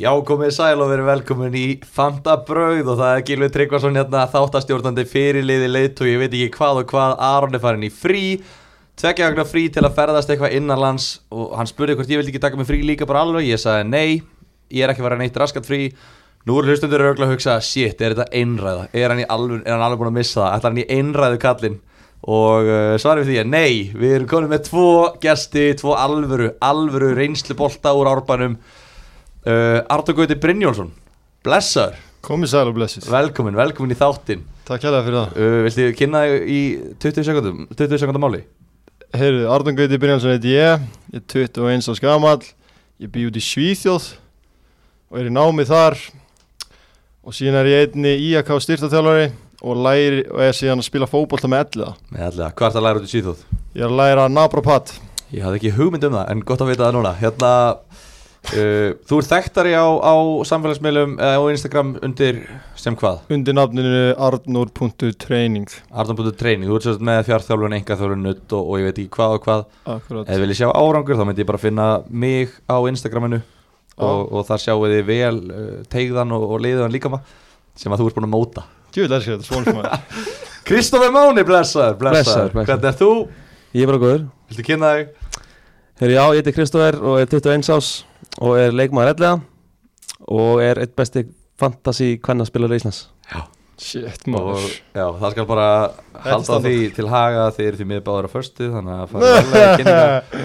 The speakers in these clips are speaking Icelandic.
Já, komið sæl og verið velkomin í Fanta Brauð og það er Gilvi Tryggvason hérna þáttastjórnandi fyrirliði leitu, ég veit ekki hvað og hvað, Aron er farin í frí, tvekja okkur frí til að ferðast eitthvað innanlands og hann spurði hvort ég vildi ekki taka mig frí líka bara alveg, ég sagði nei, ég er ekki verið neitt raskat frí, nú er hlustundur örgulega að hugsa, shit, er þetta einræða, er hann, í alveg, er hann alveg búin að missa það, ætlar hann í einræðu kallinn? og uh, svarið við því er nei við erum konum með tvo gesti tvo alvöru, alvöru reynslubolta úr árbanum uh, Artur Gauti Brynjólfsson blessar, Komið sæl og blessið. velkomin, velkomin í þáttinn Takk hérlega fyrir það. uh, viltu kynna þig í 20 sekundum 20 sekundum máli Heyrðu, Arnum Gauti Brynjansson heiti ég, ég er 21 árs gamall, ég bý út í Svíþjóð og er í námi þar og síðan er ég einni IAK styrtaþjálfari og, læri, og er síðan að spila fótbolta með elliða. með allega, hvað er það að læra út í síðhóð? Ég er að læra naprapat. ég hafði ekki hugmynd um það, en gott að vita það núna hérna, uh, þú ert þekktari á, á samfélagsmiðlum eða á Instagram undir sem hvað? undir nafninu arnur.training. Arnum.training, þú ert sérst með fjárþjálfun, engaþjálfun, nutt og, og ég veit ekki hvað og hvað Akkurat. Ef þið viljið sjá árangur þá myndi ég bara finna mig á Instagraminu og, og þar sjáu þið vel uh, tegðan og, og liðan líkama sem að þú ert búin að móta Djúvill elskar þetta, svona sem að Kristofi Máni, blessaður, blessaður, blessaður. Blessaður, blessaður. Hvernig er þú? Ég er bara góður. Viltu kynna þig? Herri, já, ég heiti Kristófer og er 21 ás og er leikmaður ellega og er eitt besti fantasy kvennarspilur í Íslands. Shit, Og, maður. já, það skal bara halda standard. því til haga þeir eru því miður báður á förstu þannig að fara alveg kynningar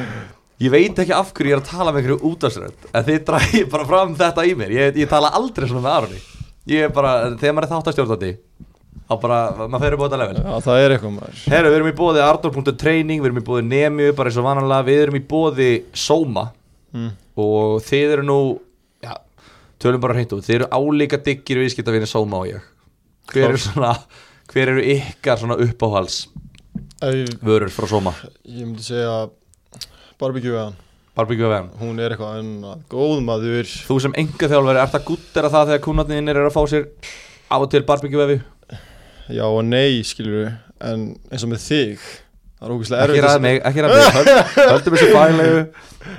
Ég veit ekki af hverju ég er að tala með einhverju útastrætt en þið dræði bara fram þetta í mér ég, ég tala aldrei svona með Aroni Ég er bara, þegar maður er þáttastjórnandi þá bara, maður fer upp á þetta level Já, það er eitthvað maður. Herru, við erum í bóði Arnór.training, við erum í bóði Nemiu, bara eins og vanalega, við erum í bóði Soma Mm. og þið eru nú, já, tölum bara hreint út, þið eru álíka diggir viðskiptafinni Soma og ég. Hver eru svona, hver eru ykkar svona uppáhalds Ég, vörur frá Soma? ég myndi segja barbegjuðan. Barbecue FM. Hún er eitthvað annað góð maður Þú sem enga þjálfari, ert að guttera það þegar kúnarnir eru að fá sér af og til barbecue vefi? Já og nei skilur við En eins og með þig Það er ógæslega Ekki erfitt að- ræða mig, ekki ræða mig, höld- höldum þessu bælegu.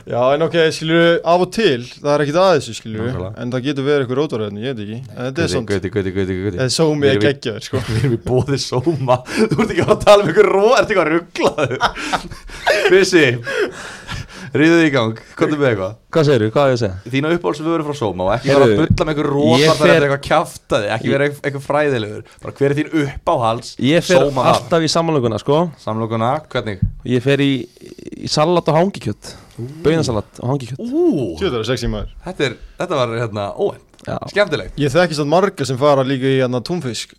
Já en ok skilur við Af og til Það er ekkit aðeins skilur við Nákvæmlega. En það getur verið eitthvað rótvarðin Ég veit ekki En þetta er svona Guði, guði, guði, guði. Það er svo Við mig erum að í- gegja þér sko Við erum í bóði sóma Þú ert ekki að fara að tala um ykkur ró Ert ekki að rugglaðu Vissi Ríðu þig í gang Komdu með eitthvað Hvað segirðu? Hvað er ég að segja? Þína uppáhaldsvöru frá sóma Og ekki fara að Heyrðu, bulla með ykkur ró ég Þar fer... fer- eitthvað kjaftaði Ekki vera eitthvað- eitthvað fræðilegur Bara hver er þín uppáhalds Ég fer Sóma allt... alltaf í samanlökunna, sko. Samlokuna, hvernig? Ég fer í, í salat og hangikjött. Böinasalat og hangikjött. Ú, Tjóð það er sexy maður þetta, er, þetta var hérna óvænt Já. Skemmtilegt Ég þekkist að marga sem fara líka í hérna túnfisk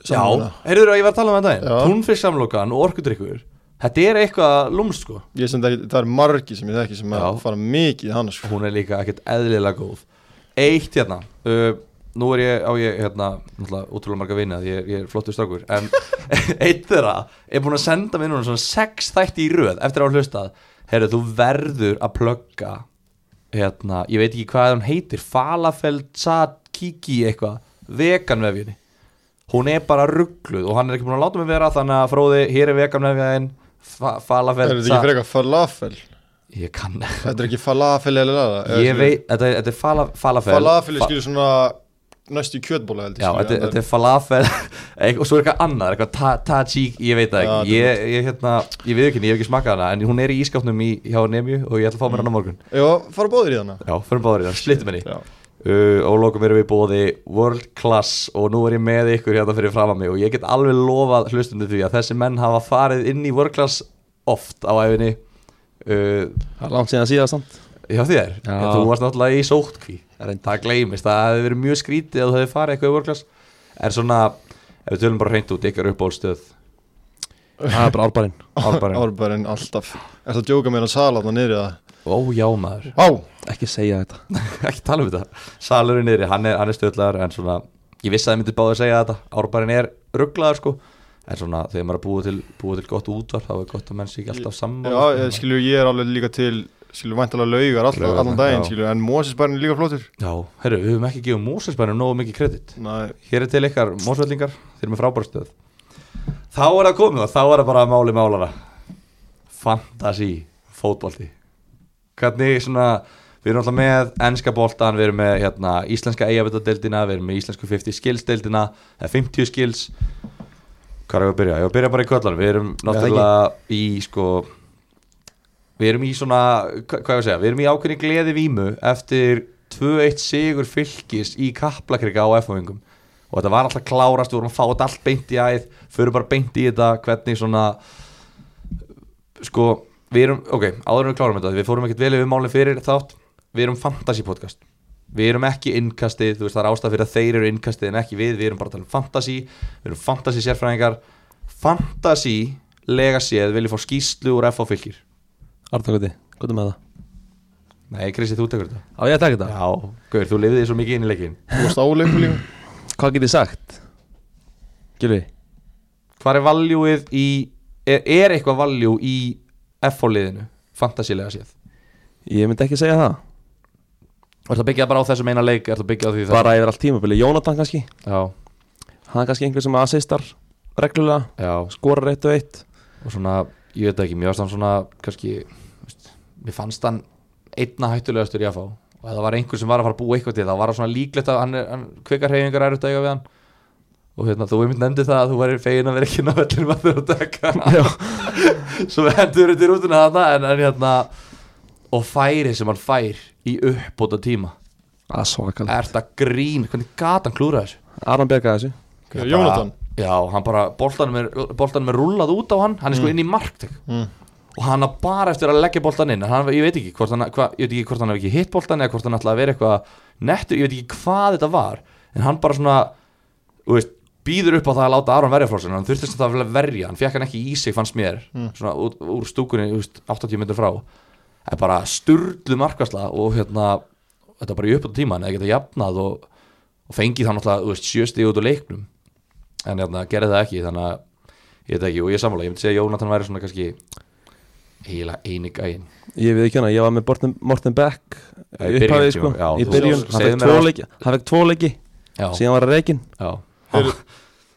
Já, samlokuna. heyrður að ég var að tala um þetta Já. Túnfisk samlokan og orkudrykkur Þetta er eitthvað lúmst sko Ég sem þekki Það er margi sem ég þekki sem Já. að fara mikið í hana sko hún er líka ekkert eðlilega góð eitt hérna uh, nú er ég á ég hérna náttúrulega útrúlega marga vinna því ég, ég er flottur strákur en eitt þeirra er búin að senda mér núna svona sex þætti í röð eftir að hafa hlustað herru þú verður að plugga hérna ég veit ekki hvað hún heitir falafel tzatt kiki eitthvað veganvefjunni hún er bara ruggluð og hann er ekki búin að láta mig vera þannig að fróði hér er veganvefjun fa falafel Er þetta ekki frekar falafel? tzatt ég kann Þetta er ekki falafel eða eða Ég veit, þetta, er- þetta er fala, falafel Falafel Fa- er skilur svona Næstu kjötbóla held ég Já, skilur, þetta, en það þetta er falafel Eitthvað- Og svo er eitthvað annað, eitthvað ta- tajik Ég veit það Já, ekki, þetta er ég, ég, hérna, ég við ekki Ég hef ekki smakað hana, en hún er í ískapnum í, hjá Nemju Og ég ætla að fá mér hana á morgun Já, fara bóðir í hana Já, förum báður í það, slittum henni Já uh, og lókum erum við bóði World Class og nú er ég með ykkur hérna fyrir fram að mig og ég get alveg lofað hlustundu því að þessi menn hafa farið inn í World Class oft á æfinni uh, Það er langt síðan síðast samt. hjá þér, Já. En þú varst náttúrulega í sótkví Reyndar. það gleymist, það hefði verið mjög skrítið að þú hefði farið eitthvað í World Class en svona, ef við tölum bara hreint út ykkar uppbólstöð Það er bara árbarinn. Árbærin, Árbærin alltaf Er það að djóka meina salatna niður eða? ó já maður Á, Ekki segja þetta. ekki tala um þetta, salurinn er hann er, hann er stöðlaður en svona ég vissi að þið myndið báði að segja þetta, árbærin er rugglaður sko, en svona þegar maður er búið til, búið til gott útvar, þá er gott að menn sé ekki alltaf já, sammála ég, skilju, ég er alveg líka til Skilju, væntalega laugar alltaf, Laugarnar, allan daginn já. skilju En Mosesbærin er líka flottur já, herru, við höfum ekki gefið Mósensbænum nógu mikið kredit Nei, hér er til ykkar Mósvellingar, þeir eru með frábæra stöð þá er það komið og þá er það bara máli málara fantasi, fótbolti hvernig svona Við erum alltaf með ennska boltan, við erum með hérna, íslenska eigavitadeildina, við erum með íslensku 50 skills deildina, eða 50 skills. Hvað er að byrja? Ég byrja bara í kvöldan, við erum það náttúrulega í sko, við erum í svona, hva- hvað ég að segja, við erum í ákveðni gleði vímu eftir 2-1 sigur fylgis í kaplakrika á F-fóðingum og þetta var alltaf klárast, við vorum að fá þetta allt beint í æð, förum bara beint í þetta, hvernig svona, sko, við erum, ok, áður en við klárum þetta, við fórum ekkert vel yfir málinn fyrir þátt, við erum fantasy podcast, við erum ekki innkastið, þú veist, það er ástæð fyrir að þeir eru innkastið en ekki við, við erum bara að tala um fantasy, við erum fantasy sérfræðingar, fantasy lega séð viljum fá skýslu úr FH fylgir. Arnargöti, hvað er með það? Nei, Kristi, þú tekur þetta. Á ég að taka þetta? Já, Guður, þú lifið því svo mikið inn í leikin. Þú varst áleikur líka Hvað get ég sagt? Gilvi, Hvað er valjúið í, er, er eitthvað valjú í FH liðinu, fantasy lega séð? ég myndi ekki segja það Er það byggjað bara á þessum eina leik, er það byggjað á því það? Bara yfir allt tímabili, Jónatan kannski Já, Hann er kannski einhver sem assistar reglulega já. Skorar eitt og eitt og svona, ég veit það ekki, mér fannst hann svona kannski, þú veist, mér fannst hann einna hættulegastur í að fá og ef það var einhver sem var að fara að búa eitthvað til það var það svona líklegt að hann, er- hann kvikarhefingar er út að eiga við hann og hérna, þú einmitt nefndi það að þú væri fegin að vera ekki ná öllum að þú dekka svo hendur þetta í rútuna þarna en, en hérna, og færi sem hann fær í uppbóta tíma Það er Ah, svakalega er þetta grín, hvernig gat hann klúra þessu Aron bjargaði þessu Bara- Jónatan Já, hann bara, boltanum er, boltanum er rúllað út á hann Hann er sko inn í markteg Mm. Og hann er bara eftir að leggja boltan inn En hann, Ég veit ekki hvort hann, hva, ég veit ekki hvort hann hef ekki hitt boltan Eða hvort hann ætlaði að vera eitthvað nettur Ég veit ekki hvað þetta var En hann bara svona, þú veist, býður upp á það að láta Aron verja frá sér en Hann þurfti sem það að verja, hann fekk hann ekki í sig fannst mér Mm. Svona úr, úr stúkunni, þú veist, 80 myndir frá Það er bara sturlu markasla Og hérna, þetta er bara í uppbúta tíma En það geta jafnað og, og fengið hann alltaf, þú veist, sjösti út úr leiknum en hérna gerði það ekki þannig að ég veit ekki og ég er sammála, ég myndi segja að Jónatan væri svona kannski heila eini gæinn Ég við ekki hana, ég var með Morten, Morten Beck Já, í í byrjun, upphafi, sko, já, í þú- byrjun, segðu hann fekk mér tvo allt. leiki hann fekk tvo leiki, já, síðan var hann reikin já. Heyrðu,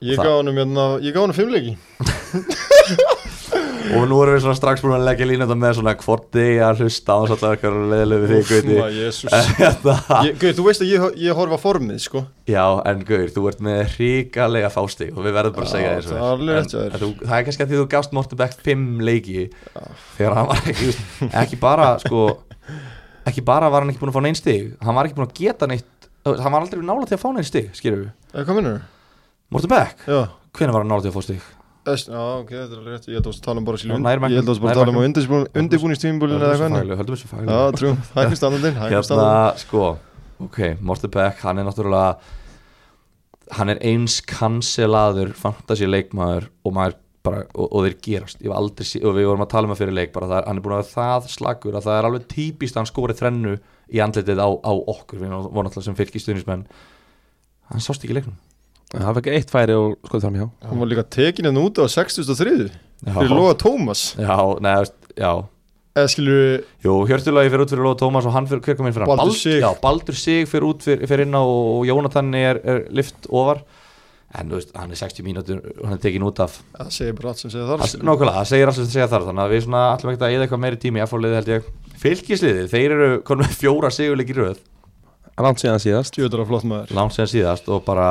Ég Það- gaf honum hérna, ég gaf honum fimmleiki og nú erum við svona strax búin að leggja lína þetta með svona hvort þig að hlusta á þess að það er eitthvað leðilegu við þig Úff, Gauti. maður, Jesús. En hérna, Ég- Guð, þú veist að ég, ég horfa formið sko já, en Gauður, þú ert með ríkalega fástig og við verðum bara að segja Já, þér það er alveg rétt hjá en, þér. en þú, það er kannski að því þú gafst Morten Beck fimm leiki þegar hann var ekki, ekki bara sko, ekki bara var hann ekki búin að fá neinn stig hann var ekki búin að geta neitt hann var aldrei nála til að fá neinn stig, skilur við Eða hvað minnur? Morten Beck, Já hvenær var hann nála til að fá stig? Öst, já, ok, þetta er alveg rétt, ég held að þú varst að tala um bara sílun Já, nærmæknum, Ég held að þú varst bara að tala um á nærmæknum. undirbúin- undirbúningstímabúlinu eða Höldum þessu faglu, hvernig höldum þessu faglu Já, trú, það er ekki standandinn, það er ekki standandinn Hérna, sko, ok, Morten Beck, hann er náttúrulega Hann er eins kanselaður fantasy leikmaður og maður bara, og, og þeir gerast Ég hef aldrei, sé- og við vorum að tala um það fyrir leik bara, það er, hann er búin að vera það slagur að það er alveg típist að hann skori þrennu í andlitið á, á okkur, við vorum alltaf sem fylgistuðnismenn Hann sást ekki í leiknum hann fekk eitt færi og skoði fram hjá Hún var líka tekin hérna út á 63 Fyrir Já, Lóa Tómas neða, já Eða skilur Jú, Hjörtulagi fyrir út fyrir Lóa Tómas og hann fyrir, hver kom inn fyrir hann? Baldur Sig. Já, Baldur Sig fyrir út fyrir, fyrir inn á og, og Jónatan er, er lift ofar en þú veist, hann er 60 mínútur og hann er tekin út af Það segir bara allt sem segir þar skilurðu. Nákvæmlega, það segir allt sem það segja þar þannig að við svona allum ekkert að eða eitthvað meiri tími í F-liðið held ég Fylkisliðið, þeir eru konum með fjóra sigurleik í röð langt síðan síðast, Djöður að flott maður langt síðan síðast og bara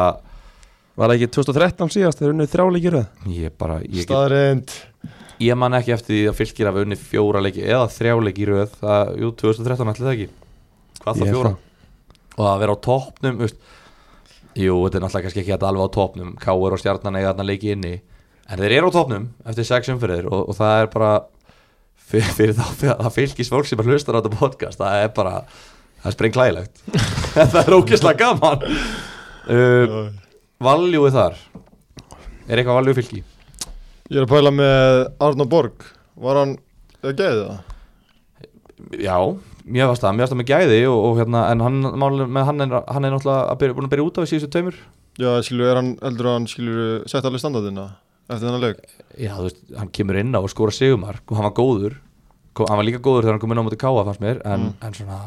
var það ekki 2013 síðast þeir unnið þrjáleiki röð ég bara, ég, get, Staðreind ég man ekki eftir því að fylkir hafa unni fjóra leiki eða þrjáleik í röð það, jú, 2013 allir það ekki hvað Ég það er fjóra? frá. og að vera á toppnum veist, jú, þetta er náttúrulega kannski ekki þetta alveg á toppnum Káur og Stjarnan eiga þarna leiki inni en þeir eru á toppnum eftir sex umfyrir og, og það er bara fyrir, fyrir þá fyrir það fylgis fólk sem bara hlustar á þetta podcast það er bara, það er sprengklægilegt en það er ógeðslega gaman uh, valjúi þar er eitthvað valjúi fylgi Ég er að pæla með Arnó Borg Var hann Eða geði það? já, mér varst það, mér varst það með gæði og, og hérna, en hann, málið með hann, er, hann er náttúrulega að byrja, búin að byrja út af í síðustu taumur Já, skilur, er hann heldur að hann skilur Sett alveg standardina Eftir þennan leik Já, þú veist, hann kemur inn á og skora sigumark og hann var góður, Kom, hann var líka góður þegar hann kom inn á móti káa fannst mér, en, en svona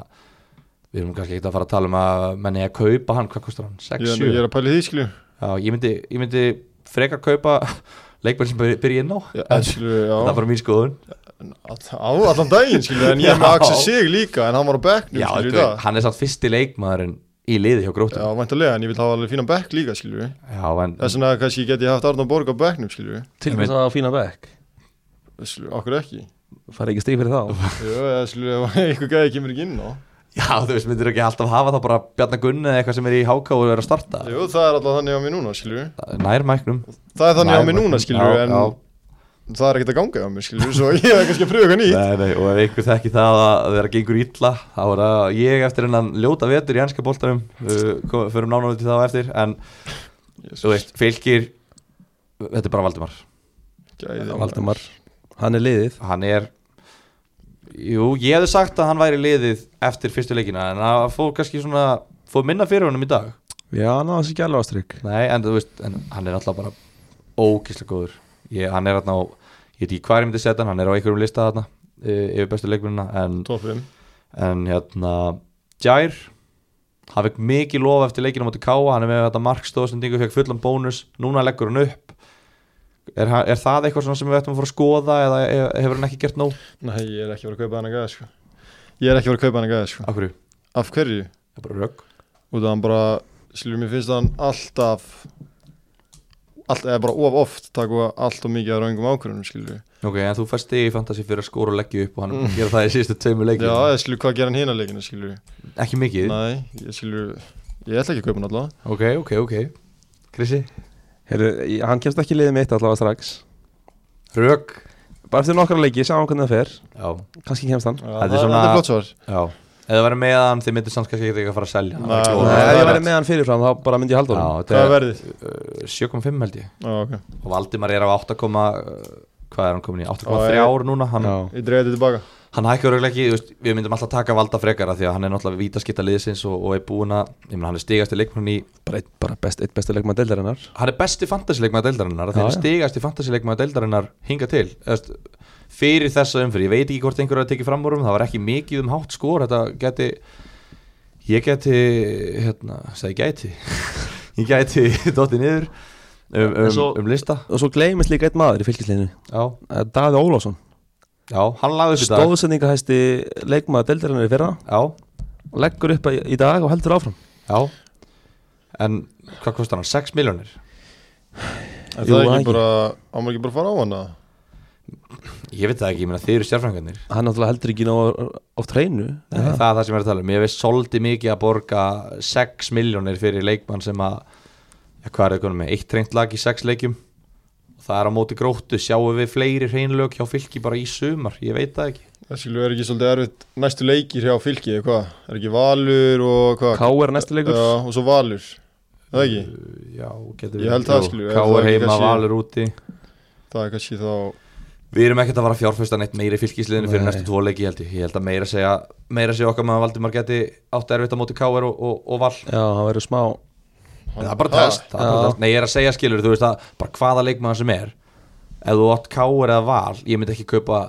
við erum kannski ekkert að fara að tala um að menni að kaupa hann, hvað kostar hann? ég, 6-7? ég er að pæla í því skilur Já, ég myndi, ég myndi freka kaupa leikmenn sem byrja byrja inn á Já, en, skilur, það er já bara mín skoðun á allan daginn skilju en ég er með Já. Axel Sig líka en hann var á bekknum Já, skilju í þú- dag hann er samt fyrsti leikmaðurinn í liði hjá Já, gróttum væntalega, en ég vil hafa alveg fínan bekk líka skilju Já, en Þess vegna kannski get ég haft Arnón Borg á bekknum skilju til þess að það á fína bekk Skilju, Okkur ekki fara ekki stík fyrir þá Jú, eða skilju, ef einhver gæði kemur ekki inn á Já, þú veist, myndir ekki alltaf hafa það bara Bjarnar Gunn eða eitthvað sem er í háka og er að starta Jú, það er alltaf þannig á mig núna skilju Nær mæknum Það er þannig á Nær mig mæknum. núna skilju Já, en já. það er ekkert að ganga á mig skilju Svo ég er kannski að pröfa eitthvað nýtt Nei, nei, og ef einhver þekki það að þeirra gengur illa þá er það ég eftir hennan ljóta vetur í ennska boltanum uh, kom- förum nánar út í það á eftir en þú Jesus, veist, fylgir þetta er bara Valdimar gæði. Valdemar, hann er liðið hann er jú, ég hefði sagt að hann væri liðið eftir fyrstu leikina en það fór kannski svona fór minna fyrir honum í dag já, hann á þessi ekki alveg ástrygg nei, en þú veist, en hann er alltaf bara ógislega góður ég, hann er hann á, ég veit ekki hvað ég myndi setja hann hann er á einhverjum lista þarna eh, yfir bestu leikmennina en Topp fimm. en hérna Jair hafði mikið lofa eftir leikinu á móti Káa, hann er með þetta markstóðsendingu fekk fullan bónus, núna leggur hann upp er, hann- er það eitthvað svona sem við ættum að fara að skoða eða e- hefur hann ekki gert nóg? Nei, ég er ekki að fara að kaupa hann að gæða sko Ég er ekki að fara að kaupa hann að gæða sko Af hverju? Af hverju? Það er bara rögg út af hann bara skilur mér finnst að hann alltaf allt, eða bara of oft taka allt og mikið af raungum ákvörðunum skilur Ok, en þú fæst þig í fantasy fyrir að skora og leggja upp og hann mm. gera það í síðustu tveimur leikinu já, eða skilur hvað gera hann hina leikina skilur ekki mikið? nei, ég skilur ég ætla ekki að kaupa hann allavega Ok, ok, ok Krissi? Heru, hann kemst ekki í liðið mitt allavega strax Rögg bara eftir nokkra leiki, sjáum hvernig það fer Já, kannski kemst hann Já, Þetta er það er- svona- þetta er flott svar já Eða verið með hann, þið myndir samt kannski ekki að fara að selja hann. Nei, Hann nei, var ekki lofaður. það er Nei, ef ég væri rétt. með hann fyrirfram þá bara myndi ég halda honum Já, hvað er þetta er verðið? uh, 7,5 held ég Já, ok. og Valdimar er á 8, uh, hvað er hann komin í 8,3 Já, ár núna hann, Já. ég dreigði þetta tilbaka hann hækkar örugglega ekki, þú veist, við myndum alltaf taka Valda frekara því að hann er náttúrulega vítaskitta liðsins og, og er búin að, ég menn hann er stigasti leikmann í bara, einn- bara best, eitt besti leikmann deildarinnar hann er besti fantasileikmaður deildarinnar þannig Já, já. að stigasti fantasileikmaður deildarinnar hinga til Eðast, fyrir þessa umfyrir, ég veit ekki hvort einhverju að tekið fram úr um, það var ekki mikið um hátt skor þetta geti ég geti, hérna, segi gæti ég gæti dotti niður um, um, En svo- um lista og svo gleymist líka einn maður í fylgisleinu já, Daði Ólásson já, hann lagði þessu í dag stóðsendingahæsti leikmaður deildarinnar í fyrra já, leggur upp í í dag og heldur áfram Já En hvað kostar hann? 6 miljónir? er Jú, það ekki ekki. bara á maður ekki bara að fara á hann eða? Ég veit það ekki, ég meina þið eru sérfræðingarnir hann náttúrulega heldur ekki nóg á treinu Það er það sem ég er að tala um Ég veist svolítið mikið að borga 6 miljónir fyrir leikmann sem að ja, Hvað er það konum með? Eitt reynd lag í 6 leikjum Það er á móti gróttu Sjáum við fleiri reynlög hjá fylki bara í sumar Ég veit það ekki það skilur er ekki svolítið erfitt næstu leikir hjá fylki eða hvað er ekki valur og hvað K.O. er næstu leikur Já, og svo valur Er það ekki Já, getur Ég held það, skilju, ef það Káur er ekki heima, kannski- valur úti það er kannski þá Við erum ekkert að fara að fjárfesta neitt meira í fylkisliðinu fyrir Nei. næstu tvo leiki held ég Ég held að meira segja, meira segja okkar með að Valdimar geti átt erfitt á móti Káur og, og, og val já, hann verður smá Nei, Það er bara Ha? test, það er bara Já. test. Nei, ég er að segja skilur, þú veist að bara hvaða leikmaður sem er Ef þú átt káur eða val Ég myndi ekki kaupa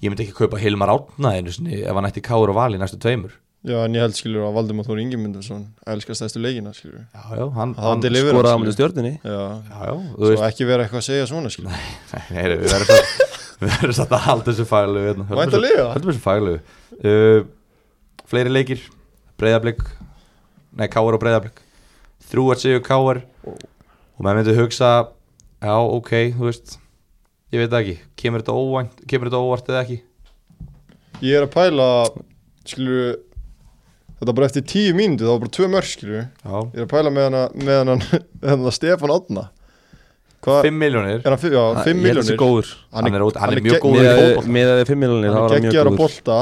Ég myndi ekki kaupa Hilmar Átna einu sinni Ef hann ætti káur og val í næstu tveimur Já, en ég held skilur að Valdimar Þór Ingemyndarsson elskast þessu leikina skilur Já, já, hann, Hann deliverar, skoraði á skilur. mjög stjórninni Já, Já, já, þú svo veist ekki vera eitthvað að segja svona skilur Nei, nei, við verðum satt Við verðum satt að halda þessu fælu Væntanlega. Höldum þessu fælu uh, Fleiri leikir Breiðablík Nei, káur og breiðablík Þrúar sigur káur Og maður myndi hugsa Já, ok, þú veist Ég veit það ekki, kemur þetta óvænt Kemur þetta óvart eða ekki Ég er að pæla, skilur Þetta er bara eftir tíu mínúti, það var bara tvö mörg, skilur Ég Já, er að pæla með hana, með hana, með hana Stefan Átna Hvað, 5 miljónir er hann, fimm, já, fimm ég held þessi miljonir góður Hann er út- hann er mjög gegn- góður í fótbolta. með að við 5 miljonir þá Hann var er hann geggjar mjög að góður bolta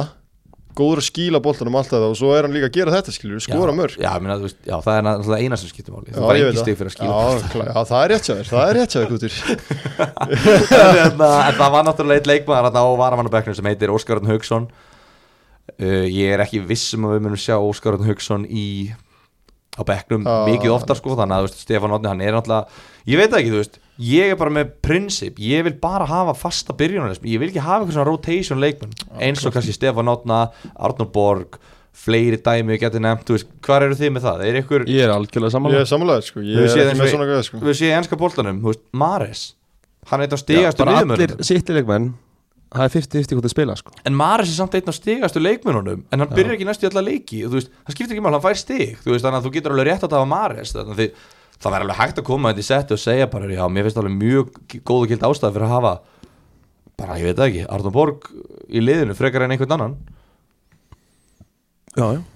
Góður að skíla boltanum allt þetta og svo er hann líka að gera þetta, skilur Skora mörg Já, minna, veist, já, það er náttúrulega eina sem skiptir máli Þú bara engin stig fyrir að skila Já, klá- já, það er rétt sér, það er rétt sér, Kutur en, hérna, en það var náttúrulega eitt leikmaður þarna á varamannabekknum sem heitir Óskar Örn Haugsson uh, Ég er ekki viss um að við munum sjá Óskar Örn Haugsson í á bekknum Já. mikið oftar sko þannig að þú veist, Stefán Otni hann er náttúrulega ég veit það ekki, þú veist, ég er bara með prinsip ég vil bara hafa fasta byrjunarleik ég vil ekki hafa eitthvað svona rotation leikmenn eins og kannski Stefán Otna, Arnur Borg fleiri dæmi við getum nefnt, þú veist, hvar eru þið með það? Er ykkur, ég er algjörlega Ég samanlega er samanlega, sko, ég Við er séð ekki eins með og- svona gæða, sko við séum í ennska boltanum, þú veist, Mares hann er eitt af Já, stígastu bara allir miðmörnum sittli leikmenn það er 50-50 hvort þau spila sko. En Maris er samt einn af stigastu leikmönunum En hann Já. byrjar ekki næstu í alla leiki og, þú veist, Það skiptir ekki mál, hann fær stig þú veist, Þannig að þú getur alveg rétt að það á Maris þannig að því, Það væri alveg hægt að koma þetta í setti og segja bara, já, Mér finnst alveg mjög góð og gild ástæð fyrir að hafa Bara, ég veit það ekki, Arnum Borg í liðinu Frekar en einhvern annan Já, já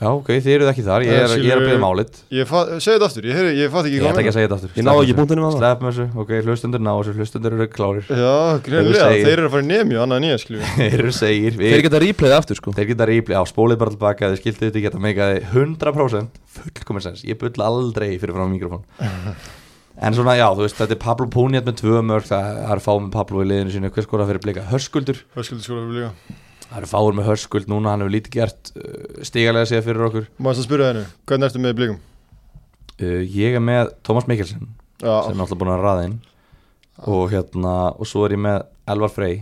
Já, ok, þið eruð ekki þar, ég Það er, ég er að skilur- byrja málit Ég fa- segðu þetta aftur, ég, heyri, ég fatt ekki Ég ætla ekki að segja þetta aftur Ég náði ekki Sleppum punktinum á þessu. það. Sleppum þessu, ok, hlustundur ná þessu Hlustundur eru klárir Já, greinlega, segir- þeir eru að fara í nemi og annað nýja skilju Þeir eru segir við- Þeir geta replayð aftur sko Þeir geta rýpli á spólið bara tilbaka Þeir skildu þetta ekki þetta meikaði 100% Fullkomin sens, ég bull aldrei fyrir frá mikrofón En svona já, þú veist Þetta er Pablo Púniat með tvö mörg Það það eru fáið með Pablo í liðinu sínu Hver skora fyrir blika? Hörskuldur Höskuldur skóla fyrir líka Það eru fáið með Hörskuld núna Hann hefur lítið gert uh, stigalega séð fyrir okkur Má þess að spyrja hennu, hvernig ertu með blíkum? uh, Ég er með Tómas Mikkelsen Sem Já, er alltaf búin að raða inn og, hérna, og svo er ég með Elvar Frey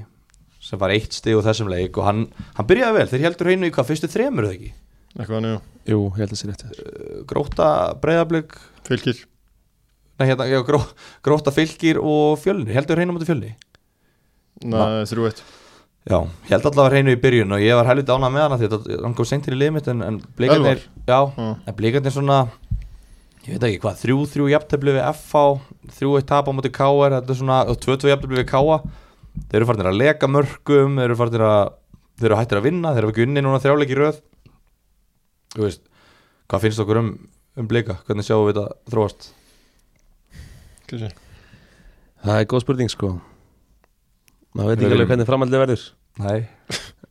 Sem var eitt stig úr þessum leik Og hann, hann byrjaði vel Þeir heldur hreinu í hvað fyrstu þremur er það ekki eitthvað hann, já, Jú, ég held að sé rétt hjá þér. Uh, Gróta, Breiðablögg fylgir Nei, hérna, já, gró, gróta fylgir og fjölni, heldur hreinu mútið fjölni? Nei, þrjú eitt Já, ég held allavega hreinu í byrjun og ég var helviti ánað með hana því að hann kom seint til í limit en, en blikarnir, já, Já. en blikarnir svona, ég veit ekki hvað, 3-3 jafntöflu við FH, 3-1 tap á mútið KR, þetta er svona, og 2-2 jafntöflu við KA, þeir eru farinir að leka mörgum, þeir eru farinir að, þeir eru hættir að vinna, þeir eru ekki unni núna þrjáleiki í röð, þú veist, hvað finnst okkur um, um blika, hvernig sjáum við þetta þróast? Kristín. Það er góð spurning sko Það veit Við ekki alveg erum- hvernig framhaldið verður Nei,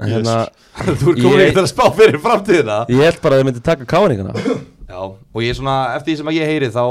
En hérna, þú er komin Ég- ekkert að spá fyrir framtíðina ég held bara að þau myndi taka káringana Já, og ég svona, eftir því sem að ég heyri þá,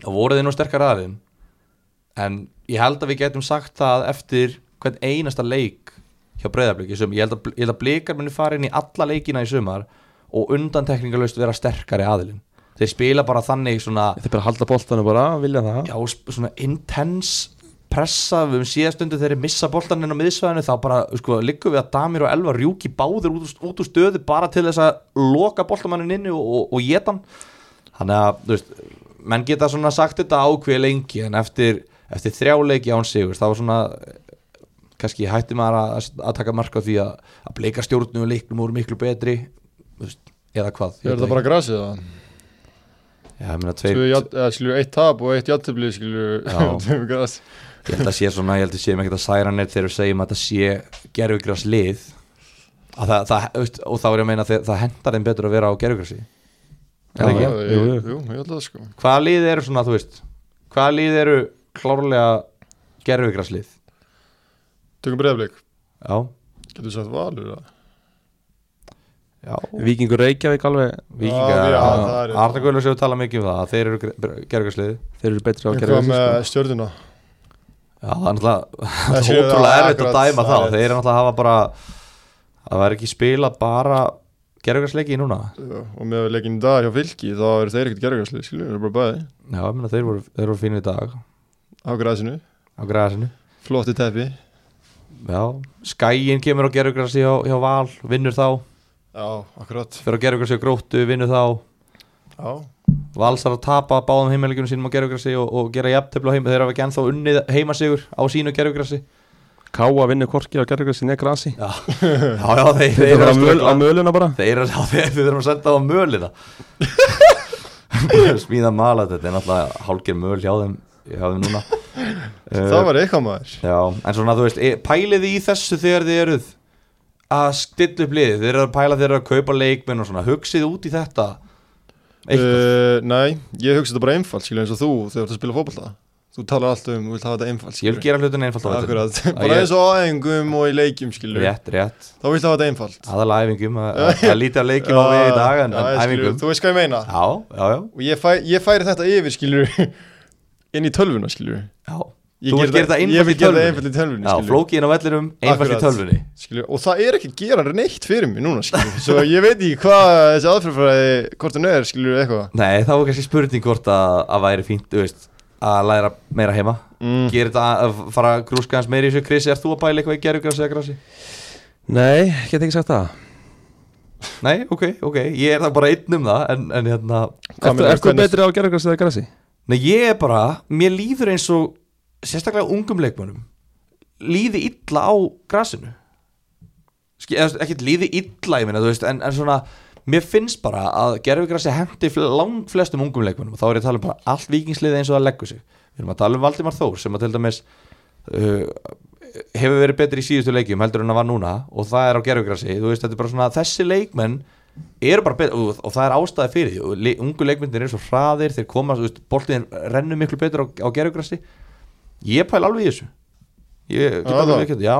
þá voru þið nú sterkar aðeins en ég held að við getum sagt það eftir hvern einasta leik hjá breyðablík í sumar ég held, að, ég held að blíkar muni fara inn í alla leikina í sumar og undantekningalöst vera sterkari aðilinn þeir spila bara þannig svona Þeir bara halda boltanum bara, vilja það já, sp- svona intense pressa, við höfum síðast undir þeirri missa boltaninn á miðsvæðinu þá bara, sko, liggum við að Damir og Elva rjúki báðir út, úr- út úr stöðu bara til þess að loka boltamannin inni og, og, og geta hann þannig að, þú veist, menn geta svona sagt þetta ákveð lengi en eftir, eftir þrjáleiki án sigur þá var svona kannski hætti maður að, að taka marka því að, að bleika stjórnum og leiknum voru miklu betri þú veist, eða hvað ég veit Er þetta það bara grasið það? ekki. Já, ég meina, tveir- Tvö, jafn- eða skilju, eitt tap og eitt játtöfli skilju Já. Tvö gras Ég held að sé svona, ég held að sé með ekkert að særa neitt þegar við segjum að þetta sé gerfugrás lið að það, það, veist, og þá er ég að meina að það, það hendar þeim betur að vera á gerfugrasi Já, Er ekki? já. jú, Jú, jú. jú, ég held það sko Hvaða lið eru svona, þú veist Hvaða lið eru klárlega gerfugrás lið? Tökum breyðblik, Já, getur sagt valur það já Víkingur Reykjavík alveg, Já, Víkingar, já, það er- Arna Guðlöfs hefur talað mikið um það að þeir eru gerfugrás lið þeir eru betri á En hvað gerðið með sko. stjórnuna? Já, það er náttúrulega Það það sé er ótrúlega það erfitt að akkurat, dæma það þá er rétt. þeir eru náttúrulega að hafa bara að vera ekki spila bara gerfugrásleiki núna Og með leikin í dag hjá fylki þá eru þeir ekkert gerðargrasli skilju, þeir eru bara bæði Já, ég meina þeir voru, þeir voru fínir í dag á grasinu, á græsinu flotti teppi Já, skæin kemur á gerðugrassi hjá, hjá Val, vinnur þá Já, akkurat fyrir á gerðugrassi á gróttu, vinnur þá Já, Vals þarf að tapa báðum heimalegjum sínum á gerðugrassi og, og gera jafntöflu á heima þeir hafa ekki ennþá unnið heimasigur á sínu gerðugrassi Káa vinnur korki á gerðið sinni grasi Já, já, já þeir, þeir, Þeir eru eru bara að á möl- á ströggla. möluna bara þeir eru að þeir, þeir þurfum að senda á mölina Smíða mala þetta er náttúrulega hálgir möl hjá þeim, hjá þeim núna Eh, það var eitthvað maður Já, en svona þú veist, e- pælið þið í þessu þegar þið eruð að stilla upp liðið, þið eruð að pæla þeir eru að kaupa leikmenn og svona, hugsið út í þetta eitthvað, uh, Nei, ég hugsa þetta bara einfalt skilju eins og þú þegar þú ert að spila fótballta Þú talar alltaf um, þú vilt hafa þetta einfalt ég vil gera hlutin einfalt á þetta Akkurat, ég- bara eins og á æfingum og í leikjum skilju Rétt, rétt, Þá vilt hafa þetta einfalt aðal æfingum að að- að lítið af leikjum á við í dag en, Já, en skilurðu, æfingum Þú veist hvað ég meina Já, já, já, og ég, fæ, ég færi þetta yfir skilur inn í tölvuna skilur já Þú vilt gera þetta ég einfalt í vil gera það tölvunni einfalt í tölvunni Já, skilurðu. flókiðin á vellinum, einfalt í Akkurat. tölvunni Skilurðu, og það er ekki að gera neitt fyrir mig núna skilur svo ég veit ekki hvað þessi aðferðfræði hvort hún er skilur eitthvað Nei, þá var kannski spurning hvort að, að væri fínt, þú veist að læra meira heima mm. Gerir þetta að- að fara að grúska hans meira í þessu Krissi, er þú að pæla eitthvað í gerugræs eða græsi? Nei, get ekki sagt það Nei, ok, ok, ég er það bara einn um það en, en hérna, Hvað Ertu meinar, ertu hvernig- betri á gerðið sinni grasi? nei ég er bara mér líður eins og sérstaklega ungum leikmönnum líði illa á grasinu Ski- eða, þú veist, ekkert líði illa ég minna, þú veist, en, en svona mér finnst bara að gerfugrassi hendi langflestum ungum leikmennum og þá er ég að tala um bara allt vikingsliði eins og það leggur sig við erum að tala um Valdimar Þór sem að til dæmis uh, hefur verið betri í síðustu leikjum heldur en að var núna og það er á gerfugrassi þú veist, þetta er bara svona, þessi leikmenn eru bara betri og, og það er ástæði fyrir því og le, ungu leikmennir eru svo hraðir þeir koma, þú veist, boltin rennur miklu betur á, á gerfugrassi ég pæl alveg í þessu ég get Já, alveg það. viðurkennt- já,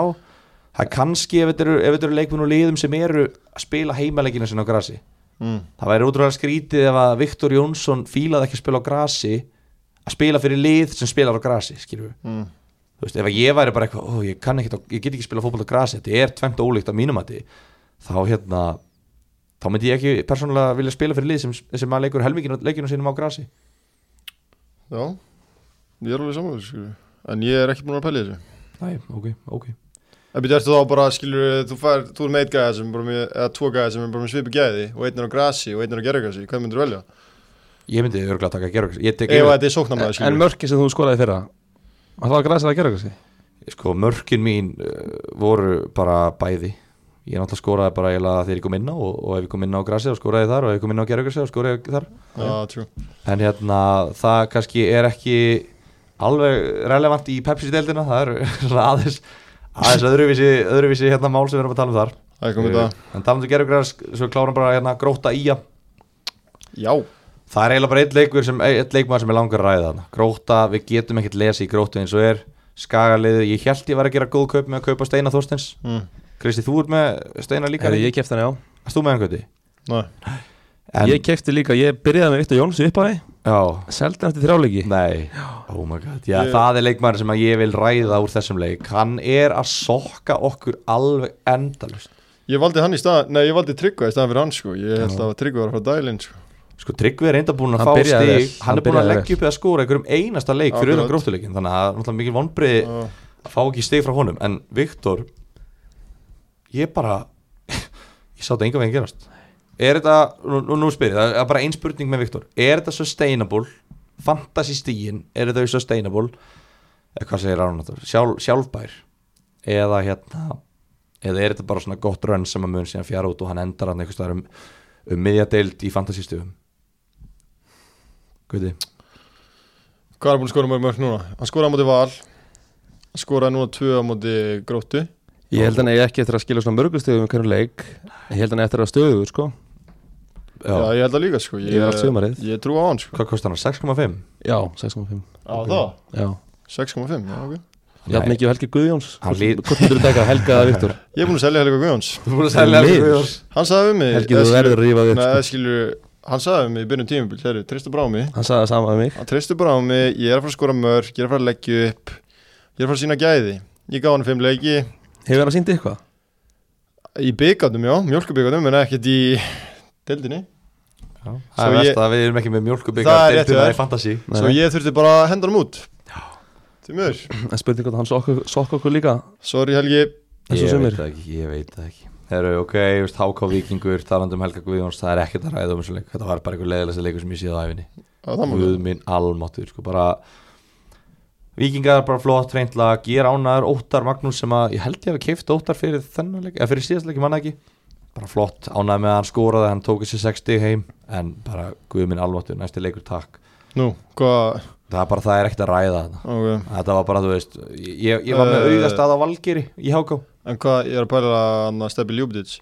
það er kannski ef þetta eru, ef þetta eru leikmenn og liðum sem eru að spila heimaleikina sinna á grassi mm. það væri útrúlega skrítið ef að Viktor Jónsson fílaði ekki að spila á grasi að spila fyrir lið sem spilar á grasi skilur við, Mm. þú veist, ef að ég væri bara eitthvað, ó, ég kann ekki, ég get ekki spila fótboll á grasi, þetta er tvengt ólíkt á mínum mati þá hérna þá myndi ég ekki persónulega vilja spila fyrir lið sem, sem að leikur helmingin leikinu sínum á grasi Já, ég er alveg samanlega skilur En ég er ekki búin að pæla í þessu Æ, ok, ok En byrju, ertu þá bara, skilur, þú, fær, þú er með eitt gæða sem er bara með, eða tvo gæða sem er bara með svipu gæði og einn er á grasi og einn er á gerðgrasi, hvað myndur þú velja? ég myndi örgulega taka að gera ég tek Ef yfir, þetta er sóknarmæður, En skilur mörki sem þú skoraði fyrra Var það að græsa að gera eitthvað? sko, mörkin mín uh, voru bara bæði ég náttúrulega skoraði bara eiginlega þegar ég kom inn á og, og ef ég kom inn á grasi þá skoraði ég þar og ef ég kom inn á gerðugrasi þá skoraði ég þar Já, trú en hérna það kannski er ekki alveg relevant í Pepsi-deildina það eru svona aðeins aðeins öðruvísi, öðruvísi hérna mál sem við erum að tala um þar Það er komið það en talandi um gerðugræðars svo klárum bara hérna gróta íja Já, það er eiginlega bara eitt leikur sem eitt leikmaður sem er langar að ræða þarna gróta, við getum ekkert lesi í grótu eins og er skagaliðið, ég held ég var að gera góð kaup með að kaupa Steina Þorstens mm. Kristi, þú ert með Steina líka Herri, ég kefti hann, já Erst þú með hann Gauti? næ, En- Ég kefti líka, ég byrjaði með Viktor Jóns upp á því Já, Seldi hann eftir þrjáleiki Nei, oh my god Já, Ég- það er leikmaður sem að ég vil ræða úr þessum leik Hann er að sokka okkur alveg endalust ég valdi hann í stað, nei, ég valdi Tryggva í staðan fyrir hann, sko Ég held að Tryggva var að fara dælinn, sko Sko Tryggvi er reynda búin að Hann fá stig byrjaði vel, Hann, hann er búin að byrjaði leggja upp eða skóra einhverjum einasta leik fyrir Akkurat. auðvitað gróttuleikin Þannig að það er náttúrulega mikil vonbrið Já. að fá ekki stig frá honum En Viktor, ég bara Ég sá þetta enga veginn gerast Er þetta, nú, nú- nú spyr ég, það er bara ein spurning með Viktor Er þetta sustainable? Fantasy stíin, er þetta sustainable? Eða hvað segir Arnóttur? Sjálf, sjálfbær eða hérna eða er þetta bara svona gott rönn sem að mun síðan fjara út og hann endar hann einhvers staðar um, um miðjadeild í fantasystöfum Guði Hvað er hann búin að skora mörg mörg núna? Hann skoraði á móti val Hann skoraði núna tvö á móti gróttu Ég held hann eigi ekki eftir að skilja svona mörgustöðum um hvernig leik Ég held hann eigi eftir að vera stöðugur, sko Já, Já. ég held að líka, sko Ég, Yfir allt sumarið. ég trú á hann, sko Hvað kostar hann? 6,5? Já, 6.5 Á það? Já 6,5, já, ok Ég hafði Nei. mikið á Helgi Guðjóns Hann lít- Hvort myndur þú taka Helga eða Viktor? Ég er búin að selja Helga Guðjóns Þú búin að selja Helga Guðjóns. Hann sagði við mig Helgi eða þú skilur- verður að rífa þig upp, Nei, sko. það skilur, hann sagði við mig í byrjun tímabil, þeirri, treystu bara á mig Hann sagði það sama um mig Hann treystu bara á mig, ég er að fara að skora mörg, ég er að fara að leggja upp Ég er að fara að sína gæði Ég gaf hann fimm leiki Hefur hann síndi eitthvað? Í byggandum, já, mjölkubyggadum, en ekkert í deildinni Það er Svo verst ég- að við erum ekki með mjölkubika Það er rétt, deildina já. í fantasy Nei, Svo nei. ég þurfti bara að henda hann út Til mjögur En spurning hvort hann sokka sokk okkur líka Sorry Helgi, eins og Ég veit sumir það ekki, ég veit það ekki Herru, ok, ég veist, HK Víkingur, talandi um Helga Guðjóns Það er ekkert að ræða um þessu leik Þetta var bara einhver leiðilegsta leikur sem ég séð á æfinni að það Guð máli minn almáttur sko, bara Víkingar bara flott, reynd lag Ég er ánæður, Óttar Magnús sem að ég held ég hafi keift Óttar fyrir þennan leik eða fyrir síðast leik, ég manna ekki bara flott, ánæður með að hann skoraði, hann tók þessi 60 heim en bara Guð minn almáttur, næsti leikur takk Nú, hvað, það er bara, það er ekkert að ræða þetta ok þetta var bara, þú veist, ég, ég var með Eh. auðast að á Valgeri í Háká En hvað, ég er að pæla hann að steppi ljúbdits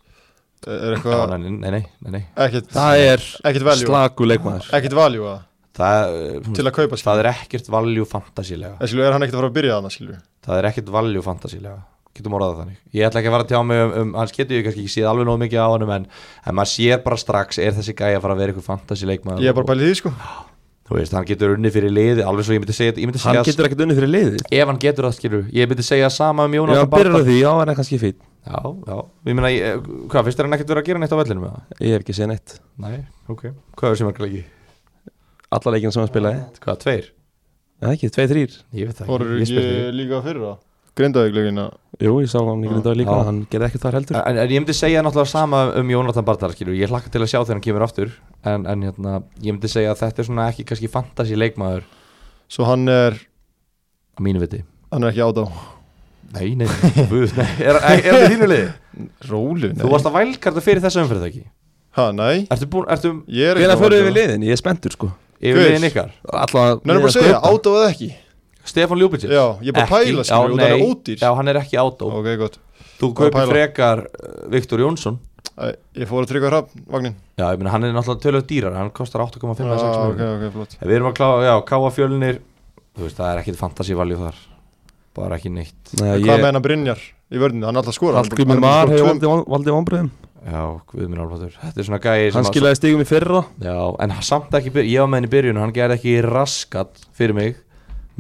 Er eitthvað, nei, nei, nei, nei, nei. ekkert, Það er ekkert value slagu leikmaður Ekkert value að, Það, eh, hún- til að kaupa skilur það er ekkert valjú fantasílega En skilur, er hann ekkert að fara að byrja þarna skilur það er ekkert valjú fantasílega getum orðað það þannig ég ætla ekki að fara að tjá mig um, um hans getur ég kannski ekki séð alveg nóg mikið á hann en, en maður sér bara strax er þessi gæi að fara að vera eitthvað fantasíleik Ég er bara að pæla í því sko þú veist hann getur unni fyrir liði alveg svo ég myndi segja, ég myndi Hann segja getur ekkert unni fyrir liðið ef hann getur það skilur ég myndi segja sama um Já, Jónas byrjar á því, já, hann er kannski fýtt já, já ég meina ég- hvað finnst þér hann ekkert vera að gera neitt á vellinu með það Ég hef ekki séð neitt nei ok hvað er sem ekki leiki Alla leikina sem hann spilaði hvað tveir En ekki, tveið þrýr ég veit það Fóru ekki ég ekki spyr þig. líka fyrir það? Grindavíklegina Jú, ég sá hann í grindaði líka Já. Hann gerði ekkert þar heldur en, en ég myndi segja náttúrulega sama um Jónatan Bardal skilur, ég hlakka til að sjá þegar hann kemur aftur en, en hérna, ég myndi segja að þetta er svona ekki kannski fantasy leikmaður Svo hann er, á mínu viti hann er ekki át á Nei, nei, guð, nei Er er hann í þínu liði? Rólu, nei Þú varst að vælkarta fyrir þessu umferð ekki Ha, nei Ertu búin, ertu Ég er Hvernig ekki fyrir við liðin? Ég er spenntur sko yfir Guð. liðin ykkar? Alla Nei, bara að segja, átó eða ekki Stefan Ljúbicic Já, ég er bara að Ekki, pæla já, skilur, og það er nei. ódýr Já, hann er ekki átó Ok, gott Þú bara að kaupir pæla. frekar uh, Viktor Jónsson Æ, Ég fór að tryggva hrapp, vagnin Já, ég meina, hann er náttúrulega tölvöld dýrar Hann kostar 8,5 Já, eða 6 miljonar. ok, Ah, ok, flott En Við erum að klára, já, káa fjölnir Þú veist, það er ekkit fantasívaljú þar Bara ekki neitt Nei, Hvað með ég hennar Brynjar í vörðinu, hann er alltaf að skora Hallgrímur Mar hefur valdið- valdið vonbröðum Já, við minn álfatur Þetta er svona gæði Hann skilaði stigum í fyrra Já, en samt ekki, byr- ég var með henni í byrjun og Hann gerði ekki raskat fyrir mig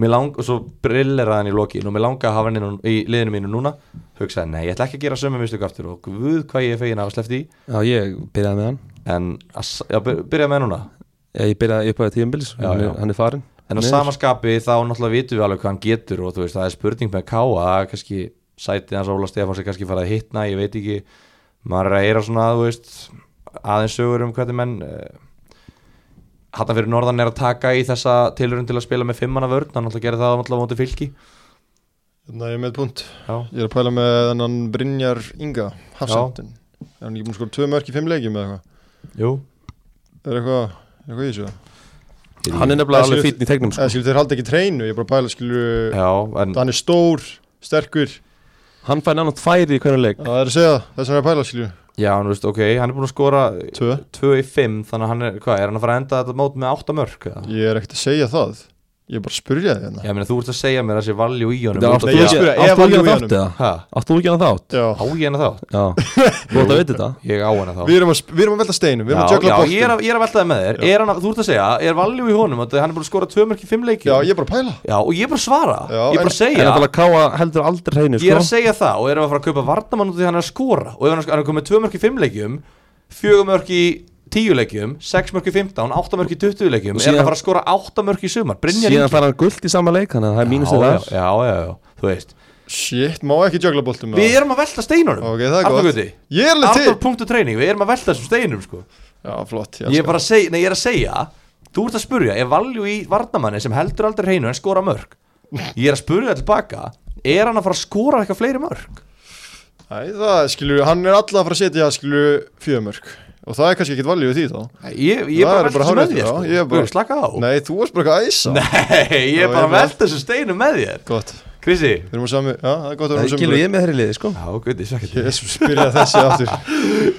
Mér lang, og svo brilleraði hann í lokin Og mér langaði að hafa hann inn á- í liðinu mínu núna Hugsaði, nei, ég ætla ekki að gera sömu mistök aftur Og guð hvað ég er fegin að hafa sleppt í Já, ég byrjaði með hann En, að s- já, byr- byrjaði með hann núna Já, Ég byrjaði upp á tíðanbils Já, já. Hann er farinn En að Niður. samaskapi þá náttúrulega vitum við alveg hvað hann getur og þú veist það er spurning með Káa að kannski sætið hans Óla Stefáns er kannski farið að hitna, ég veit ekki maður er að heyra svona þú veist aðeins sögur um hvernig menn uh, hattan fyrir norðan er að taka í þessa tilurinn til að spila með fimmana vörn hann náttúrulega gerir það náttúrulega móti fylki Nei, ég er með punkt Já, Ég er að pæla með hennan Brynjar Inga Hafsendin Er hann ekki búin að skora tvö mörk í fimm leikjum eða eitthvað? jú Er eitthvað, er eitthvað í þessu? Hann er nefnilega alveg Þessi- fítn í tegnum sko. Eða skilur þeir halda ekki treinu, ég er bara að pæla skilur Já, en Hann er stór, sterkur Hann fær náttúrulega færi í hvernig leik Það er að segja það, þess að hann er að pæla skilur já, hann veist, ok, hann er búin að skora Tvö, 2 í 5, þannig að hann er, hvað, er hann að fara að enda þetta mót með 8 mörg? eða? ég er ekkert að segja það Ég er bara að spurja þið hérna Já, ég meina, þú ert að segja mér að þessi valjú í honum Þetta út áttu af Nei, því ekki- að- ég spurði, ef áttu hann ekki að jú í þátt eða? Ha? Áttu ekki að þátt? Á Já, ég henni þá? Já Þú ætti að vita þetta Ég á henni þá við erum að, sp- við erum að velta steinum, við erum að já, jökla já, ég, er að, ég boltum er að velta það með þér er hann, að- Þú ert að segja, er valjú í honum að hann er búin að skora tvö mörk í fimm leiki Já, ég er bara að pæla og ég er bara að svara Já, Ég er bara en- að En segja það að káa heldur aldrei hreinu Ég er að sko. segja það og erum að fara að kaupa varnamann út af því að hann er að skora og ef hann er- hann er komið tvö mörk í fimm leikjum fjögur mörk í tíu leikjum sex mörk í 15, átta mörk í 20 leikjum Og er hann síðan- að fara að skora átta mörk í sumar Brynjar Síðan Ingi- fær hann gullt í sama leik Þannig að það er mínus já, þetta já, já, já, já, þú veist Shit, má ekki jökla boltum Við eða? erum að velta steinunum Ok, það er Arnar gott Gauti. Ég er alveg til Arnar.training, við erum að velta þessum steinum sko. Já, flott, Ég er bara að segja, nei ég er að segja Þú ert að spurja, er valjú í varnamanni sem heldur aldrei hreinu en skora mörg Ég er að spurja það tilbaka Er hann að fara að skora eitthvað fleiri mörg? Æ, það skilur, hann er alltaf að fara að setja skilur fjöðumörk og það er kannski ekkit valjú í því þá Ég, ég er bara Það er að velta bara þessu með hárrétt, þér sko. já, ég er Guð, bara- Slaka á Nei, Nei, þú varst bara eitthvað að æsa ég er Já, bara ég að bara- velta þessu steinu með þér Gott, Krissi við erum á sami, já, það er gott að við Það er erum á gilur sami ég með þeirri liði sko Já, guði, sækert Jésus, byrja þessi aftur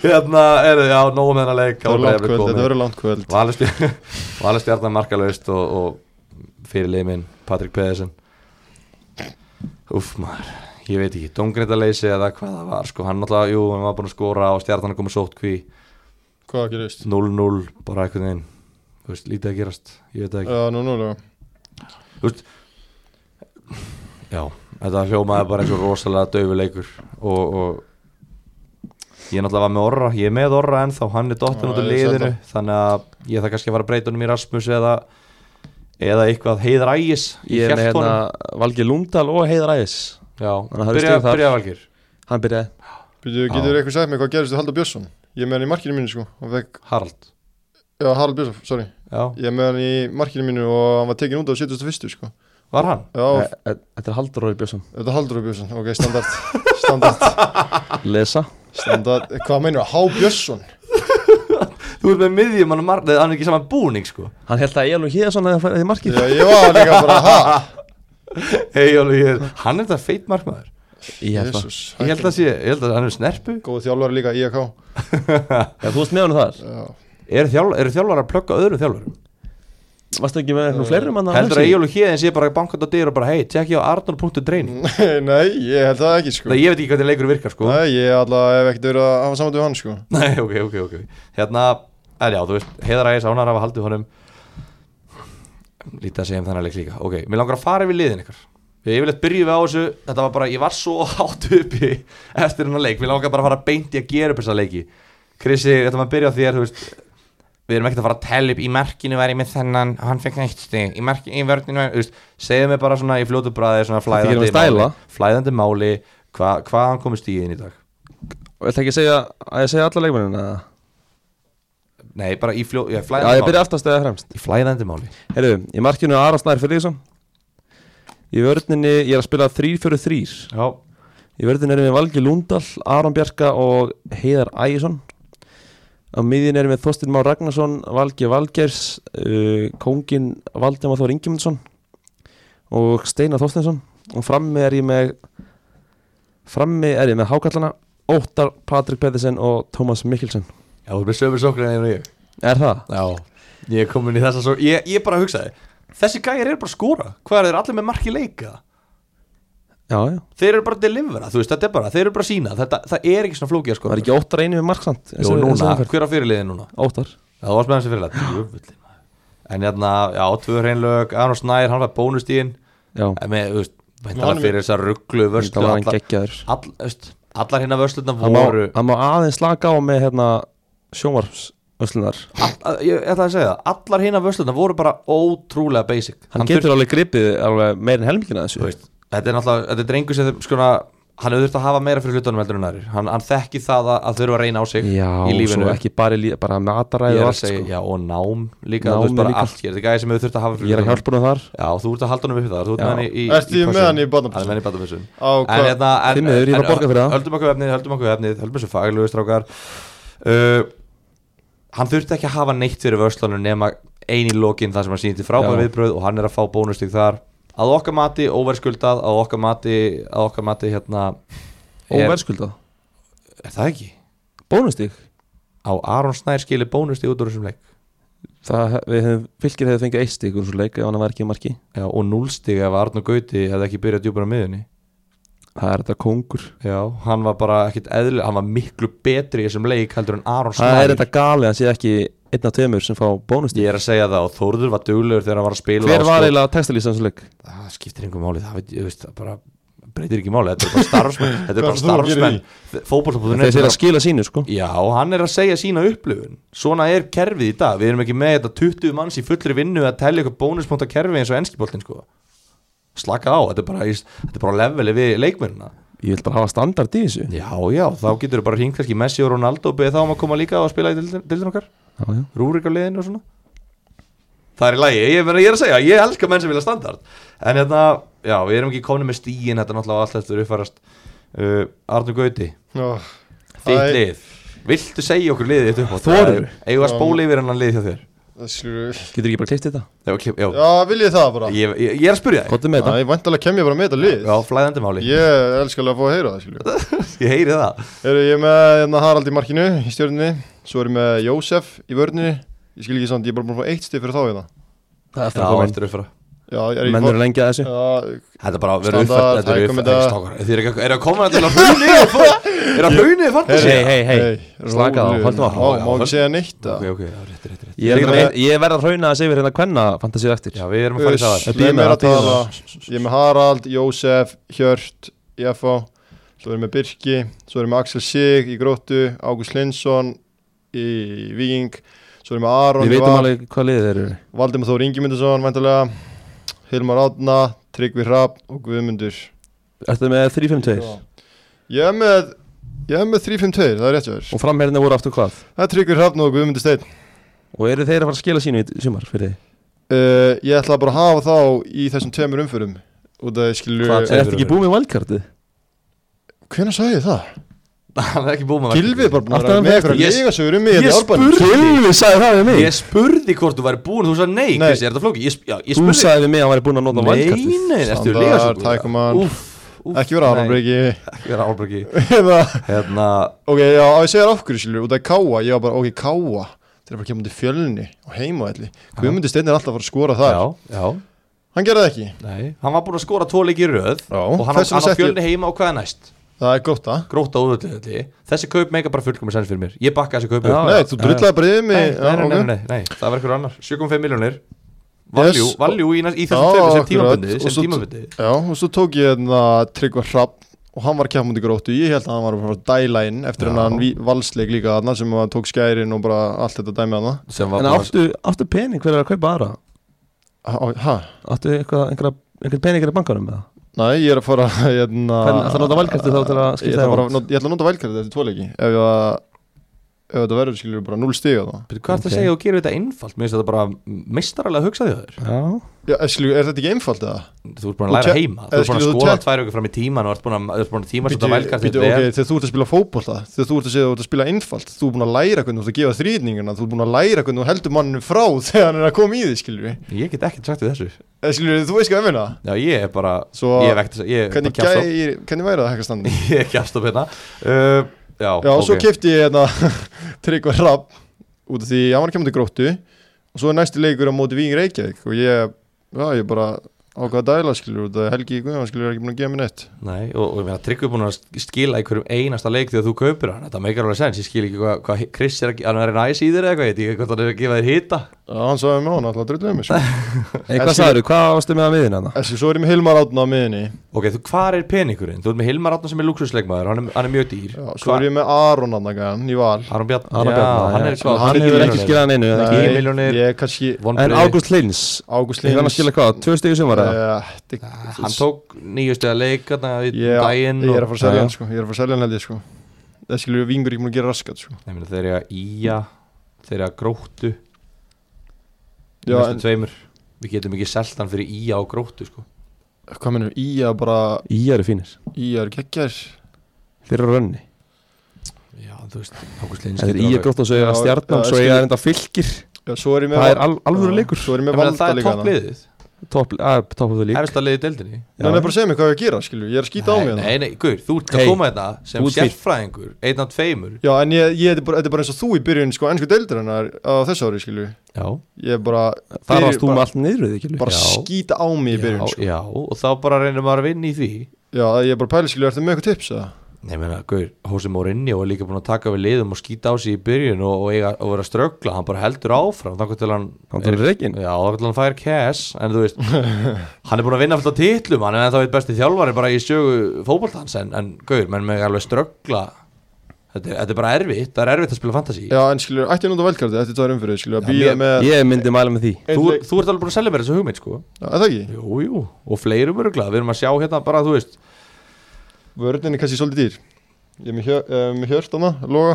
Hérna, er það, já, nóg með hennar leik Það verður langt kvöld, þetta verður langt kvöld Valur stjarnar markalaust og, og fyrirlið minn, Patrik Pedersen Úff maður, ég veit ekki, domgrindaleysi eða hvað það var sko, hann náttúrulega, jú, hann var búin að skora og stjarnan komið sótkví, Hvað gerist? 0-0 bara einhvern veginn, þú veist, lítið að gerast ég veit það ekki, Já, nú, nú, nú já, þetta hljómaði bara eins og rosalega daufuleikur og, og ég náttúrulega var með orra, ég er með orra ennþá hann er Já, dottin út af ég sé liðinu þannig að ég þarf kannski að fara að breyta honum í Rasmus eða, eða eitthvað heiðar ægis Ég er með hélt hérna honum. Valgi Lundal og Heiðar Ægis hann já, byrja, hafði stig þar. byrja valgir Hann byrjaði Býtu, Já. getur eitthvað sagt mig hvað gerist við Haldur Björnsson? Ég er með hann í markinu mínu sko og fekk, Harald, Já, Harald Björnsson, sorry já, Ég er með hann í markinu mínu og hann var tekin út á 71. sko var hann Já, E- e- Þetta er Haldur Róri Björnsson þetta er Haldur Björnsson, ok, standard Standard, Lesa standard Hvað meinur það? Há Björnsson? Þú ert með miðjum hann marg, hann er ekki saman búning sko Hann held að Elun Híðarsson hefði farið í markið Já, ég var líka bara, ha? Hei Óli, ég er, hann er þetta feit markmaður Ég held það Jesus, Ég held að sé, ég held að hann er snerpu Góð þjálfari líka, IAK Já, Þú varst með hann þar Já, Eru þjálfar, er þjálfar að plugga öðrum þjálfarum? Varstu ekki með einhvern fleirum manna Heldur að Eyjólu Híðin sé bara bankað á dyr og bara hei, tjekki á arnur.training Nei, ég held það ekki sko Það ég veit ekki hvernig leikur virkar sko Mm. Nei, ég allavega hef ekkert verið að hafa saman við hann sko Nei, ok, ok, ok Hérna, en já, þú veist, heiðar aðeins ánar af að haldið honum Lítið að segja um þannig leik líka Ok, mér langar að fara yfir liðin ykkur Ég yfirleitt byrjuð við á þessu, þetta var bara, ég var svo hátt uppi eftir hennar leik Mér langar bara að fara beint í að gera upp þessa leiki Krissi, þetta maður að byrja á þér, þú veist Við erum ekkert að fara að tella upp í merkinu væri með þennan, hann fekk eitt stig í, merki, í vörninu, væri- þú veist, segðu mér bara svona í fljótu bræði, svona ekki flæðandi nema stæla. máli, flæðandi máli hva, hvað hann komist í inn í dag Þetta ekki að segja Að ég segja alla leikmennina eða? Nei, bara í fljó, ég, Já, flæðandi ég byrja aftast eða fremst Í flæðandi máli Herru, í markinu Aron Snær Friðriksson Í vörninni, ég er að spila 3-4-3 Já, Í vörðin erum við Valgi Lúndal, Aron Bjarka og Heiðar Ægjesson Á miðin erum við Þorstin Már Ragnarsson, Valgi Valgers, uh, Kóngin Valdemar Þór Ingimundsson og Steinar Þorstinsson og frammi er ég með frammi er ég með Hákallana, Óttar Patrik Pedersen og Tómas Mikkelsen já þú erum sömur sóknir en ég Er það? Já Ég er komin í þessa svo Ég, ég bara hugsaði Þessi gæjar eru bara að skora Hvað er þeir allir með marki leika? Já, já, Þeir eru bara að delivera Þú veist, þetta er bara Þeir eru bara að sína Þetta, það er ekki svona flókið að var skora ekki um Óttar einu við marksamt? Jú, núna Hver á fyrirliði núna? Óttar Já, það varst með hans í fyrirliði Jöfullin En hérna, já, tvö reynlög Arnur Snær, hann var bónustíðin Já, En með, þú veist Væntalega Honum- fyrir þessar rugglu það vörslu var hann Allar, geggjaður all, þú veist, allar hérna vörsluna Hann má, voru hann má aðeins slaka á með hérna, sjónvarpsöslunar all, Ég ætla að segja það Allar hérna vörsluna voru bara ótrúlega basic hann, getur alveg gripið alveg meir en helmingina af þessu þú veist, þetta er náttúrulega, þetta er drengur sem skona, hann hefur þurft að hafa meira fyrir hlutunum heldur en aðrir, hann, hann þekki það að, að þurfa að reyna á sig já, í lífinu svo ekki bara, í líf, bara með ég er aðræði og að allt segja, sko. já, og nám líka, Nám þú veist er bara líka. allt, hér, þetta er gæði sem hefur þurft að hafa ég er að hlutunum hjálpa hann þar já, þú ert að halda hann upp við það, þú ert Já. með hann í, í Ertu í með pössun. hann í barnapössun? hann er með hann í badabössun Á, en hvað? hérna, en, Því miður, ég er að borga fyrir það. höldum okkur við efnið, höldum okkur við efnið höldum þessu faglegu strákar uh, hann þurfti ekki að hafa neitt fyrir vörslunum nema ein í lokin þar sem hann sýndi frábæð Já. viðbröð og hann er að fá bónustig þar að okkar mati, óverskuldað að okkar mati, að okkar mati hérna, og er, verðskulda, er það ekki? bónustík á Aron Snær skili bónustig út úr þessum leik það, hef- við hefum, fylgir hefur fengið eitt stík úr svo leik ef hann var ekki í marki, Já, og núlstig ef Arnur Gauti hefði ekki byrjað djúpar á miðunni það er þetta kóngur Já, hann var bara ekkit eðli hann var miklu betri í þessum leik heldur en Aron Snær það er þetta gali, hann sé ekki einn af tveimur sem fá bónustík Ég er að segja það og Þórður var duglegur þegar hann var að spila hver og var sko- eiginlega textalýsan svo leik Það skiptir einhver máli, það veit, ég veist, það bara breytir ekki máli Þetta er bara starfsmenn Þetta er Hvað bara ætlar þú að gera í? starfsmenn Fótbollabúðun þessi er að skila sínu sko Já, hann er að segja sína upplifun Svona er kerfið í dag Við erum ekki með þetta 20 manns í fullri vinnu að telja eitthvað bónuspunkta kerfi eins og enskiboltin sko. Slaka á, þetta er bara, í- þetta er bara á leveli við leikmennina ég vil bara hafa standard í þessu já, Já, já, þá getur þú bara hringt kannski Messi og Ronaldo og beðið þá um að koma líka og spila í deildin deildin okkar já. Rúrik á liðinu og svona Það er í lagi, ég, meina, ég er að segja, ég elska menn sem vilja standard En hérna, já, við erum ekki komin með stíin Þetta er náttúrulega allt eftir uppfærast uh, Arnur Gauti, Ó, þitt Æ. lið Viltu segja okkur liðið þitt upp á Þorirðu? Eigum við að spóla yfir hennan lið hjá þér það skilur við. getur ekki bara klift þetta, Já, ok, já, Já, vil ég það bara ég, ég, ég er að spyrja þig kottum með Það þetta er vantalega kem ég bara með þetta lið Já, flæðandi máli, Ég elskar alveg að fá að heyra það skilur við. ég heyri það Eru ég er með hérna, Harald í markinu í stjórninni Svo er ég með Jósef í vörninni Ég skil ekki samt, ég er bara búin að fá eitt stið fyrir þá hérna það er Já, eftir að koma inn eftir uppfæra Já, ég er menn eru lengi að þessu Já, Þetta er bara að vera uppfært Standard, Þetta er hækkum þetta. uppfært Þið eru ekki- eru að koma til að hrunið Er að hrunið fantasy Hei, hei, hei, slaka á, rólegur. höldum Já, áfram. Má ekki segja neitt Ok, okay. ok, já, rétt, rétt, rétt Ég, er Ég að- meina- ég verð að hrauna þessi yfir hérna kvenna fantasíu eftir Já, við erum að fara í það Uss. þar Ég býð Ég er með meira það, að tala býð með Ég er með Harald, Jósef, Hjört, Jeffo Svo erum við Birki Svo erum við Axel Sig í Gróttu Ágúst Lindsson í Víking Svo erum við Aron Við í veitum Val, alveg hvað liðið þeir eru Valdimar Þór Ingimundursson væntanlega Hilmar Átna, Tryggvi Hrapp og Guðmundur Ertu með 3-5-2 Ég er með Ég er með 3-5-2, það er rétt hjá þér Og framherðinni voru aftur hvað Það er Tryggvi Hrappn og Guðmundur Steinn Og eru þeir að fara að skila sínu í sumar fyrir þið uh, Ég ætla bara að hafa þá í þessum tveimur umförum Út að ég skilur Hvað Er Þeir þetta ekki eru- búið með valkartið? Hvenær sagði ég það? Hann er ekki búið með Gilvi er bara búin að vera Alltaf með hann eitthvað fyrir- Ég- leigasögur um mig hérna í Ég árbænum. spurði Gylfi sagði það við Ég spurði hvort þú væri búin Þú sagði nei, Nei. Kristi, er þetta flóki? Ég, sp- já, ég Þú spurði sagði við mig að hann væri búin að nota Nei, valkartið nei, ertu Standard, líka svo tækumann. Ekki vera Nei. árambreyki Ekki vera álbreki Ok, Hérna, já, á ég segja þér af hverju skilur Út af Káa, ég var bara, ok, Káa Þeir eru bara kemur til fjölni og heima ætli Guðmundi Steinn er alltaf að fara að skora þar já, já Hann gerði það ekki Nei, hann var búin að skora tvo leiki í röð Já, Og hann, þess vegna hann á setti ég- fjölni heima og hvað er næst? Það er gott að Gróta úðvöldi Þessi kaup meika bara fullkomur sens fyrir mér Ég bakka þessi kaup Já, upp. Nei, þú já, drullaði bara yfir nei, mig nei, nei, já, nei, ok. nei, nei, það var eitthvað annar 7,5 miljónir Valjú, Yes. valjú í, næst- í Já, þessum tveimur sem akkurat. tímabundið Og sem svo- tímabundið Já, og svo tók ég hérna Tryggva Hrapp Og hann var að keppa múti gróttu Ég held að hann var bara að dæla inn Eftir Já. hennan ví- valsleik líka þarna Sem hann tók skærin og bara allt þetta dæmi hana sem var En búin að áttu, áttu pening hver er að kaupa aðra? Hæ? Áttu eitthvað, einhverja einhver peningar í bankanum með það? Nei, ég er að fara hérna, Hvernig- ætlarðu að nota valkartið þá til að skipta Ég ætla þér bara út? að not- Ég ætla að nota valkartið eftir tvo leiki Ef ég að ef þetta verður skilur við bara 0 stig að það Byrju, Hvað ertu Ok. að segja og gera þetta einfalt? Mér finnst þetta bara mistaralega að hugsa því þér Já, Já, eh, skilur, er þetta ekki einfalt eða? Þú ert búin að Og læra tjek- heima Þú ert búin að skilur, þú skoða tjek- tvær aukur fram í tíman og ert búin að, ert búin að tíma sem þetta velkast Bíddu, ok, þegar þú ert að spila fótbolta þegar þú ert að segja að þú ert að spila einfalt þú ert búin að læra hvernig þú ert að gefa þrýðninguna þú ert búin að læra hvernig þú heldur manninu frá þegar hann er að koma í því skilur við Ég get ekkert sagt við þessu Eh, skilur við, þú veist hvað ég meina Já, ég er bara Svo- Ég er ekkert Ég er bara hvernig, kjafst gæ, hvernig væri það að hekka á standin Ég er kjafst á hérna uh, Já, Já, og svo ok. kefti ég hérna Tryggvar Rapp út af því að hann var að kemur til gróttu og svo er næsti leikur á móti Vín Reykjavík og ég, já, ég bara ákvaða dæla skilur út af Helgi Guðjón skilur er ekki búin að gefa mér neitt Nei, og, og ég meina Tryggvi er búin að skila einhverjum einasta leik þegar þú kaupir hann Þetta meikar alveg sens, ég skil ekki hvað hva Chris er að ge- hann er næs í þér eða eitthvað, ég veit ekki hvort hann er að gefa þér hita Já, hann sagði með hann alltaf drulluðið mér sko. Ei, hvað Eskil- sagður, hvað ástu með að miðin hana? Þessi, svo er ég með Hilmar Átna á miðinni Ok, þú, hvar er peningurinn? Þú ert með Hilmar Átna sem er luxusleikmaður, hann, er- hann er mjög dýr Já, svo er ég með Aron Anagan í val Aron Bjarn, Aron já, Bjarnar, hann já. er hvað, Hann Hann hefur hefur ekki skilað hann einu eða Nei. ekki? Ég- milljónir. Ég er kannski En vonbrigði. Ágúst Lins, Ágúst hefur hann að Lins skila hvað, tvö stegu sem var það? Eh, Ah, Hann tók nýjustu að leika þannig Ég að daginn ég er að og, fara að selja Já. hann sko Ég er að fara að selja hann held ég sko Það skilur vingur ekki múin að gera raskat sko Ég meina þeir eru að íja, þeir eru að gróttu Já, næstu en tveimur Við getum ekki selt hann fyrir íja og gróttu sko hvað minnur, í að bara Í eru fínir, Í að er geggjær þeir eru á rönni Já, þú veist, Ágúst Lins Það er í getur að grótt og svo eiga Já, stjarnan, já, svo skil- eiga þetta fylgir Já, svo er ég með Það er al alvöru leikur Svo er ég alveg- Ég meina, með valda Það er líka hana. toppliðið, Topp top of the league efsta liðið í deildinni Nei, nei, bara segja mér hvað ég að gera, skilju Ég er að skýta á nei, mig það Nei, nei, guður, þú ert að Hey, koma hérna sem þú ert fínn. sérfræðingur, einn af tveimur Já, en ég, ég, þetta er bara- þetta er bara eins og þú í byrjun sko, ennsku deildir hennar á þessu ári, skilju Já, Ég er bara, Það fyrir- varst þú bara- með allt niður við ekki bara Já. skýta á mig í byrjun já, sko. já, og þá bara reynir maður að vinna í því Já, ég er bara pæli, skilju, ertu með eitthvað tips? eða? Nei, meina, guður, Hósi Mourinho er líka búin að taka við liðum og skýta á sig í byrjun og, og, eiga, og vera að ströggla, hann bara heldur áfram þannig til hann Hann til reikin Já, þá vil hann færa cash En þú veist, hann er búin að vinna fullt á titlum Hann er ennþá eitt besti þjálfari bara í sjögu fótboltans En, en gaur, menn með alveg ströggla þetta, er- þetta er bara erfitt, það er erfitt að spila fantasy Já, en skilju, ætti ég nút að velkarti, þetta er tvær umfyrir, skilju Að Já, býja mér- með, Ég myndi mæla með því þú, þú ert alveg búin að selja mér þessu hugmynd, sko Já, er það ekki? Jú, jú, og fleirum öruglega, við erum að sjá hérna bara, þú veist Vörðin er kannski svolítið dýr Ég er með hjör- eh, með hjört hana, loga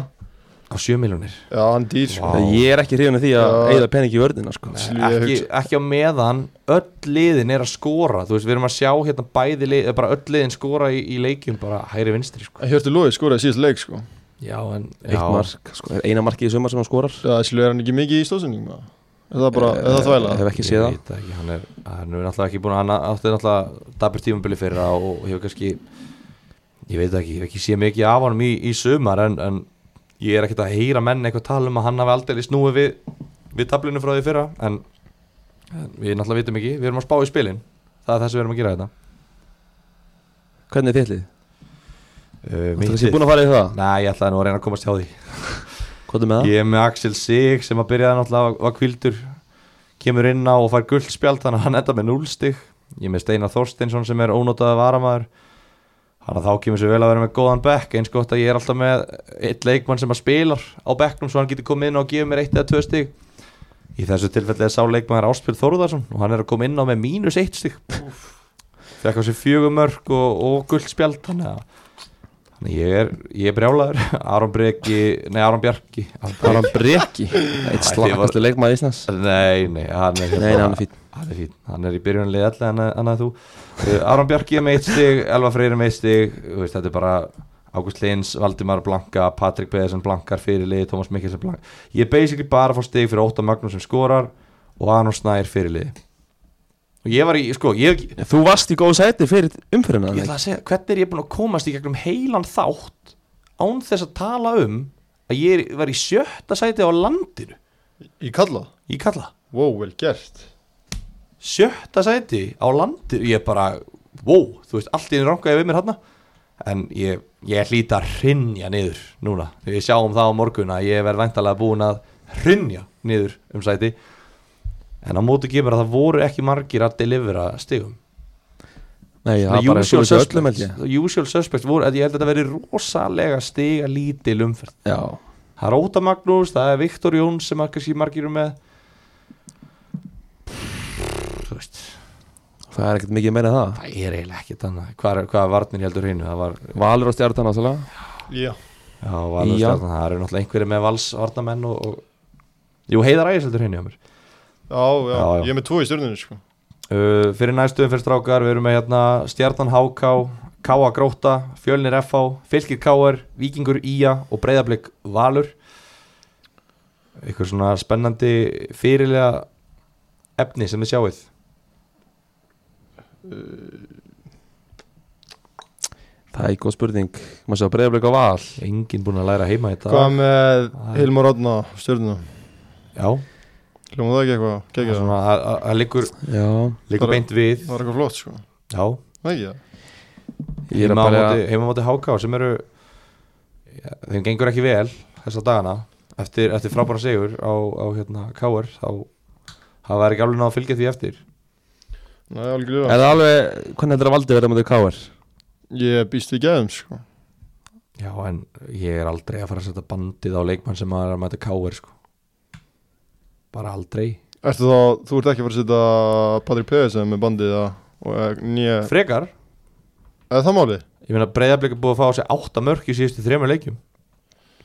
á 7 miljónir Já, hann er dýr, sko Vá. Ég er ekki hrifin af því að Já. eigða pening í vörðina sko. Skilju, ég ekki, hugsa- ekki á meðan öll liðin er að skora, þú veist, við erum að sjá hérna bæði lið, eða bara öll liðin skora í, í leikjum bara hægri vinstri, sko En Hjörtur Lói skoraði síðast leik, sko Já, en, já, Eitt mark, sko, er eina marki í sumar sem hann skorar Já, Eh, skilju, er hann ekki mikið í stóðsendingum? eða? Er það bara, er það þvæla? Hef ekki séð Ég það veit það ekki, hann er, hann er náttúrulega ekki búin að hann átti náttúrulega dabur tímabili fyrir það og hefur kannski ég veit það ekki, ég hef ekki séð mikið af honum í, í sumar en, en ég er ekkert að heyra menn eitthvað tala um að hann hafi aldrei snúið við, við tablinu frá því fyrra en, en við náttúrulega vitum ekki, við erum að spá í spilin það er það sem við erum að gera þetta Hvernig er þittlið? uh, Þú ert búin að fara í það? Nei, ég ætlaði nú að reyna að komast hjá því Hvað er með það? Ég er með Axel Sig sem að byrjaði náttúrulega var kvildur kemur inn á og fær guldspjald þannig að hann enda með 0 stig ég er með Steinar Þorstinsson sem er ónótaði varamaður þannig að þá kemur sér vel að vera með góðan bekk eins gott að ég er alltaf með eitt leikmann sem að spilar á bekknum svo hann getur komið inn og gefið mér eitt eða tvö stig í þessu tilfelli er sá leikmaður Áspil Þorðarsson og hann er að koma inn á með mínus eitt stig fekk á sér fjögumörk og, og guldspjald þannig að þannig að ég er, ég er brjálaður Aron Breki, nei Aron Bjarki Aron Breki Æ, Eitt þið voru- slakastu leikmaður Íslands Nei, nei, hann er Nei, nei, hann er fín Hann er fín, hann er í byrjunlið allir annað, annað þú uh, Aron Bjarki er með eitt stig, Elva Freyr er með eitt stig þú veist, Þetta er bara Ágúst Lins, Valdimar Blanka, Patrik Beðarsson Blankar fyrirlið, Tómas Mikkelsen Blank Ég er basically bara að fá stig fyrir Óta Magnús sem skorar og Aron Snær fyrirlið Og ég var í, sko, ég, ég Þú varst í góð sæti fyrir umfyrirna ætla að segja, hvernig er ég búin að komast í gegnum heilan þátt án þess að tala um að ég er- var í sjötta sæti á landinu Í kalla? Ég kalla Wow, vel gert sjötta sæti á landi ég bara, wow, þú veist allt í einu rangaði við mér hann en ég, ég hlýta að hrynja niður núna, þegar ég sjá um það á morgun að ég verð væntalega búin að hrynja niður um sæti en á móti gefur að það voru ekki margir að delivera stigum Nei, það Svona var bara eins og þessu öllum held ég the usual suspects voru, að ég held að þetta veri rosalega stiga lítil umferð Já það er Óta Magnús, það er Viktor Jóns sem að kannski margir eru með þú veist Það er ekkert mikið meira en það Það er eiginlega ekkert annað Hvað, hvað varnir heldur hreinu? Það var Valur á stjartan ásala Já Já, Valur Já. Stjarnan, það eru náttúrulega einhverjir með valsvarnamenn og, og Jú, heiðar ægis heldur henni á mér Já, já, Já, já. ég er með tvo í stjórnunni sko. uh, Fyrir næstuðum fyrir strákar, við erum með hérna Stjarnan HK, Káa Gróta, Fjölnir FH, Fylkir KR, Víkingur IA og Breiðablík Valur Ykkur svona spennandi fyrirlega efni sem þið sjáuð Það er góð spurning Má sjá breyðablik á val Enginn búinn að læra heima í dag Hvað með Það- Hilmar Odna stjórnuna? Já, Hljóma það ekki eitthvað, það er kekja það svona- það það liggur, Já liggur Bara- beint við Það var eitthvað flott sko, Já, það ekki það Ég heima er að á bara móti, heima á móti HK sem eru ja, þeim gengur ekki vel þessa dagana eftir, eftir frábæra sigur á, á hérna, KR þá hafa þær ekki alveg náða að fylgja því eftir Nei, algjörlega Er það alveg Hvernig heldur að valdi verða mútið káir? Ég býst við gæðum sko Já, en ég er aldrei að fara að setja bandið á leikmann sem maður er að mæta KR sko. bara aldrei Ertu þá, þú ert ekki að fara að setja Patrik Pedersen með bandið að- og eh, nýja, Frekar, eða það máli? ég meina breyðablik er búið að fá á sig 8 mörk í síðustu þremur leikjum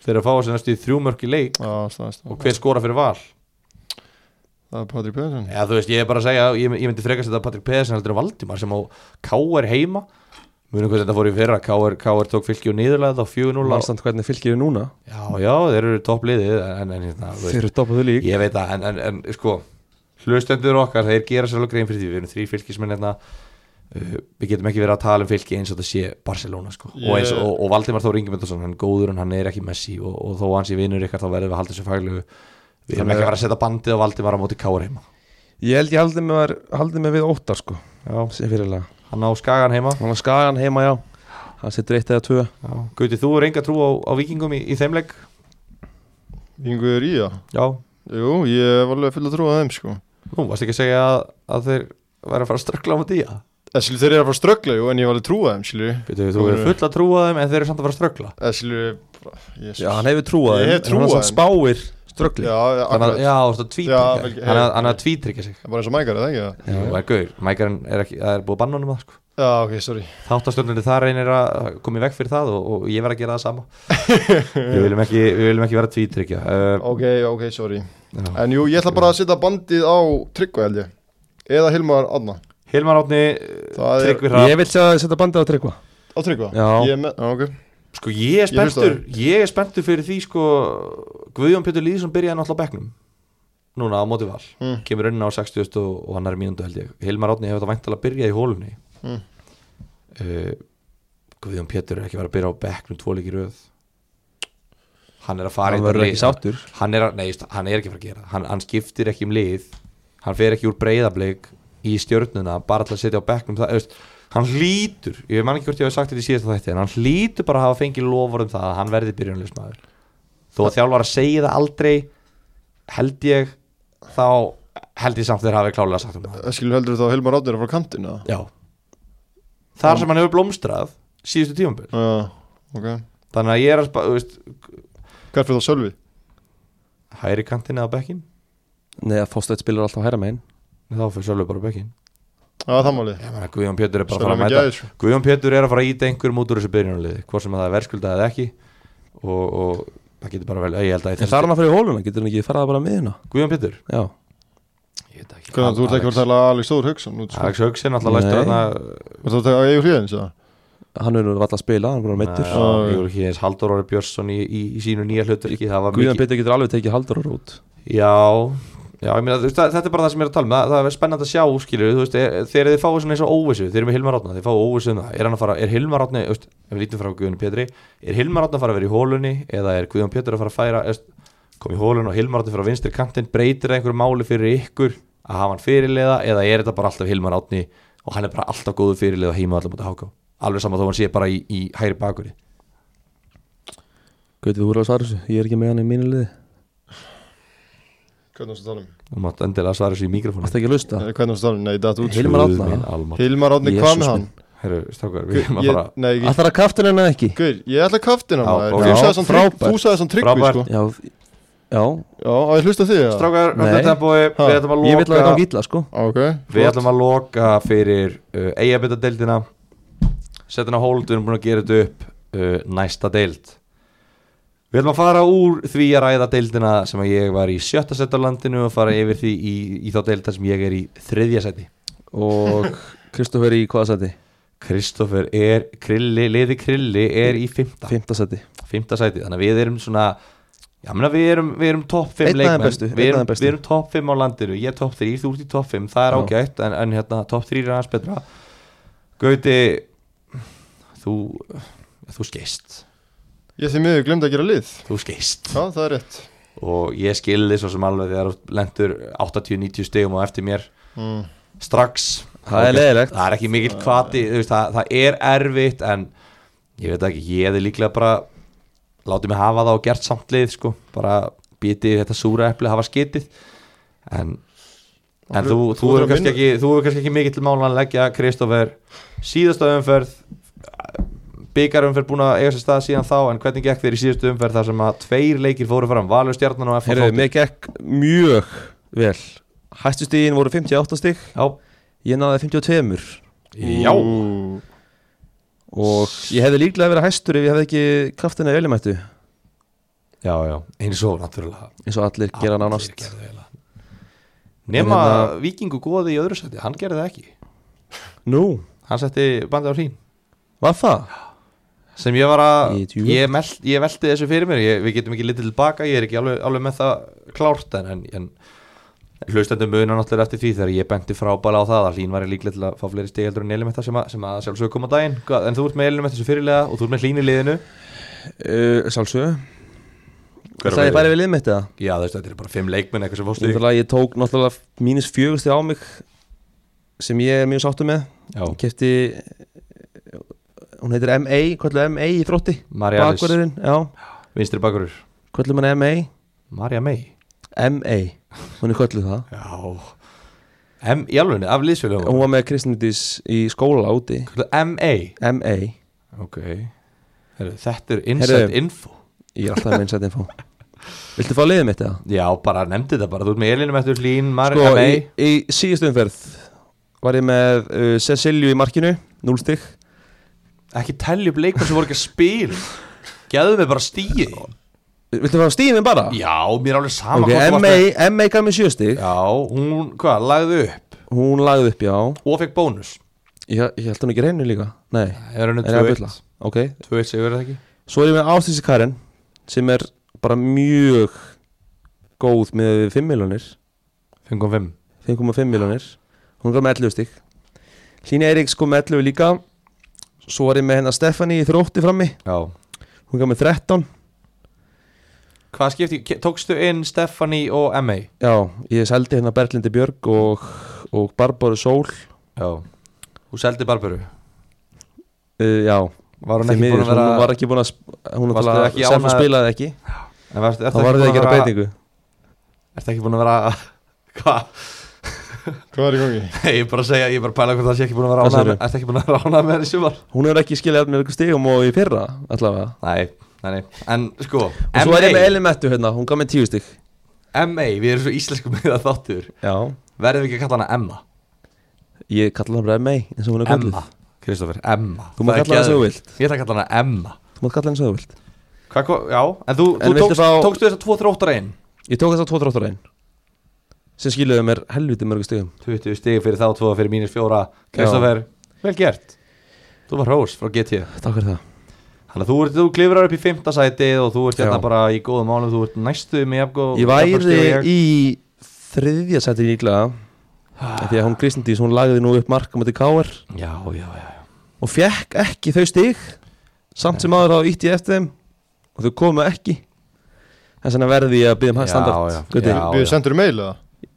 þeir eru að fá á sig næstu í 3 mörk í leik Já, staðist og hver skora fyrir val Það er Patrik Pedersen Já, þú veist, ég er bara að segja, ég, ég myndi frekast þetta Patrik Pedersen heldur en Valdimar sem á K.R. heima Munum hvað þetta fór í fyrra, K.R. KR tók fylki og niðurlega þá 4-0 á- Mannstand hvernig fylgir þið núna Já, já, þeir eru toppliðið, en, en, en Þeir eru doppuðu lík ég veit það, en, en, en sko hlustendur okkar, þeir gera sér alveg grein fyrir því við erum þrý fylkismenn hérna uh, við getum ekki verið að tala um fylki eins og það sé Barcelona sko, og, eins, Ég- og, og Valdimar Þór Ingemyndarsson, hann er góður en hann er ekki Messi og, og þó að hann sé vinur ykkar þá verðum við að halda þessu faglegu við erum Þannig- ekki að vera að setja bandið á Valdimar á móti Káur heima Ég held ég haldið mér, haldið mér við óttar sko já, Sér fyrirlega hann á Skagan heima Hann var skagan heima já Hann setur eitt eða tvö Gauti, þú er enga trú á, á vikingum í, í þeimleik Yngur í það? Já Jú, ég var alveg full að trúa þeim sko Nú, varst ekki að segja að, að þeir væri að fara að ströggla á móti í það Eða skilur þeir eru að fara að ströggla, jú, en ég var alveg að trúa þeim, skilur Þú er full að trúa þeim en þeir eru samt að fara að ströggla Eða skilur, bara, jésus Já hann hefur trúað Ég þeim, hef en hann trúað samt þeim. spáir Ströggli Já, já, Þannig að, akkurat já, þú veist að Já, vel- tvítryggja Hann er- hei. hann er að tvítryggja sig Það er bara eins og mækari, það ekki það? Jú, það er gaur, mækarinn er ekki, það er búið að banna honum það sko Já, ok, sorry Þáttastjórnir þar reynir að koma í veg fyrir það og, og ég verð að gera það sama Við viljum ekki, við viljum ekki vera að tvítryggja uh, Ok, ok, sorry já. En jú, ég ætla bara að setja bandið á Tryggva held ég Eða Hilmar Adna Hilmar Átni, Það er- tryggvi hrapp Ég vil sjá að setja bandið á tryggva Á Tryggva? Já. Ég er með, á, ok Sko ég er Ég hlusta á spenntur Ég er spenntur fyrir því sko Guðjón Pétur Lýðsson byrjaði náttúrulega á bekknum Núna á móti val Mm. Kemur inn á 60 og, og hann er mínundu held ég Hilmar Átni hefur þetta væntalega byrjað í hólunni Mm. uh, Guðjón Pétur er ekki verið að byrja á bekknum Tvo leikir röð Hann er að fara Hann í þetta verður lið. ekki sáttur hann er, að, nei, st- hann er ekki að fara að gera það. hann, hann skiptir ekki um lið Hann fer ekki úr breyðablik í stjörnuna Bara til að setja á bekknum það, veist, Hann hlýtur, ég man ekki hvort ég hef sagt þetta í síðasta þætti En hann hlýtur bara að hafa fengið lofur um það Að hann verði byrjunleismæður Þó að þjálfar að segja það aldrei Held ég Þá held ég samt þeir hafi klálega sagt um það Það skilur heldur þá að Hilmar Adna er að fara á kantinn eða? Já Þar sem hann hefur blómstrað síðustu tímambil Já, ok Þannig að ég er að spa, þú veist, Hvað er fyrir þá Sölvi? Hæri kantinn eða bekkin Nei að Þorstætt spilar alltaf hæra megin Þá fyrir sjálfur bara bekkin Já, það máli Ég meina Guðjón Pétur er bara að Sölvi sko. fara að með mæta gæðis Guðjón Pétur er að fara að íta einhverjum út úr þessu byrjunarliði hvort sem það er verðskuldað eða ekki og, og það getur bara vel ég held að í En það er hann að fara í hóluna, getur hann ekki farað bara með hérna Guðjón Pétur Já, Ég veit ekki. Hvernig þú ert ekki að fara að tala að Alex Þór Hauksson út, sko? Alex Högsen alltaf læstur Nei. hérna Þú ert að taka Eyjólf Héðins, eða? hann er nú valla að spila, hann er bara meittur Já, já. Júli Híðins Haldur Óri Björnsson í, í, í sínu nýja hlutverki það var Guðjón mikið Pétur getur alveg tekið haldur á rút Já, já ég meina, þú veist, það- þetta er bara það sem ég er að tala um það, það er spennandi að sjá skilur veist, er, þegar þið fáið svona eins og óvissu þeir eru með Hilmar Átna, þeir fáið óvissu um það er, hann að fara, er Hilmar Átna, veist, ef við lítum frá Guðjón Pétri er Hilmar Átna að fara að vera í hólunni eða er Guðjón Pétur að fara að færa veist, kom í hólun og Hilmar Átni frá vinstri kantinn breytir það einhverju máli fyrir ykkur að hafa hann fyrirliða eða er þetta bara alltaf Hilmar Átni og hann er bara alltaf góðu fyrirliða heima allar mútið háká alveg sama þó hann sé bara í, í hæri bakuri Guðjón, þú voru að svara þessu, ég er ekki með hann í mínu liði Hvernig varstu að tala um? þú mátt endilega svara þessu í mikrofónu Það er ekki að lusta Nei, Hvernig varstu að tala um? Nei, datt út, sko. Hilmar Árna? Hilmar Átni, hvað Jesús með minn. hann? Herru, strákar, við erum að Ég, fara nei, ekki Að það er að kaftin henni eða ekki Guður, ég ætla að kaftina Já, maður ok. Þú Já, sagði svona trygg, frábært. þú sagði svona tryggvi Frábært. sko Já, já, Já, á ég hlusta á þig það Strákar, Nei. þetta er tempói Ha. Við ætlum að ég vil að það loka gangi illa sko Ok, Við flott ætlum að loka fyrir uh, eigabita deildina Settin á hold, við erum búin að gera þetta upp uh, Næsta deild Við ætlum að fara úr því að ræða deildina sem að ég var í sjötta seti á landinu og fara yfir því í, í þá deilda sem ég er í þriðja seti. Og Kristoffer í hvaða seti? Kristoffer er krilli, liði krilli er í fymta, Fymta seti fymta seti, þannig að við erum svona, já menna við erum, við erum topp 5 Einn af þeim leikmenn, bestu, við einn af erum, þeim bestu. við erum topp 5 á landinu, ég er topp 3, þú ert í topp 5, það er Já. ágætt en, en hérna topp 3 er aðeins betra. Gauti, þú, þú skeist, Ég því miður glemd að gera lið þú skeist. Já, það er rétt og ég skilði svo sem alveg þegar þú lendur 80-90 stegum og eftir mér mm. strax Það er leiðilegt. það er ekki mikill kvati þú veist, það, það er erfitt en ég veit ekki, ég hefði líklega bara látið mig hafa það og gert samt lið sko. bara bítið þetta súra epli hafa skitið en, en þú, þú, þú, hefur ert að kannski minna- ekki, þú hefur kannski ekki mikill málan að leggja Kristoffer síðasta umferð byggarumferð búin að eiga sér stað síðan þá en hvernig gekk þér í síðustu umferð þar sem að tveir leikir fóru fram, Valur Stjarnan og FH Heyrðu, Þróttur? mér gekk mjög vel Hæstu stíðin voru 58 stík Já, Ég náði 52 Já Ú, Og ég hefði líklega verið hæstur ef ég hefði ekki kraftina í öllumættu Já, já, eins og náttúrulega eins og allir gera nánast Nefna hérna- vikingu góði í öðru sæti, hann gerði það ekki Nú, Hann setti bandið á hrín var það? Sem ég var að, Í djúið. ég, meld, ég velti þessu fyrir mér ég, Við getum ekki litið tilbaka, ég er ekki alveg, alveg með það klárt En, en, en hlustandi muna náttúrulega eftir því Þegar ég benti frábæla á það að hrín var líklega til að fá fleiri stig heldur en elum þetta sem að, sem að sjálfsög koma á daginn Hvað- En þú ert með elum þetta sem fyrirlega og þú ert með hlín í liðinu Uh, Sálsög Hver var Það liðið? ég færi við liðmitt eða? Já þú veist, þetta er bara fimm leikmenn eitthvað sem fórstu í Náttúrulega ég tók náttúrulega mínus fjögusti á mig sem ég er mjög sáttu með Já, kefti hún heitir MA, kvöllu MA í þrótti Marialis, bakverðurinn, já, vinstri bakurur kvöllu hann MA Marja May MA, hún er kvölluð það Já M, í alveg, af liðsfélagum hún var með Kristnudís í skóla úti M.A. MA, Ok Heru, Þetta er inside Heyrðu. info ég er alltaf með innsætt info Viltu fá liðið mitt eða? Já, bara nefndi þetta bara Þú ert með Elinum eftir hlín, Mar Sko, M.A. í, í síðustu umferð var ég með uh, Cecilju í markinu, 0 stygg Ekki telja upp leikmenn sem voru ekki að spila Gæðu mig bara stíði Viltu fá stíðin bara? Já, mér er alveg sama hvort Ok, þú varst MA, með- MA gaf mér 7 stygg Já, hún, hvað, lagði upp hún lagði upp, já Og fekk bónus Ég, ég held hún ekki reynu líka Nei, Það er henni er ég að bylla 2-1 Ok, 2-1 sigur er það ekki svo er ég með Ástísi Karen sem er bara mjög góð með 5 miljonir 5.5 5,5 miljonir Hún er með 11 stík Hlín Eiríks kom með 11 líka Svo er ég með hennar Stefani í þrótti frammi Já Hún gaf með 13 Hvað skipti, ke- tókstu inn Stefani og M.A. Já, ég seldi hennar Berglindi Björg og, og Barbaru Sól Já Þú seldi Barbaru uh, Já, Var hún því ekki miður, búin að vera hún var ekki búin að sp- Hún Varstu náttúrulega ekki sem hún ánægð- spilaði ekki En varstu- ertu ekki Það varði búin ekki að vera- breytingu Ertu ekki búin að vera Hvað? Hvað er í gangi? Ég er bara að segja, ég er bara að pæla hvort það sé ekki búin að vera Hvað ánað segirðu? Ertu ekki búin að vera ánað með þessi var? Hún er ekki skiljað með ykkur stigum og í fyrra allavega Nei, nei, nei En sko, Og svo er ég með MA, Elin Mettu hérna, hún gaf mér tíu stygg MA, við erum svo íslensku með það þáttur Já Verðum við ekki að kalla hana Emma? Ég kalla hann bara MA eins og hún er kallið Emma, Kristoffer, Emma Þú Það er mátt kalla hana sem þú geðveikt. vilt Ég ætla að kalla hana Emma Þú mátt kalla hann sem þú vilt Hvað, hva, já, en þú, En þú viltu tókst, fá- tókstu þess að tvo þróttara inn Ég tók þess að tvo þróttur einn sem skiluðu mér helviti mörgum stigum 20 stig fyrir þá, 2 fyrir mínus 4 Kristoffer, vel gert Þú var hrós frá GT Takk fyrir það Þannig að þú, ert- þú klifrar upp í 5. sæti og þú ert hérna Já. bara í góðum málum Þú ert næstu með jafngóð Ég væri í þriðja seti líklega af Því að hún Kristendís, hún lagði nú upp marka mæti K.R. Já, já, já og fekk ekki þau stig samt sem áður þá ítti ég eftir þeim og þau komu ekki Þess vegna verði ég að byggja um Já, hans standart já. Gauti, Já, Við já. sendur mail eða?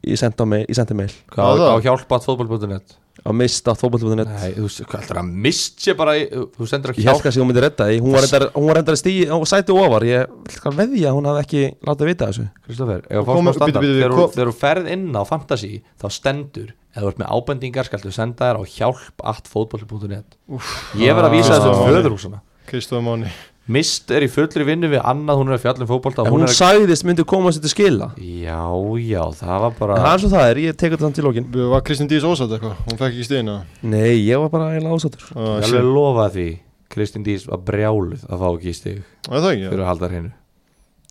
Ég sendi á mig, ég sendi mail Hvað Já, á, það. á hjálpa.fótbol.net á mista fótbolltúðunett Nei, þú veist, hvað heldur að mist sé bara í, Þú sendur að Ég held hjálpa kannski að hún myndi redda því Hún var reyndar- hún var reyndar að stíði og sæti ofar Ég vil kann veðja að hún hafði ekki látið vita þessu Kristoffer, ef að Og fólk má komum- standa bíddu, bíddu, Þegar þú- kom- þegar þú ferð inn á Fantasy Þá stendur, ef þú ert með ábendingar Skaltu senda þér á hjálp.fótbol.net Ég verð að vísa Ah. þessu um föðurhúsana Kristofur Máni Mist er í fullri vinnu við annað Hún er að fjallum fótbolta En hún hún er að- sagðist myndi koma sér til skila Já, já, það var En bara það er svo það er, ég tekur þetta samt í lókin Var Kristín Dís ósatt eitthvað? Hún fekk ekki stíðina Nei, ég var bara eiginlega ásatur Ég Það alveg lofa því Kristín Dís var brjáluð að fá ekki í stig er það ekki? Fyrir að halda hreinu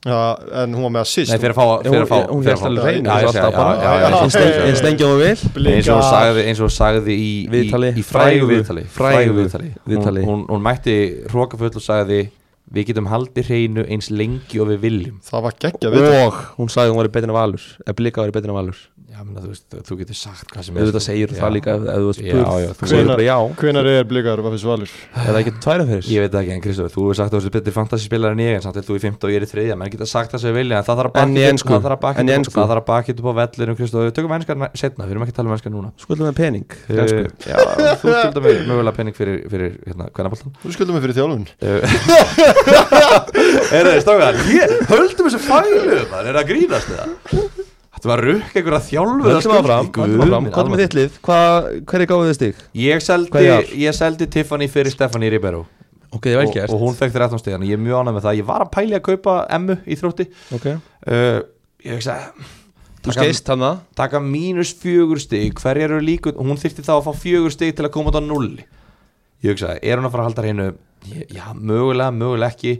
Já, en hún var með assist Nei, fyrir að fá fyrir að fá, Hún fyrir að hélst fá- alveg hreinu Já, ég þessu segi- alltaf bara. já, já, já, já, Eins já, lengi- já, já. eins lengi og hún vil eins og hún Blikar. sagði, eins og hún sagði í, Viðtali. í, í frægu Frægu viðtali, Frægu frægu viðtali. viðtali. Hún, hún, hún mætti hrókafull og sagði við getum haldið hreinu eins lengi og við viljum Það var geggja við Og hún sagði að hún var í betina valur Eða blika var í betina valur já, menna, þú, veist, þú getur sagt hvað sem sko. Auðvitað segir Já. það líka ef ef þú Já, ert spurð já, þú- Þú segir bara já Hvenær er blikar, hvað finnst valur? Eða ekki tværa fyrir ég veit það ekki, en Kristofur, þú hefur sagt að þú er betur fantasyspilar en ég en samt er þú í 15 og ég er í 3 menn geta sagt það sem við vilja, en það þarf að En í bakið ensku. það þarf að En í bakið ensku. það þarf að bakið upp á vellinum, Kristofur, við tökum ennskar setna, við erum ekki að tala um ennskar núna Skuldum með pening Uh, Ensku. já, þú skuldar mig mögulega penning fyrir, fyrir hérna, kvennaboltan Þú skuldum mig fyrir þjálfun Er það stókar? Ég, höldum þessu fælu maður, er það að grínast eða? Þetta var rukk einhverja þjálfu Höldum áfram, höldum áfram, hvað er með þitt lið? Hvað, hverju gáðu þið stig? Ég seldi, Hvað er það? ég seldi Tiffany fyrir Stephanie Ribeiro Ok, ég vel og, gert og hún fekk 13 stíðan Ég er mjög ánægð með það, ég var að pæli að kaupa Emmu í þrótti Ok, uh, Ég hugsa þú taka- skeist hann það taka mínus fjögur stig hverjar eru líkur, hún þyrfti þá að fá fjögur stig til að koma út á nulli ég hugsaði, er hún að fara að halda hreinu Ég- já, mögulega, mögulega ekki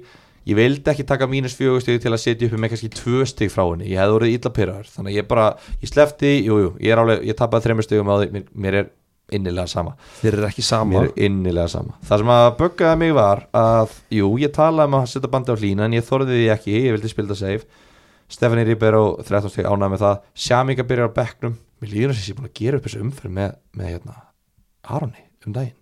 ég vildi ekki taka mínus fjögur stig til að setja upp með kannski tvö stig frá henni ég hefði orðið illa pyrraður, þannig að ég bara ég slefti, jú, jú, ég er alveg, ég tapaði þreymur stigum á því, mér, mér er innilega sama Þeir eru ekki sama mér er innilega sama það sem að böggaði mig var að jú, ég talaði um að setja bandi á hlína en ég þorði því ekki, ég vildi spilda safe Stephanie Ribeiro, 13 steg ánægð með það Sjaminga byrjar á bekknum mér líður þess að ég er búin að gera upp þessu umferð með, með hérna, Aroni um daginn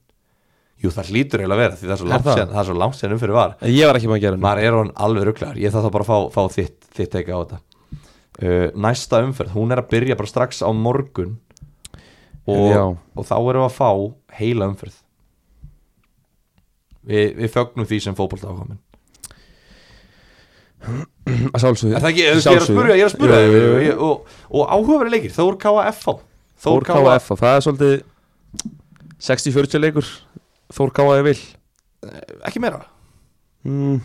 jú, það hlýtur eiginlega að vera því það er svo Er langt það? sen, það er svo langt sen umferð var En Ég var ekki maður að gera hann maður er hann alveg rugglegar, ég þarf þá bara að fá, fá þitt, þitt teka á þetta uh, næsta umferð, hún er að byrja bara strax á morgun Já. og, og þá erum við að fá heila umferð Vi, við fögnum því sem fótbolta ákomin Að sjálfsögðu er það ekki, ég er að spurja, ég er að spurja Jú, jú, jú. Ég- og, og áhugaverið leikir, Þór K.A. F.A. Þór KF og það er svolítið 60-40 leikur Þór KF vil ekki meira mm,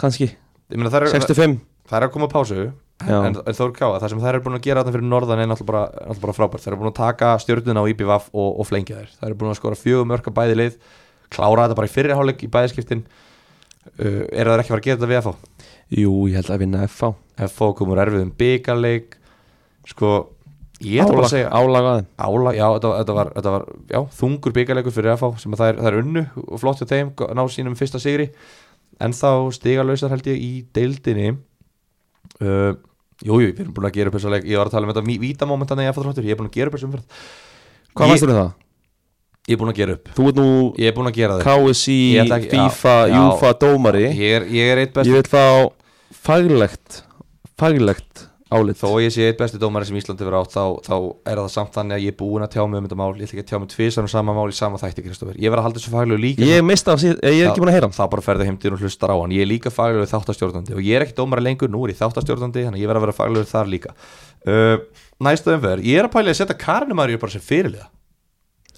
kannski Ég meina, það, Hmm. er, 65 það er að koma á pásu Já. en, en Þór K.A. það sem það er búin að gera þarna fyrir norðan er náttúrulega bara, náttúrulega bara frábært það er búin að taka stjórnuna á IPVAF og, og flengja þær það er búin að skora fjögum örka bæði lið klára þetta bara í fyrirháleik í bæðiskiptin uh, er það ekki að fara að gera þetta við FH Jú, ég held að vinna FH FH komur erfið um byggarleik sko, ég ætla bara að segja Álagaðin ála, já, þetta, var- þetta, var, þetta var já, þungur byggarleikur fyrir FH sem að það er, það er unnu og flott hjá þeim, ná sínum fyrsta sigri en þá stigalausar held ég í deildinni uh, Jújú, jú, við erum búin að gera upp þessa leik ég var að tala um þetta vítamomentan í FH þróttur ég er búin að gera upp þessa umferð Hvað Ég- fannst þú um það? ég er búin að gera upp, Þú ert nú ég er búin að gera það KSI, Ég ætla ekki- já, FIFA, já. UFA dómari ég er, ég er eitt Ég besti vil fá faglegt faglegt álit þó ég sé eitt besti dómari sem Íslandi verið átt þá, þá er það samt þannig að ég er búin að tjá mig um þetta mál ég ætla ekki að tjá mig tvisar um sama mál í sama þætti Kristoffer ég verið að halda þessu faglegu líka Ég mista af síðan, ég er ekki búin að heyra hann þá bara ferðu heimtir og hlustar á hann ég er líka faglegu þáttastjórnandi og ég er ekki dómara lengur, nú er ég þáttastjórnandi þannig að ég verð að vera faglegu þar líka uh, næsta umverð, ég er að pæli að setja Karinum Arju bara sem fyrirliða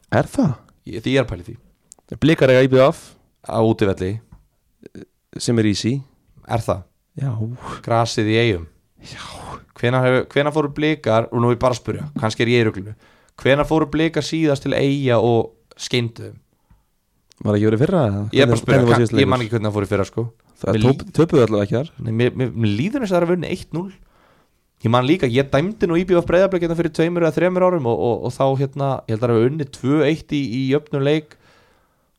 Er það? ég, því ég er að pæli því Blikar eiga IBF á útivelli, sem er easy er það, Já grasið í eigum hvenar, hef, hvenar fóru blikar og nú er ég bara að spurja, kannski er ég í ruglunu hvenar fóru blikar síðast til eiga og skeindu þeim Var ekki verið í fyrra? eða? ég er bara Hvernig- að spurja, hvernig var kann- síðasti ég man leikur? ekki hvernig það fóru fyrir sko Það Mér tóp- töpuðu allavega ekki þar Nei, mér, mér, mér líður eins og það er að vinna 1-0 Ég man líka, ég dæmdi nú íbjöf breyðarblik hérna fyrir tveimur eða þreimur árum og, og, og þá hérna, ég held að það er unni 2-1 í, í jöfnum leik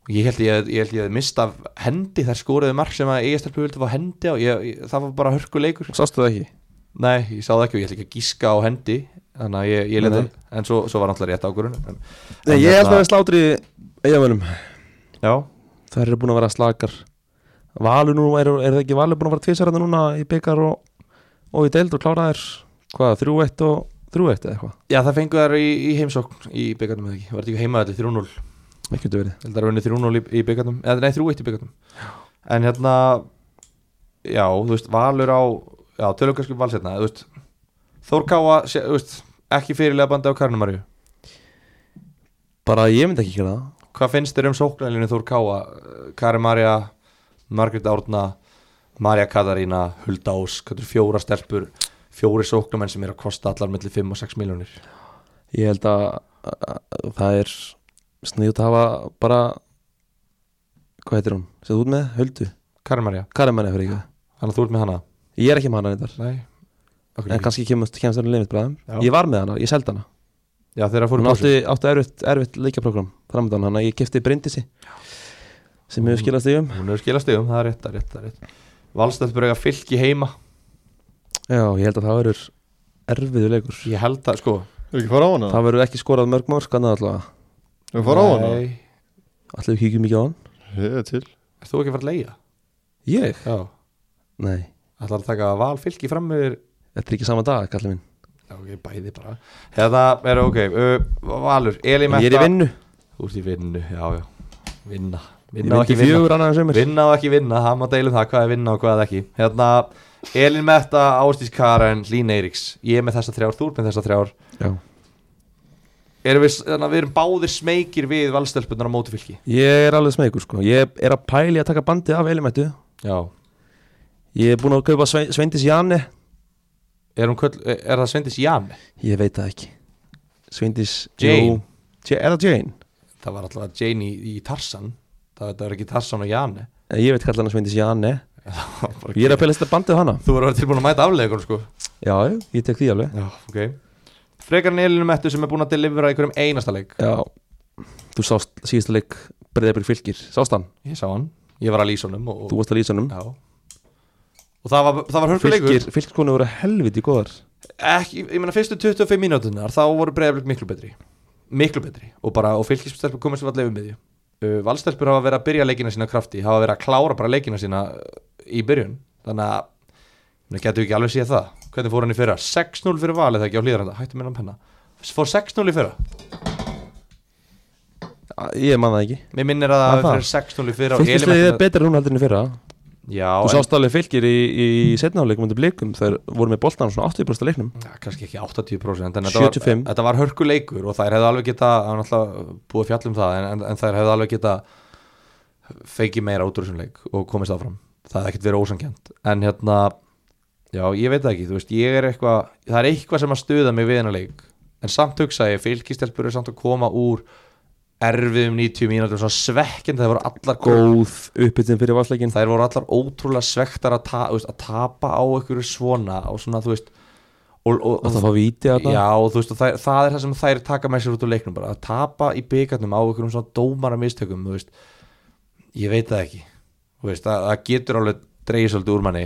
og ég held ég, ég held ég að mista af hendi þær skoruðu mark sem að ESLP vildi fá hendi á, ég, ég, það var bara hörkuleikur Sástu það ekki? Nei, ég sá það ekki og ég held ekki að gíska á hendi þannig að ég, ég leta, Nei. en svo, svo var náttúrulega rétt ákvörun en, Nei, en ég hérna- held að það er slátri eigamönnum Já, Það eru búin að vera slakar Valur nú, er, er það ekki Valur búin að vera tvisarðan núna í byggar og, og í deild og klára þær hvað, 3-1 og 3-1 eða eitthvað já það fengu þær í, í heimsókn í byggarnum eða ekki, var þetta ekki heimaðalli 3-0 Ekki getur verið Ég held að það er unnið 3-0 í, í byggarnum eða nei 3-1 í byggarnum en hérna já þú veist Valur á já tölum kannski um valsetna þú veist Þór Káa sé- þú veist ekki fyrirlega bandi á Karnumarju Bara ég myndi ekki gera það hvað finnst þér um sóknarlinu Þór Káa Karimarja Margrét Árna Marja Katarína Hulda Ás hvað er fjóra stelpur fjóri sóknarmenn sem er að kosta allar mellir 5 og 6 miljónir Ég held að, að, að það er sniðut að hafa bara hvað heitir hún? Sett út með? Höldu? Karimarja Karamanni fyrir ekki Þannig að þú ert með hana Ég er ekki með hana reyndar Nei Okkur En ekki kannski kemur, kemst hann limit bræðum Já. Ég var með hana, ég seldi hana Já þegar að fóru Hún bósi átti, átti erfitt, erfitt leikjaprogram Framöndan hana, ég kefti Bryndisi Sem hefur skilast í um Hún er skilastegum, það er rétt, það er rétt, það er rétt Valstöld breyga fylki heima Já, ég held að það verður erfiðu leikur Ég held það, sko Þú ekki fara á hana? Það verður ekki skorað mörg mörg Annað allavega Þú ekki fara á hana? Nei, Allir við kíkjum ekki á hann Ég er til ert þú ekki að fara að leiða? Ég? Já Nei, Ætlar að taka val fylki fram yfir þetta er ekki sama dag, kallið minn Já, ok, bæði bara Þetta er ok, uh, Valur, Elí En Ég er í Metta vinnu Þú ert í vinnu, já, já Vinna Ég Vinna og vindi ekki vinna fjögur annað en sömur Vinna og ekki vinna, það má deilum það hvað er vinna og hvað ekki Hérna, Elín Metta, Ástís Karen, Lín Eiríks Ég er með þessa þrjár, þú er með þessa þrjár Já Erum við, þannig að við erum báðir smeykir við valstelpunar á móti fylki Ég er alveg smegur sko Ég er að pæli að taka bandið af elimættu Já Ég er búin að kaupa Sve Sveindis Jani Er, hún köll, er það Svendis Jan? Ég veit það ekki Sveindis Jane. jú. Ja- Er það Jane? Það var alltaf Jane í, í Tarsan Það, það var ekki Tarsan og Jan Eh, Ég veit kalla hana Sveindis Jani Ég er að pæla að setja bandið af hana Þú verður tilbúin að mæta aflegur sko Já, já, ég tek því alveg Já, ok Frekar en Elín Metta sem er búin að delivera einhverjum einasta leik Já Þú sást síðasta leik Breiðabrik fylgir Sást hann Ég sá hann, ég var að lýsa honum og, Þú varst að lýsa hannum Já Og það var, það var hörkuleikur Fylgir Fylgkonu voru helviti góðar ekki, ég meina fyrstu 25 mínútunar þá voru breyðablik miklu betri miklu betri og bara, og fylgistelpur komið sem allaveg um miðju uh, valstelpur hafa verið að byrja leikina sína af krafti, hafa verið að klára bara leikina sína uh, í byrjun, þannig að þannig getur við ekki alveg séð það hvernig fór hann í fyrra, 6-0 fyrir valið það ekki á hlýðaranda, hættu minna um penna fór 6-0 í fyrra, Ah, Ég man það ekki mér minnir að Var það það? fyrir 6-0 í fyrra og Fylgislegið er Elín- betra núna heldur en í fyrra Já, Þú en, sást alveg fylgir í, í setnáleikum undir blikum þegar voru með boltan svona 80% af leiknum ja, kannski ekki 80% en þetta var, 75. þetta var hörkuleikur og þær hefðu alveg geta, það var náttúrulega búið að fjalla um það en, en, en þær hefðu alveg geta feikið meira út úr þessum leik og komist áfram, það hefði ekkert verið ósangjönd en hérna, já ég veit það ekki þú veist, ég er eitthvað, það er eitthvað sem að stuða mig við hennar leik, en samt hugsa ég fylgistelpur er samt að koma úr erfiðum 90 mínútur svona svekkjandi, það voru allar Góð uppbyttin fyrir valsleikin þær voru allar ótrúlega svektar að, ta, þú veist, að tapa á einhverju svona og svona þú veist og, og, Það fá víti að það Já, og þú veist, og það, það er það sem þær taka með sér út úr leiknum bara, að tapa í byggarnum á einhverjum svona dómara mistökum, þú veist ég veit það ekki, þú veist, það, það getur alveg dreigir svolítið úr manni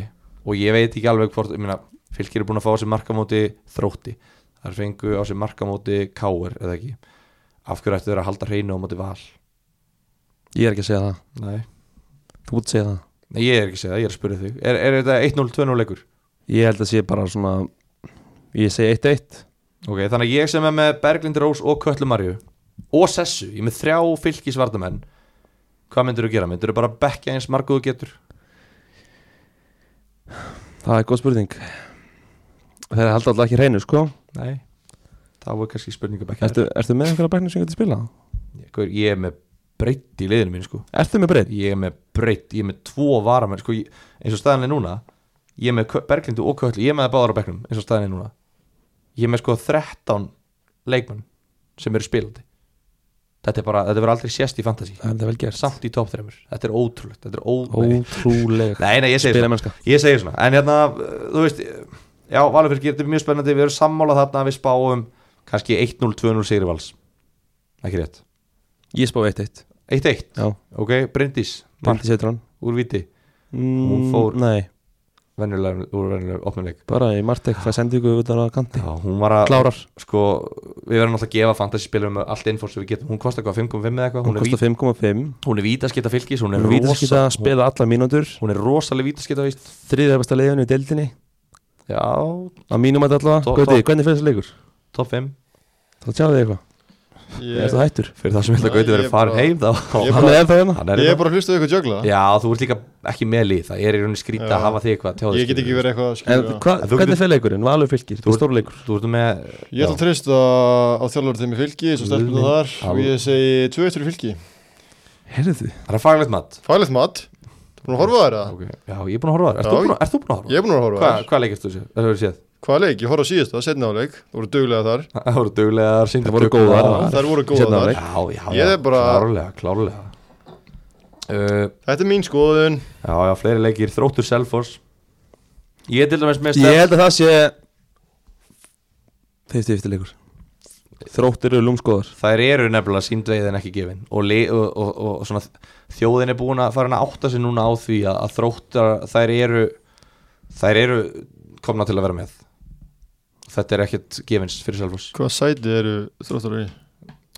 og ég veit ekki alveg hvort, ég meina fylgir er búin að fá á sig markamóti þrótti þar fengu á sig markamóti káir eða ekki, af hverju ættu þeir að halda hreinu á móti val? Ég er ekki að segja það, Nei, þú ert að segja það Nei ég er ekki að segja það, ég er að spyrja þig Er, er þetta 1-0, 2-0 leikur? Ég held að sé bara svona Ég segi 1-1 Ok, þannig að ég sem er með Berglind Rós og Köllu Marju og Sessu, ég er með þrjá fylkisvardamenn hvað myndir þú gera? Myndir þú bara bekka eins margu þú getur? Það er góð spurning Þeir held alltaf ekki hreinu sko Nei þá er kannski spurning að bekka Ertu, ertu með einhverja bæknir sem getur spilað? Gaur, Ég er með breytt í liðinu mín sko. Ertu með breytt? ég er með breytt, ég er með tvo varamenn sko, ég, eins og staðan er núna ég er með Kö- Berglindu og Köllu, ég er með það báðar á bekknum eins og staðan er núna ég er með sko 13 leikmann sem eru spilandi þetta er bara, þetta verður aldrei sérst í fantasy Það er vel gert samt í top 3 þetta er ótrúlegt, þetta er ó... Nei. Ótrúlega Nei, nei, ég segi Spila svona, mennska ég segi svona. En hérna, uh, þú veist Já, Valurfyrkir, þetta er mjög spennandi Við erum sammála þarna, við spáum kannski 1-0, 2-0 sigri vals Ekki rétt Ég spá 1-1 1-1, Já, ok, Bryndís Mark Bryndi setur hann úr viti, mm, fór- Nei, venjulega úr venjulega opnuleik bara í Martek Það sendi ykkur utan á kanti Já, hún var að, Klárar sko Við verðum alltaf að gefa fantasyspilum allt infór sem við getum Hún kostar hvað, 5,5 eða eitthvað Hún Hún, kostar 5,5 vít- hún er vítaskita fylgis, hún er Hún vítast geta rosa að spila alla mínútur Hún er rosalega vítaskita víst Þriðja besta leiðinu í deildinni Já, Á mínum að allavega Tó- Gauti, tó- hvernig fyrir þessi leikur? top 5 Þá tjáðu þig eitthvað Er Ég, það hættur? Fyrir það sem held að Nei, Gauti verið ég farin bara- heim þá Ég Hann bara- er ennþá hérna Hann er ég hérna. er bara að hlusta á ykkur jögla Já, þú ert líka ekki með lið Það er í rauninni skrýta Já. að hafa þig eitthvað að tjáða Ég get ekki verið eitthvað að En skilja hva, En þú hvernig getur- fyrir leikurinn? Valur fylgir, þú Þú- er stóru leikur Þú ert með Ég ætla að treysta á þjálfur þeim í fylki Svo stelpum það þar Já. Og ég segi 2-1 í fylki Herðu Það er faglegt mat Fælið mat Þú búin að horfa á þær það? okay. Já, ég er búin að horfa á Já, það Er þú búin að horfa á Ég er búin að það? horfa á Hva, þær Hvað leikist þú sér? Það hefur séð Hvað leik? Ég horfa á síðast það, setna á leik Þú voru duglega þar Það voru duglegar sýndu Það voru tökur. góðar, Hérna, Já, maður. Þær voru Seinna á góða leik. þar Já, já, Ég er bara- Klárlega, klárlega uh, Þetta er mín skoðun Já, já, fleiri leikir Þróttur Selfoss Ég til dæmis með Ég held að það sé 50-50 leikur Þróttir eru lúmskoðar Þær eru nefnilega síndveiðin ekki gefin og, le- og, og, og, og svona, þjóðin er búin að fara að átta sig núna á því að, að þróttar þær eru þær eru komna til að vera með þetta er ekkert gefins fyrir Selfoss Hvað sæti eru þróttar í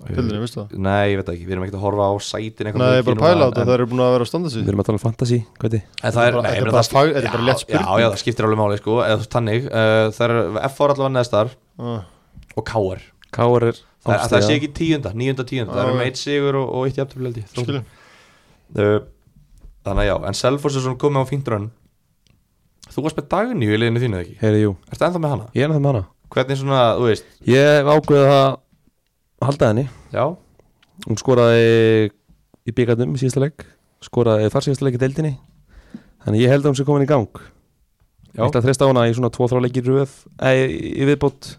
pildinni, veistu það? Nei, ég veit það ekki, við erum ekkert að horfa á sætin eitthvað Nei, ég mikið er núna, bara að pæla á þetta, en- það eru búin að vera að standa sig Við erum að tala um fantasy, hvað er En það er, Þetta er bara- nei, þetta ég er meina, bara það- fag- þetta er bara já, létt spurning. Já, já, það skiptir alveg máli, sko, eða þú veist, þannig uh, Það er F4 allavega neðstar Ah, og KR Káar er Það, án það stiga. sé ekki tíunda, níunda, tíunda Það Já, eru já. með eitt sigur og, og eitt jafntöfleldi Skilum Eh, Þannig að já, en Selfoss er svona komið á fínt rönn Þú varst með Dagný í liðinu þínu eða ekki Heyri, jú, Ertu ennþá með hana? ég er náttúrulega með hana Hvernig svona, þú veist, Ég ákveði að halda henni já Hún skoraði í byggarnum í síðasta leik Skoraði þar síðasta leik í deildinni Þannig ég held að hún sé komin í gang Ég Já. ætla að þresta á hana í svona 2-3 leiki í röð Nei, í- í viðbót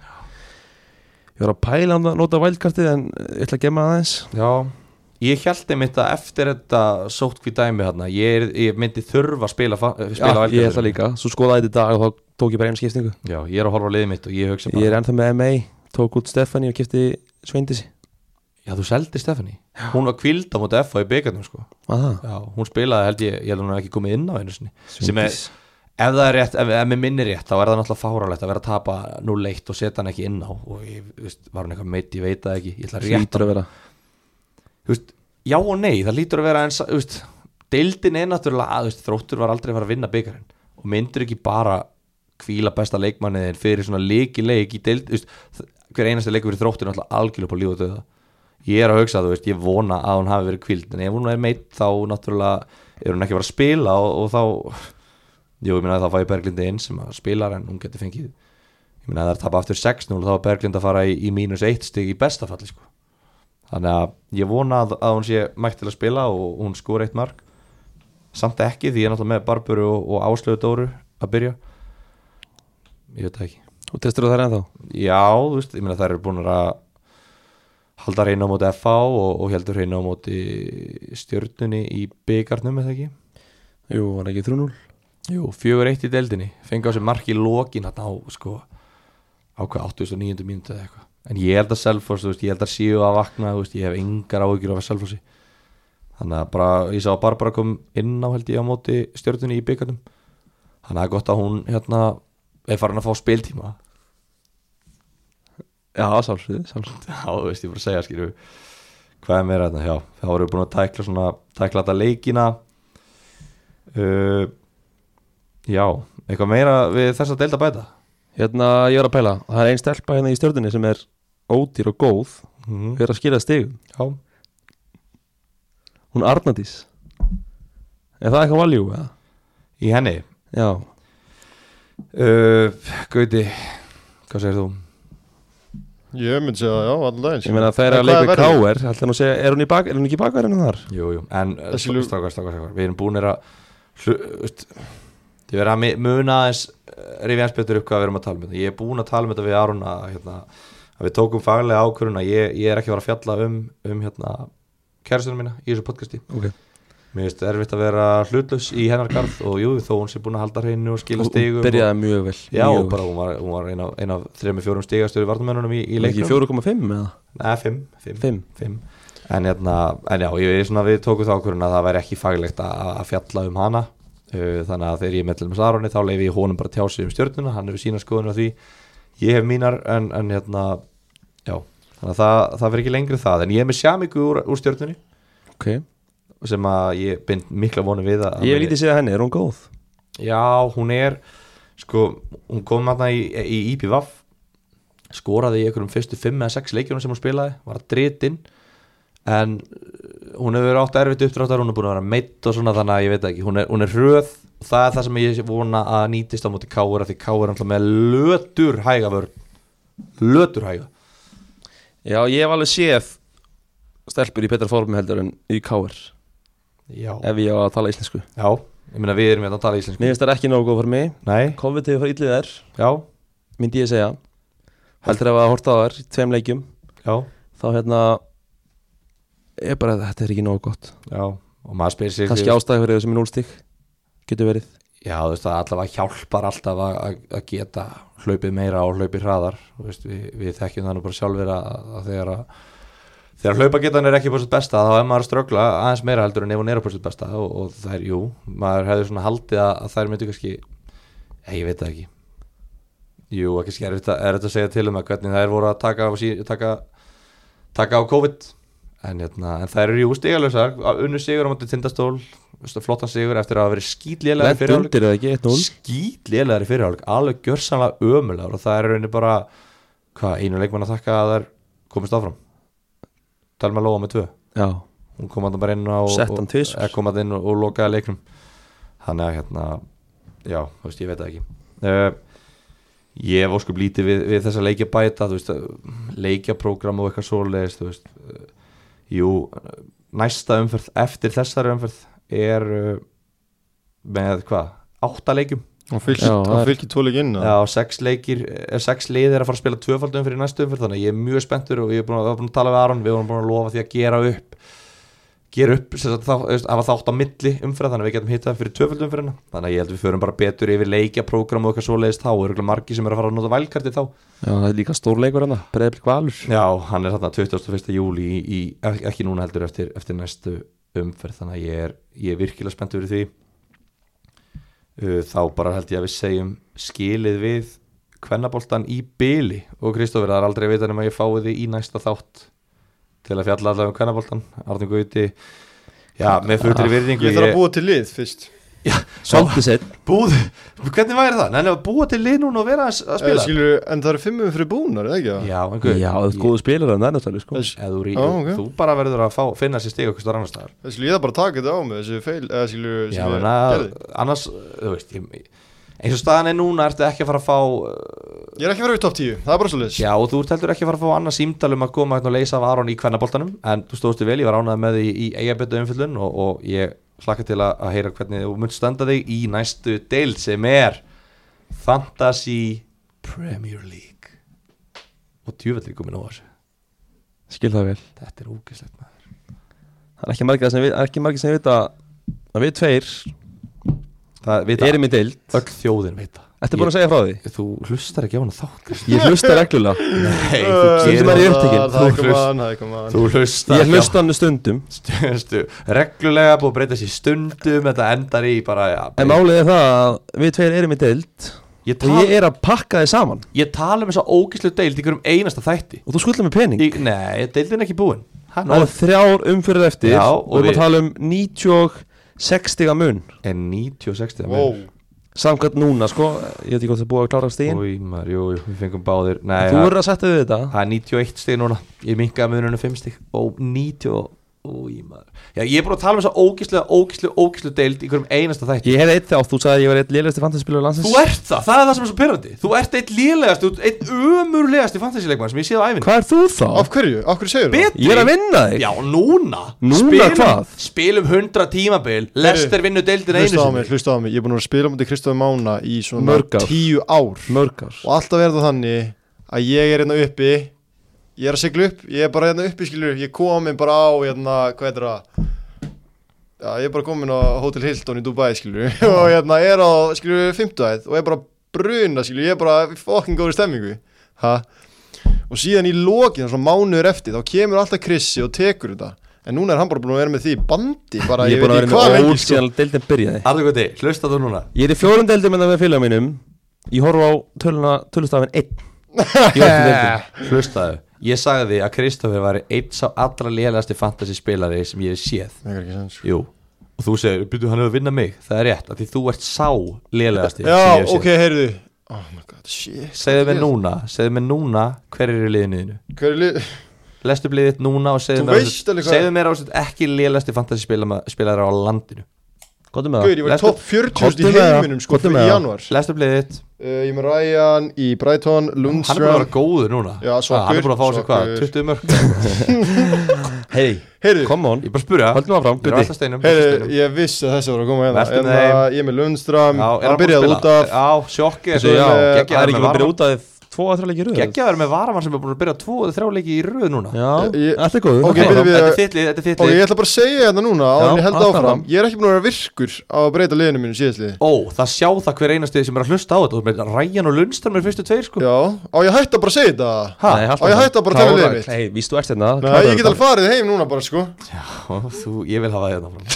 Ég var að pæla hann að nota vældkartið En ég ætla að gemma það aðeins Já Ég held einmitt að eftir þetta sótkví dæmi þarna ég, er- ég myndi þurfa að spila, fa- eh, spila Já, ég velgerðir. ætla líka, svo skoðaði ég þetta í dag og þá tók ég bara einu skiptingu Já, ég er að horfa á liðið mitt og ég hugsa bara Ég er ennþá með MA, tók út Stefani og kipti Sveindisi Já, þú seldi Stefani Hún var kvild á móti FH í byggarnum sko. Aha, Já, hún spilaði held ég, ég held hún hafi ekki komið inn á einu sinni Sem er, Sveindís ef það er rétt, ef, ef mér minni rétt þá er það náttúrulega fáralegt að vera að tapa 0-1 og setja hann ekki inn á og ég, þú veist, var hún eitthvað meitt, ég veit það ekki ég ætla að rétt Hlýtur að vera þú veist, já og nei, það lítur að vera eins, þú veist, deildin er náttúrulega að, þú veist, þróttur var aldrei að fara að vinna byggarinn og myndur ekki bara kvíla besta leikmanniðin fyrir svona leiki leik í deild, þú veist, þ- hver einasti leikur fyrir þróttur er náttúrulega algjörlega på líf og döða ég er að hugsa, þú veist, ég vona að hún hafi verið kvíld en ef hún er meitt þá náttúrulega er hún ekki að fara að spila og, og þá jú, ég meina þá fæ ég Berglindi inn sem að spilar en hún getur fengið ég meina það er tapa aftur 6-0 þá er Berglind að fara í, í mínus 1 stig í bestafalli sko þannig að ég vona að, að hún sé mætt til að spila og hún skor eitt mark samt ekki því ég er náttúrulega með Barburu og, og Áslöðu Dóru að byrja ég veit það ekki Og testur það ennþá já, þú veist, ég meina þær eru búin að halda reyna á móti FH og, og heldur reyna á móti stjörnunni í byggarnum eða ekki Jú, var ekki 3-0 Jú, 4-1 í deildinni fengi á sig mark í lokin að ná sko, á hvað 89. mínútu eða eitthvað en ég held að Selfoss, þú veist, ég held að séu að vakna þú veist, ég hef yngar áhyggjur af Selfossi þannig að bara, ég sá að Barbara kom inn á held ég á móti stjórnunni í byggarnum þannig að það er gott að hún hérna er farin að fá spiltíma Já, sálsvið, sálsvið já, þú veist, ég bara segja skilju hvað er meira þetta, já, þá erum við búin að tækla svona, tækla þetta leikina uh, já, eitthvað meira við þessa deilda bæta Hérna, ég var að pæla, það er ein stelpa hérna í stjörnunni sem er ódýr og góð Mhm. Við erum að skila stigum Já, Hún Arnadís Er það eitthvað valjú, eða? í henni Já, uh, Gauti, hvað segir þú? Ég myndi segja það, já, allan daginn ég meina það er En að hvað leika verðið? K.R. ætlar hún að segja- Er hún í bak- er hún ekki bakverðinu þar? Jú, jú, en uh, Þessi strákar, ljúf- strákar, strákar Við erum búinir að hlu- þú veist, Þið verða að mi- muna aðeins Rifi hans betur upp hvað við erum að tala um þetta Ég er búin að tala um þetta við Aron að, hérna, að Við tókum faglega ákvörun að ég, ég er ekki að fara að fjalla um, um hérna, kærastunum mína í þessu podcasti Okay. Mér finnst erfitt að vera hlutlaus í hennar garð og jú, þó hún sé búin að halda hreinu og skila Hún stigum og- byrjaði mjög vel Já, mjög og bara hún var, hún var eina, eina af þrejum fjórum stigastöru varnamennunum í, í vel. Ekki leiknum 4,5 eða? Nei, fimm, fimm, Fimm. fimm. En, hérna, en já, ég er svona við tókum þá okkur að það væri ekki faglegt að, að fjalla um hana Uh, þannig að þegar ég er meðlum með Saroni þá leifi ég honum bara að tjá sig um stjörnuna hann hefur sína skoðunum á því ég hef mínar en, en hérna já, þannig að það, það verður ekki lengri það en ég er með sjámíku úr, úr stjörnunni Ok, sem að ég bind mikla vonu við að ég hef lítið séð henni, er hún góð? Já, hún er sko, hún kom aðna í, í IPVAF skoraði í einhverjum fyrstu fimm eða sex leikjunum sem hún spilaði var að dritin en uh, hún hefur verið átt erfitt uppdráttar hún er búin að vera meitt og svona þannig að ég veit ekki hún er, hún er hröð og það er það sem ég vona að nýtist á móti Káur af því Káur er alltaf með lötur hæga vörn lötur hæga Já, ég hef alveg séð stelpur í betra formi heldur en í K.R. Já, ef ég á að tala íslensku já ég meina við erum hérna að tala íslensku Mér finnst það ekki nógu góð fyrir mig Nei, COVID hefur farið illið þær, já, myndi ég segja Heldur ef að horta á þær í tveim leikjum já þá hérna er bara þetta er ekki nógu gott já og maður spyrir sig kannski ástæði fyrir þessu með núlstík getur verið Já, þú veist, það allavega hjálpar alltaf að, að- að geta hlaupið meira og hlaupið hraðar Þú veist, við, við þekkjum þannig bara sjálfur að, að þegar að þegar hlaupagetan er ekki búin besta þá er maður að ströggla aðeins meira heldur en ef hún er búin besta og, og það er, jú, maður hefur svona haldið að, að þær myndu kannski Nei, ég veit það ekki Jú, og kannski er þetta, er þetta að segja til um að hvernig þær voru að taka á, sí, taka, taka á COVID en, hérna, en þær eru jú stigalösar unnu sigur á móti tindastól veistu, flottan sigur eftir að hafa verið skýtlélega Lent undir eða ekki, 1-0 skýt lélegar í fyrirháleik alveg gjörsamlega ömulegar og það er í rauninni bara hvað, einu leikmann að þakka að þær komist áfram Telma Lóa með tvö Já, hún kom að bara inn á Sett hann og- tvisvar. eh, kom að inn og, og lokaði leiknum hann er hérna já, þú veist, ég veit það ekki uh, ég hef óskup lítið við, við þessa leikja bæta þú veist, leikjaprógram og eitthvað svoleiðis þú veist uh, jú, eh, næsta umferð eftir þessari umferð er uh, með hvað, átta leikjum og fylgir, Já, það og er- fylgir tóleik inn eða? Já, sex leikir, eh, sex liðir að fara að spila tvöfaldum fyrir næstu umferð þannig að ég er mjög spenntur og ég er búin að, var búin að tala við Aron við vorum búin að lofa því að gera upp gera upp, sem sagt, þá, þú veist, hafa þátt á milli umferð þannig að við getum hittað fyrir tvöfaldum fyrir þannig að ég held við förum bara betur yfir leikjaprógram og eitthvað svoleiðist þá, eru margir sem eru að fara að nota vælkarti þá já, það er líka stór leikur hana Breiðblik Valur Já, hann er þarna 21. júli í, í, ek- ekki núna heldur eftir, eftir næstu umferð þannig að ég er, ég er virkilega spennt fyrir því Uh, þá bara held ég að við segjum skilið við kvennaboltan í byli og Kristófur, það er aldrei að vita nema ég fái því í næsta þátt til að fjalla allavega um kvennaboltan Arnur Gauti Já, með fullri virðingu ég þarf að búa til lið fyrst Svolítið sett búð, Hvernig væri það? Nei, að búa til lið núna og vera að, að Eh, spila skilur, en það eru fimmum fyrir búnar, eða ekki? Eh, það? Já, en guð Já, þú ert góðu spilar en það er náttúrulega sko. Þess- Ef þú, rí, Já, ok. þú bara verður að fá, finna sér stig okkur stór annar staðar Það skilur ég það bara að taka þetta á mig, þessi eh, feil, eða skilur, sem Já, ég menna, gerði. annars, þú veist ég, eins og staðan er núna ertu ekki að fara að fá Ég er ekki að vera upp top 10, það er bara svo leiðis. já og þú ert heldur ekki að fara að fá annars símdal um að koma hérna og leysa af Aron í kvennaboltanum en þú stóðstu vel, ég var ánað með því í eigabötu umfyllun og, og ég slakka til að, að heyra hvernig þú munt standa þig í næstu deild sem er Fantasy Premier League og djúvöld er komin á þessu Skil það vel þetta er ógæslegt maður Það er ekki margir sem, við- ekki margir sem vita að við tveir það vita erum í deild öll þjóðin vita Ertu búin að segja frá því? þú hlustar ekki á hana þátt Kristján. Ég hlusta reglulega Nei, gerir það Stundum maður Eh, er í ég upptekinn. upptekinn. Það er Þú koma hlust- hann, það er koma hann. Þú hlustar Ég ekki á hlusta hann stundum Stu, reglulega búið að breyta sér stundum þetta endar í bara ja, En málið er það að við tveir erum í deild ég, Og tal, ég ég, er að pakka þið saman tala um þess að ógíslu deild í hverjum einasta þætti Og þú skuldar mér pening í, nei, deildin er ekki búin hann Það er þrjár umfyrir eftir Já, og, og við- við erum að tala um 96 stiga mun er 90 og 60 Wow. samkvæmt núna sko, ég veit ekki hvort það er búið að klára stíðin Új, maður, jú, jú, við fengum báðir nei, Þú ja, verður að setja við þetta það er 91 stig núna ég minkaði mununum 5 stig og 90 og Új, maður. Já, ég er búin að tala um þess að ógíslu, ógíslu, ógíslu deild í hverjum einasta þætti Ég hefði eitt þátt, þú sagði að ég var eitt lélegasti fantasyspilur landsins Þú ert það, það er það sem er svo pyrrandi Þú ert eitt lélegast, eitt ömurlegast í fantasíleikmann sem ég séð á æfinni Hvað er þú þá? Af hverju? Af hverju segir það? Betri. Ég er að vinna þig Já, núna Núna spilum, hvað? Spilum 100 tímabil Lester vinnur deildin einu Hlusta á mig, sinni hlusta á mig. Ég er búin að vera að spila mútið Kristóð Mána í svona Mörg ár. tíu ár. Mörgar Og alltaf er það þannig að ég er hérna uppi, ég er að sigla upp, ég er bara hérna uppi, skilur, ég komin bara á, hérna, hvað heitir það? Já, ég er bara komin á Hotel Hilton í Dubai, skilur, og hérna er á, skilur, 50 og er bara að bruna, skilur, ég er bara í fokkin góður stemmingu. Ha? og síðan í lokin, svona mánuður eftir þá kemur alltaf Krissi og tekur þetta en núna er hann bara búin að vera með því í bandi bara Ég ég, er búin veit að ekki vera hvað með lengi ól sko. síðan deildin byrjaði Arður Guði, hlusta þú núna Ég er í fjórum deildum en það með félag mínum Ég horfa á töluna, tölustafin 1 Í öllum deildum Hlustaðu Ég sagði því að Kristoffer var eitt sá allra lélegasti fantasy spilari sem ég hef séð Mér er ekki sens, sko. Jú Og þú segir, byrju hann er að vinna mig Það er rétt, af því þú ert sá lélegasti sem ég já, hef séð. ok, heyrðu oh my god, shit Segðu mér núna, segðu mér núna hver er í liðinu þínu hver er lið Lestu upp liðið þitt núna og segðu Þú mér á veist alveg þessu- hvað- Segðu mér á þessu ekki lélegasti fantasy spilari á landinu Góðum Guður, með það ég var lestu- top 40 í Komdu með það, heiminum sko komdu fyrir með í það. januar uh, Lestu upp liðið þitt ég er með Ryan í Brighton, Hann er búin að Lundström vera góður núna Ah, Já, sokkur, Hann er búin að fá sér hvað, sokkur. 20 mörg Hei, heyrðu, come on Ég bara spurja Haldum áfram, Ég er Guði alltaf steinum heyrðu, ég vissi að þessi var að koma hérna Vertu En, með uh, ég er með Lundström, hann byrjaði út af Já, sjokki Þessu, já, með- það er ekki búin að byrja út af tvo að þrjá leikir röð Geggjaður með varamann sem er búin að byrja tvo eða þrjá leiki í röð núna Já, Ég- allt er góður Ok, Þetta byrjum við er að- þitt lið, þetta er þitt Og ég lið ætla bara að segja þetta núna á Já, hann ég held haltu áfram áfram. Ég er ekki búin að vera virkur á að breyta liðinu mínu síðastliði Ó, það sjá það hver einasti sem er að hlusta á þetta Þú meina, Ryan og Lundström er fyrstu tveir sko Já, á ég að hætta bara að segja þetta Ha? Nei, haltu Á ég áfram. hætta bara að tala Klára- liðið mitt? Nei, víst þú ert hérna Nei, kláraðu ég get þetta. alveg farið heim núna bara sko Ó, Þú, ég vil hafa þetta fram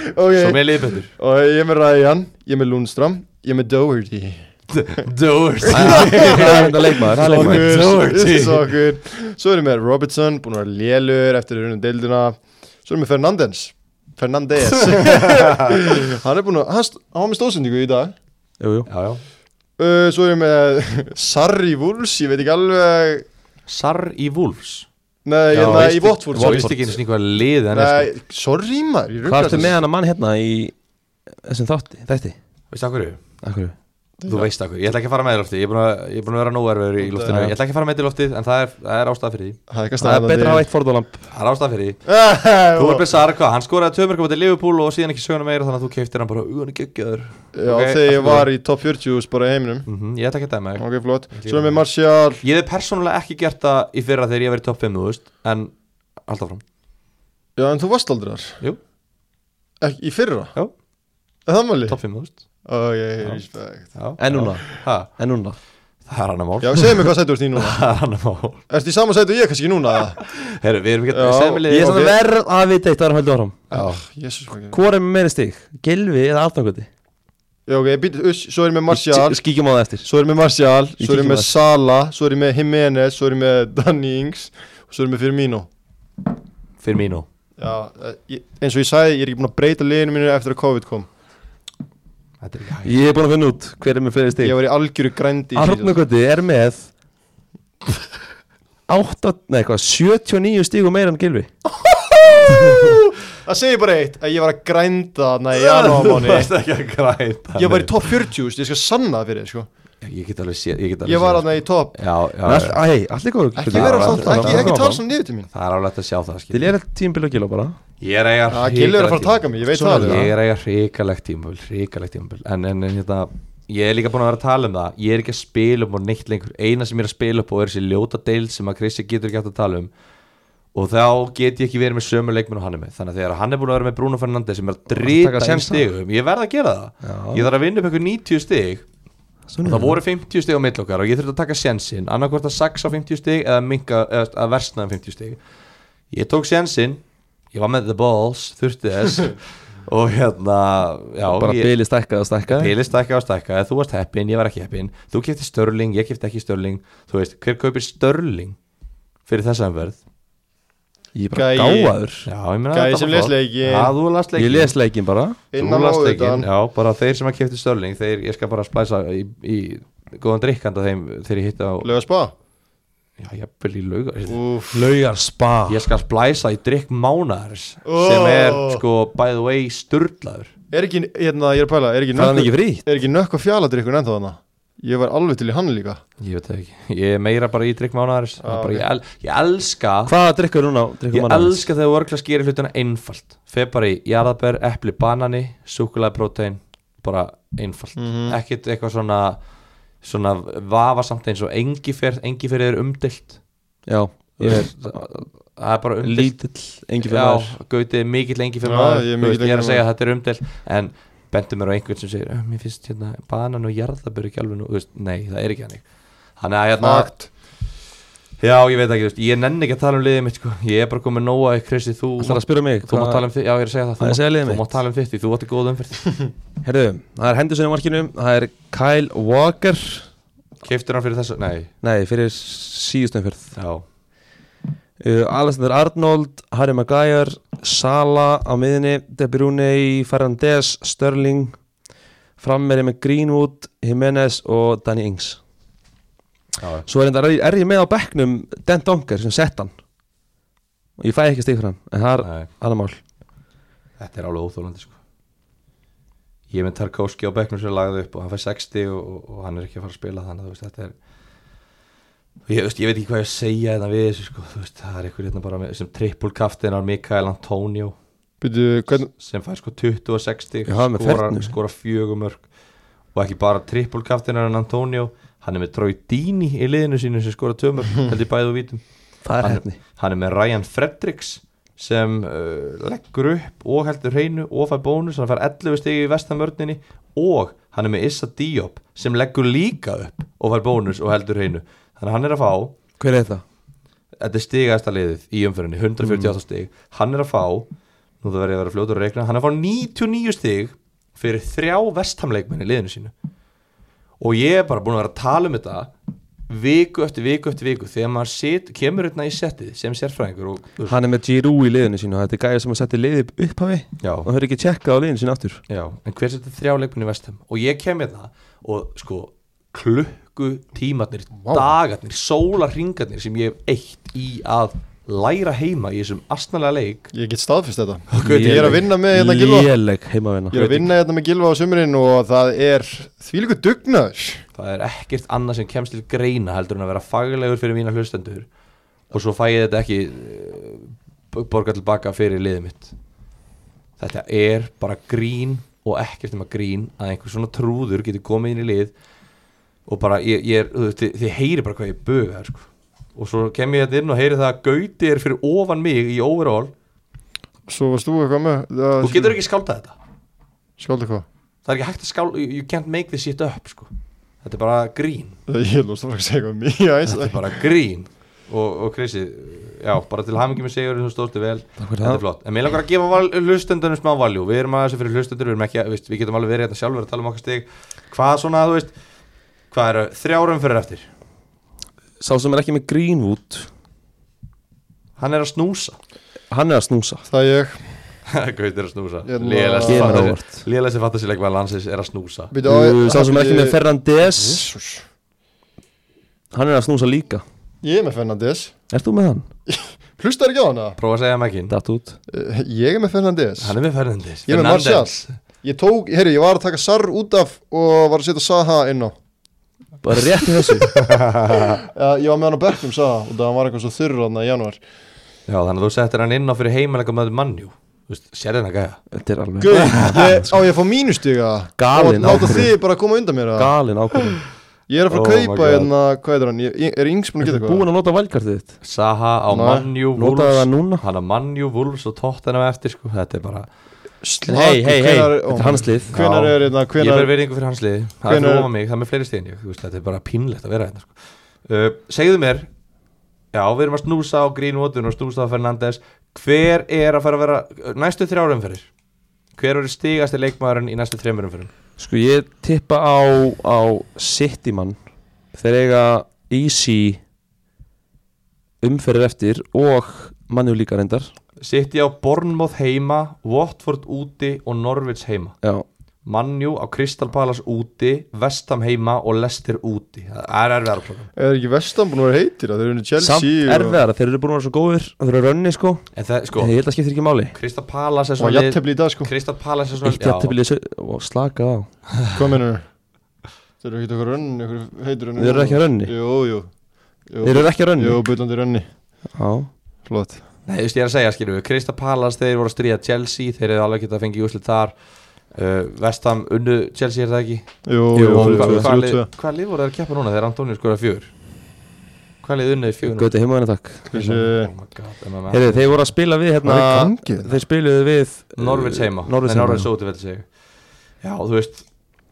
Svo Ok, með liðböndur og ég er með Ryan, ég er með Lundström, ég er með Doherty Doherty Það er enda leikmaður Það er leikmaður Sokkur, Doherty. Sokkur Svo erum við Robertson, búin að vera lélur eftir að runum deildina Svo erum við Fernandes Fernandes Hann er búin að, hann st- hann var með stóðsendingu í dag Jú, jú Já, já uh, Svo erum við Sarri Wolves, ég veit ekki alveg Sar í Wolves Nei, Já, hérna veist í ekki- Votford Ég veist ekki eins og einhver lið hann er, sko. Nei, sorry maður ég sko. Hvað ruglaðist. ertu með hann að mann hérna í þessum þátti, þætti? sko. Veistu af hverju? Akkur Þú veist af hverju, ég ætla ekki að fara með þér í loftið Ég er búin að, ég er búin að vera nóverfur í loftinu Já. Ég ætla ekki að fara með þér í loftið En það er, það er ástæða fyrir því Það er Það er betra að hafa eitt fordólamp Það er ástæða fyrir því Þú er eitt besar, hvað, hann skoraði tömörkum til Liverpool og síðan ekki söguna meira þannig að þú keiftir hann bara ugan geggjöður Já, Ok, þegar allt ég í var í top 40 bara í heiminum mm Ég ætla ekki að dæma þig Ok, flott Ég Svo geri erum við Martial Ég hef persónulega ekki gert það í fyrra þegar ég verið í topp 5, þú veist En, alltaf fram Já, en þú varst aldrei þar Jú. Ek, Í fyrra? Já. Er það máli? Topp 5, þú veist Ok, Já. respect Já. En núna, ha, en núna Það er annar mál Já, segðu mér hvað sættu ert í núna Það er annar mál Ertu í sama sættu og ég kannski núna? Herru, við erum ekki Já. að segja mig Ég er liðið svona verð að vita eitt, það er haldið áram Já. Jésus, hvað ekki Hvor er með meiri stig? Gilvi eða aftangundi? Já, ok, být, us, svo erum við Martial Skíkjum á það eftir Svo erum við Martial Ég Svo erum kíkjum við að- Sala Svo erum við Jimenez Svo erum við Danny Ings Og svo erum við Firmino Fyrir mínu Já, eh, ég, eins og ég sagði, ég er ekki búinn að breyta liðinu mínu eftir að COVID kom Þetta er ekki hægt Ég er búin að finna út hver er með fleiri stig Ég var í algjöru grændi í síðast. Arnarkvöldi er með 8, nei hvað, 79 stígum meira en Gilvi Það segir bara eitt, að ég var að grænda þarna í Þú janúarmáni varst ekki að græta Ég var í topp 40, veist, ég skal sanna það fyrir þér, sko Ég get alveg séð Ég, get alveg Ég var séð þarna í topp Já, já, All- já Æ, allir góður Ekki Já, vera já, samt, já, ekki, já, ekki já. tala svona niður til mín Það er alveg að sjá það Til skil ég er tímbil og gila bara Ég er eiga Það gilur Ah, að fara hrikalegt að taka mig, ég veit Svona það tímabil. alveg. Ég er eiga hrikalegt tímabil Hrikalegt tímabil En, en, en hérna Ég er líka búin að vera að tala um það Ég er ekki að spila upp og neitt lengur Eina sem ég er að spila upp og er þessi ljóta deil sem að Kristi getur ekki átt að tala um Og þá get ég ekki verið með sömu leikmenn og hann er með Þannig að þegar hann er búin að vera með Bruno Fernandes sem er að taka drita í sénsa. stigum Ég verð að gera það Já, Ég þarf að vinna upp eitthvað 90 stig svona og það voru 50 stig á milli okkar og ég þurfti að taka sjensin annarkvort að saxa 50 stig eða minka, eða að versna um 50 stig ég tók sjensin, ég var með the balls þurfti þess og hérna, já Bara ég, bili stækkaði og stækkaði bilið stækka og stækka þú varst heppin, ég var ekki heppin þú kefti störling, ég kefti ekki störling þú veist, hver kaupir störling fyrir þessa umverð Ég er bara Gæi. gáður já, ég meina Gæi þetta sem var les flott. leikinn. já, þú las Ég leikin les leikin bara Innan á utan. já, bara þeir sem að kefti störling þeir, ég skal bara spæsa í, í góðan drikkanda þeim þegar ég hitti á Lög að spá Já, jafnvel í laugar Úff. Laugar spa Ég skal splæsa í drikk mánars Ó. sem er sko by the way sturlaður Er ekki, hérna, ég er að pæla Er ekki Það er hann nökk ekki frýtt Er ekki nökk og fjaladrykkur ennþá þarna Ég var alveg til í hann líka Ég veit það ekki Ég er meira bara í drikk mánars Ah, ok. ég, el, ég elska Hvaða drikkur núna? Drikkur Ég elska þegar vörglas gerir hlutina einfalt Fer bara í jarðabær, epli, banani súkulega prótein bara einfalt Mhm. Ekkert eitthvað svona svona vafasamt eins og engiferð engiferð er umdilt Já, ég er Það er bara umdilt lítill Engi fyrir Já, maður Gauti er mikill lengi fyrir Já, maður ég er Þú mikill veist, Ég er að Engifermaður. segja að þetta er umdel En bendur mér á einhvern sem segir "Eh, Mér finnst hérna banan og jarðabur ekki alveg nú þú veist, Nei, það er ekki hannig Þannig að hérna Fakt Já, ég veit ekki, þú veist, ég nenni ekki að tala um liðið mitt sko. Ég er bara komið nóa í Kristi Þú, Það er að spyrja mig þú mátt tala um þitt Já, ég er að segja það Það er að segja Þú, liðið má- þú mitt. mátt tala um þitt Þú átti góð umferð um- Herðu, það er Henderson í markinu Það er Kyle Walker Keiftur hann fyrir þessu Nei, Nei, fyrir síðustum fyrð já uh, Alexander Arnold, Harry Maguire Sala á miðinni De Bruyne, Fernandes, Sterling frammeri með Greenwood Jimenez og Danny Ings Já, svo er, reyndar- er, er ég með á bekknum Dan Donker sem sett hann og ég fæ ekki stig fyrir hann en það er nei, annar mál þetta er alveg óþólandi sko. Ég er með Tarkovski á bekknum sem lagði upp og hann fær 60 og, og, og hann er ekki að fara að spila þannig að þú veist, þetta er ég, þú veist, ég veit ekki hvað ég að segja þetta við þessu sko, þú veist, það er einhver hérna bara með, sem trippulkaftinar Mikael Antonio Býtu, hvern sem fær sko 20 og 60 Já, með skora, fernu. skora fjögumörk og ekki bara trippulkaftinar en Antonio hann er með Troy Deeney í liðinu sínu sem skora tömur held ég bæðu vítum það er Hann- hefni hann er hérna. með Ryan Fredericks sem uh, leggur upp og heldur hreinu og fær bónus hann fær 11 stig í vestamörninni og hann er með Issa Diop sem leggur líka upp og fær bónus og heldur hreinu þannig að hann er að fá hver er þetta? þetta er stigasta liðið í umfyrinni 148 stig, hann er að fá nú það verður ég að vera fljótur að reikna hann er að fá 99 stig fyrir þrjá vestamleikmenn í liðinu sínu og ég er bara búin að vera að tala um þetta viku eftir viku eftir viku þegar maður sit, kemur hérna í settið sem sérfræðingur og, og, hann er með Giroud í liðinu sínu þetta er gæði sem að setja liðið upp- upphafi já, og höfðu ekki tjekkað á liðinu sínu aftur já, en hver setja þrjá leikmenn í vestam og ég kem hérna og sko klukku tímatnir, Vá. dagarnir sólarringarnir sem ég hef eitt í að læra heima í þessum astnalega leik Ég get staðfist þetta Gauti, Ég er að vinna með hérna Gilva léleg heimavinna Ég er að vinna hérna með Gilva á sumurinn og það er þvílíku dugnaður það er ekkert annað sem kemst til greina heldur en að vera faglegur fyrir mína hlustendur og svo fæ ég þetta ekki eh, b- borgað tilbaka fyrir liðið mitt þetta er bara grín og ekkert um að grín að einhver svona trúður getur komið inn í lið og bara ég, ég er, þú veist, þið, þið heyri bara hvað ég buga það sko. og svo kem ég þetta inn og heyri það að Gauti er fyrir ofan mig í overall Svo varst þú eitthvað með það- þú getur ekki skáltað þetta Skáldu hvað? það er ekki hægt að skálta, you can't make this shit up sko. þetta er bara grín Ég lúst að fara að segja eitthvað mjög aðeins þetta er bara grín og, og Krissi, já, bara til hamingi með segjur þú stóðstu vel, þetta er flott en mér langar að gefa val, hlustendunum smá valjú við erum aðeins fyrir hlustendur, við, erum ekki, að- veist, við getum alveg verið hérna sjálfur að tala um okkar stig hvað svona, þú veist, hvað eru þrjárum fyrir eftir, sá sem er ekki með Greenwood hann er að snúsa hann er að snúsa Það er ég Gaut er að snúsa Hérna- Kemur á lélegasti óvart. lélegasti fantasíleikmaður landsins er að snúsa Bíddu, á Uh, ég- sá sem er ekki með Ferrandes Jesús hann er að snúsa líka Ég er með Fernandes Ert þú með hann? Hlustar ekki á hana? prófa að segja mækin, Datt út Eh, Ég er með Fernandes hann er með Fernandes Ég er með Fernandes. Martial. Ég tók, herru, ég var að taka Sarr út af og var að setja Saha inn á Bara rétt í þessu Já, Ég var með hann á Berknum Saha og það var eitthvað svo þurr hann í janúar já, þannig að þú settir hann inn á fyrir heimalega með mannjú, þú veist, sérðin að gæja Þetta er alveg Gauð, ég- á ég að fá mínustiga Galinn Og láta ákvörðun. þið bara að koma undan mér eða? galin ákvörðun Ég er að fara Oh að my kaupa God. hérna, hvað er hann? Ég- Ég, er Ings búin að geta Ertu eitthvað? búin að nota valkartið þitt? Saha á Nei. mannjú, Notaðu það núna? hann að mannjú, Wolves og Tottenham eftir sko, þetta er bara Slakur, Hei, hei, hei, hvenar- þetta er hans lið Hvenar Já. er hérna, ég verð hvenar verðingu fyrir hans liði það er Hvenær- fyrir ofan mig, það er með fleiri stegin ég, þú veist, þetta er bara pínlegt að vera hérna sko. uh, segðu mér já, við erum að snúsa á Greenwood við erum að snúsa á Fernandes hver er að fara að vera uh, næstu þrjárum fyrir hver eru stigasti leikmaðurinn í næstu þrjárum fyrir Sko ég tippa á, á City mann Þeir eiga Easy umferðir eftir og mannjú líka reyndar sitt ég á Bournemouth heima Watford úti og Norwich heima Já, Mannjú á Crystal Palace úti Vestam heima og Leicester úti það er erfiðar að plaka Er ekki vestan búin að vera heitir? Það er unni Chelsea samt og- erfiðara, þeir eru búin að vera svo góðir þeir eru að rönni sko, en það, sko, en ég held að skiptir ekki máli Crystal Palace er Og svona lið- jættefli í dag sko Crystal Palace er svona Eitt jættibilið og slakað á Hvað mennur þau? Þeir eru ekki okkur rönni, okkur heitir rönni Þeir eru ekki að rönni Jú, jú Jú, Þeir eru ekki að rönni Jú, bullandi rönni Já, Flott Nei, þú veist, ég er að segja, skilju við, Krista Palace, þeir voru að stríða Chelsea, þeir hefðu alveg getað að fengið úslit þar uh, Vestam, unnu Chelsea er það ekki Jú, jú, Jú, Og þrjú, hva- þrjú, hvaða lið- tvö. Hvaða lið voru þeir að keppa núna þegar Antonio skoraði fjör? Hvaða lið unnuði fjör? gauti heima henni takk Þessi- Oh my god, MMA Heyrðu, þeir voru að spila við hérna Hvað er í gangi hérna? Þeir spiluðu við Norvins Eh, heima, Norvins Nei, heima Norvins úti, veit ég Já, þú veist,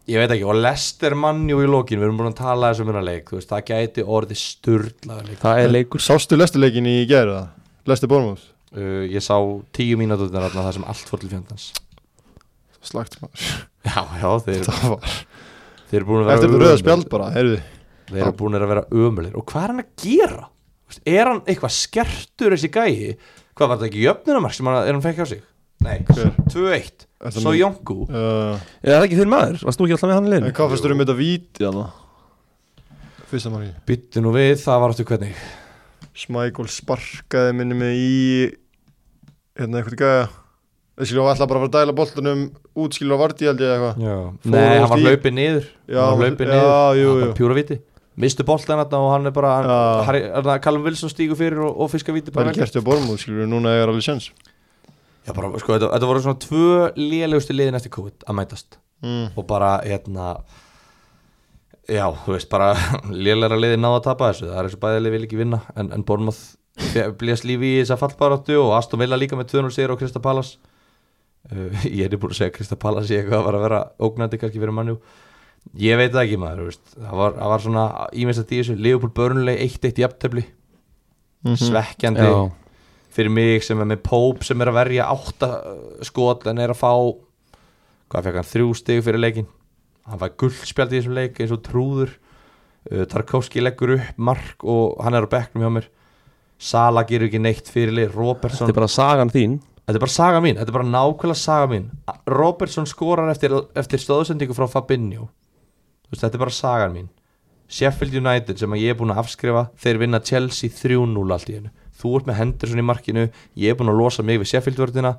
ég veit ekki, og Lester mannjú í lokin, við erum búin að tala þessum hérna leik, þú veist, það gæti orðið sturdlaður leik Það er leikur Sástu lestuleikin í gera það? Lesti Bormóðs? uh, Ég sá tíu mínúturnar þarna, það sem allt fór til fjandans Slagt maður Já, já, þeir, Það var þeir eru búin að vera Eftir röða ömurlegir. spjald bara, heyrðu þeir eru búin að vera ömulir og hvað er hann að gera? Þú veist, er hann eitthvað skertur þessi gæi? hvað var þetta ekki jöfnunumark sem hann, er hann fekk á sig? Nei, Hver? 2-1 Þetta svo með- Jónku Uh, Er það ekki þinn maður? Varst þú ekki alltaf með hann í En liðinu? hvað fyrstu um þetta víti þarna? Fyrsta margi byttu nú við, það var aftur hvernig Smækól sparkaði minni mig í hérna eitthvað gæja Það skilja, hann ætla bara að fara að dæla boltanum út skilja á varti held ég eða eitthvað já. nei, hann var Fóru hlaupið niður Já, hann var hlaupið já, niður, jú, hann var jú. bara pjúra viti mistu boltan þarna og hann er bara hann, Já. Harry, hann, Callum Wilson stígur fyrir og, og fiska viti Það bara er gert hjá Bormúð skilja, núna er alveg sens já, bara, sko, þetta, þetta voru svona tvö lélegustu liðin eftir COVID að mætast mm. og bara hérna já, þú veist bara lélæra liði náða að tapa þessu það er eins og bæðið liði vil ekki vinna en, en Bornmoth blés lífi í þessa fallbaráttu og Aston Villa líka með 200 sigur á Krista Palas uh, ég er búin að segja að Krista Palas ég eitthvað að var að vera ógnandi kannski fyrir mannjú ég veit það ekki maður þú veist. það var, það var svona ímestast í þessu Leopold Börnuleg 1-1 jafntefli svekkjandi Já, fyrir mig sem er með Pope sem er að verja átta uh, skot en er að fá hvað fekk hann þrjú stig fyrir leikin hann var guldspjald í þessum leik eins og trúður uh, Tarkovski leggur upp mark og hann er á bekknum hjá mér Sala gerur ekki neitt fyrir leik þetta Robertson, er bara sagan þín þetta er bara saga mín þetta er bara nákvæmlega saga mín Robertson skorar eftir, eftir stöðsendingu frá Fabinho Þú veist, þetta er bara sagan mín Sheffield United sem að ég er búin að afskrifa þeir vinna Chelsea 3-0 allt í hennu þú ert með Henderson í markinu ég er búin að losa mig við Sheffield vördina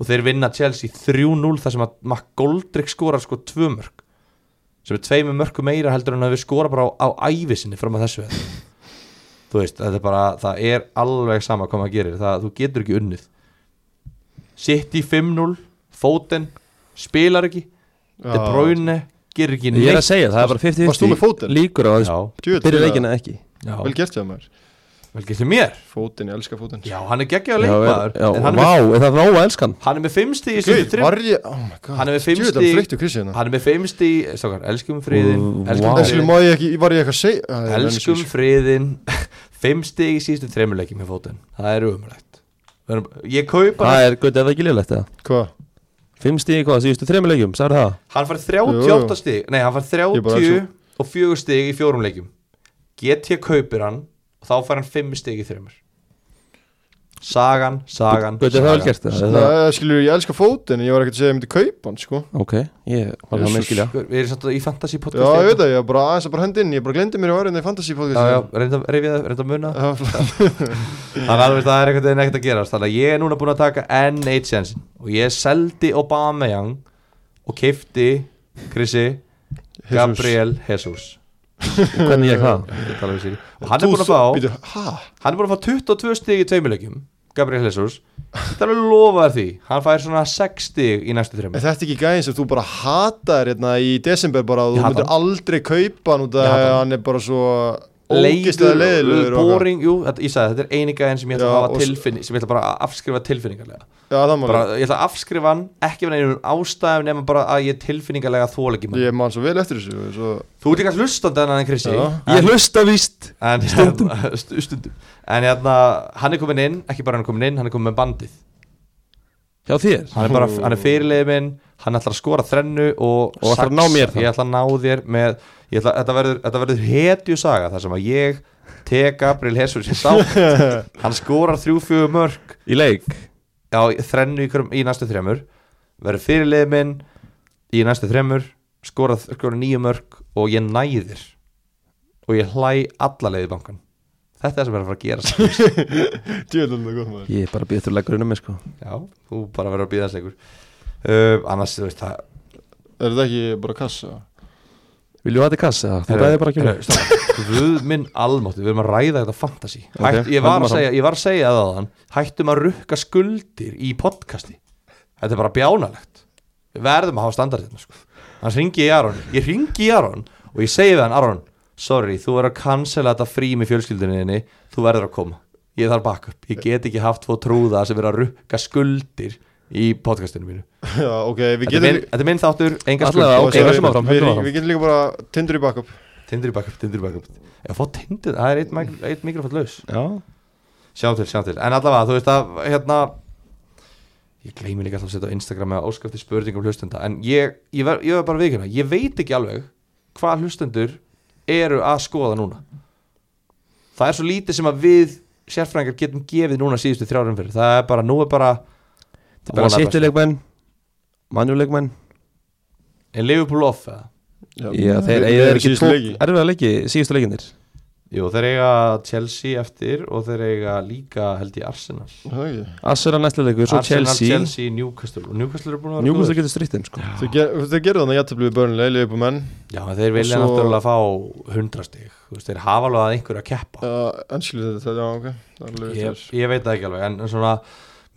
og þeir vinna Chelsea 3-0 þar sem að Mac Goldrick skorar sko tvö mörg sem er tveimur mörgum meira heldur en að við skora bara á, á ævisinni fram að þessu þú veist, þetta er bara það er alveg sama hvað maður gerir það, þú getur ekki unnið City 5-0 Foden spilar ekki De Bruyne gerir ekki Ég er að segja, það er bara Varst þú með 50-50 fótinn? líkur á þessu Já, Djöfull, byrja það- leikin eða ekki já. Vel gert það maður vel gert hjá mér Fótinn, ég elska fótinn Já, hann er geggjaður Já, leikmaður já, en hann, vá, er með, er það nóg að elskan hann er með fimmsti í Gauð, sínum þrim var ég Oh my god Hann er með fimm Djöfull, stig. hann þreyttu Krissi hérna Hann er með fimmsti Stokkar, elskum friðin Vá. Elskum Vá. Þessu friðin, má ég ekki Var ég eitthvað að segja Æ, ég nenni þessu elskum ekki. friðin Fimmsti í síðustu þremuleikin með fótinn Það er umrætt Ég kaupa Það er, gauti, er það ekki liðlegt eða? Hvað? Fimm stíði hvað, síðustu þremur leikjum, sagði það Hann fær Jú, jú. 38 stig Nei, hann fær Ég bara 30 elsku- og 4 stig í fjórum leikum Get ég kaupir hann og þá fær hann 5 stig í þremur Sagan, sagan, Gauti, er það vel sagan gert eða? Er það? Nei, eh, skilur, ég elska fótinn en Ég var ekkert að segja að ég myndi kaupa hann, sko Ok, ég var það Jesus. með skilja Við erum samt í fantasy Já, podcast hérna. ég veit það, ég var bara aðeins að bara hendi inn Ég bara glemdi mér að vera inn í fantasy Já, já, podcast reynda, reynda, reynda að muna það. já Þannig að þú veist, það er einhvern veginn ekkert að gerast Þannig að ég er núna búin að taka enn eitt sjansin Og ég seldi Obameyang Og keipti Chrissi Gabriel Jesus Hvernig ég það? Ég tala við Siri. Og hann er búin að fá Býtu, hæ? Hann er búin að fá 22 stig í tveimulegjum Gabriel Jesus Þetta er alveg lofaður því Hann fær svona 6 stig í næstu Er þreymur þetta ekki gæðin sem þú bara hatar hérna í desember bara Ég og þú hata myndir aldrei kaupa hann út Ég af hata að hann. hann er bara svo ógislega leiðilegur og eitthvað. Boring, jú, þetta, ég sagði þetta er eini gæðin sem ég ætla Já, að hafa og s- tilfinning Sem ég ætla bara að afskrifa tilfinningarlega Já, það má bara, ég ætla að afskrifa hann ekki af einhverjum ástæðum nema bara að ég tilfinningalega þól ekki mann Ég man svo vel eftir þessu svo... þú ert líka hlustandi hann en Krissi Já. Ég hlusta víst en, stundum. stundum en hérna, hann er komin inn, ekki bara hann er komin inn hann er komin með bandið Hjá þér hann er, bara, hann er fyrirliði minn, hann ætlar að skora þrennu og, Og ætlar að ná mér það. ég ætla að ná þér með, ég ætla, þetta, verður, þetta verður hetju saga þar sem að ég tek Gabriel Hesur sér sá hann skorar þrjú fjögur mörg Í leik já, þrennu í, hverjum- í næstu þremur verður fyrirlið minn í næstu þremur skora, skora nýju mörg og ég næðir og ég hlæ alla leiði bankan þetta er það sem er að fara að gera Djöðlum það gott maður Ég er bara býður til leggurinn um mig sko já, þú bara verður að býða þess leikur uh, annars, þú veist, það Er þetta ekki bara kassa? Viljum við hafa þetta í kassa? Þú Heyrðu, bæði bara ekki heyrðu, stopp. Guð minn almáttu, við erum að ræða þetta fantasy Ok, Hætt, ég, var höldum að áfram. segja, ég var að segja það að hann Hættum að rukka skuldir í podcasti Þetta er bara bjánalegt Við verðum að hafa standardina sko. Þannig ringi ég í Aron Ég ringi í Aron og ég segi við hann Aron, sorry, þú verður að cancela þetta frím í fjölskylduninni Þú verður að koma Ég þarf backup, ég get ekki haft tvo trúða sem verður að rukka skuldir í podcastinu mínu Já, ok, við Þetta er getum minn, þetta er minn þáttur, enga skuldir Allavega, Já, ok, sorry, höldum áfram, við, höldum áfram. við getum líka bara tindur í backup Tindur í backup, tindur í backup Ég fótt tindur, það er eitt, mic- eitt mikrofall laus Já Sjáum til, sjáum til En allavega, þú veist að, hérna Ég gleymi líka alltaf að setja á Instagram eða áskafti spurningum hlustenda En ég, ég, ver, ég verð bara vikuna Ég veit ekki alveg hvað hlustendur eru að skoða núna Það er svo lítið sem að við sérfræðingar getum gefið núna síðustu þrjárum fyrir Það er bara, nú er bara Það er bara vonarbesta. sittileikmenn Mannjuleikmenn En Liverpool off, eða? Já, þeir Við- eiga við þeir erum ekki síðustu tvo leiki. erfiða leiki Síðustu leikinnir Jú, þeir eiga Chelsea eftir og þeir eiga líka held í Arsenal Er það ekki? Arsenal næsta leikur Svo Arsenal, Chelsea Chelsea, Newcastle og Newcastle er búin að vera Newcastle góðir. getur strýttin sko Þeir ger- Þeir gerðu þannig að jættu blíði börnlega, leiði upp um enn Já, en þeir vilja Og svo- náttúrulega fá 100 stig Þú veist, þeir hafa alveg að einhverju að keppa En skilur þetta, já, ok Það er alveg ég, vitlaust. ég veit það ekki alveg en en svona,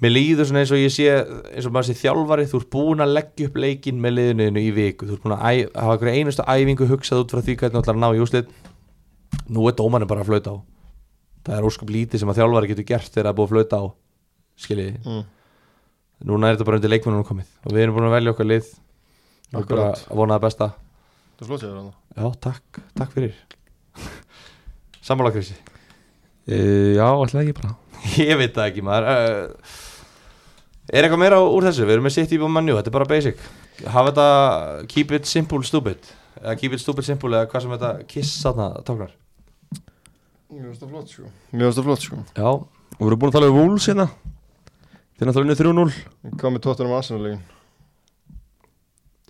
Mér líður svona eins og ég sé eins og maður sé þjálfari, þú ert búin að leggja upp leikinn með liðinuðinu í viku þú ert búin að æ, hafa einhverja einustu æfingu hugsað út frá því hvernig þú ætlar að ná í úslit nú er dómanum bara að flauta á það er óskup lítið sem að þjálfari getur gert þegar það er búið að flauta á skiljiði, mm. núna er þetta bara undir leikmennunum komið og við erum búin að velja okkar lið og bara Akkurat. að vona það besta Það er flott sér hann Já, takk, takk fyrir Sammála Krissi Uh, já, alltaf ekki bara Ég veit það ekki maður uh, Er eitthvað meira úr þessu? Við erum með sitt í manju, þetta er bara basic Hafa þetta keep it simple stupid eða keep it stupid simple eða hvað sem þetta kiss þarna tóknar Mér finnst það flott sko Mér finnst það flott sko Já, Og við erum búin að tala um Wolves hérna Þeir náttúrulega unnið 3-0 En Hvað með tóttunum aðsynarlegin?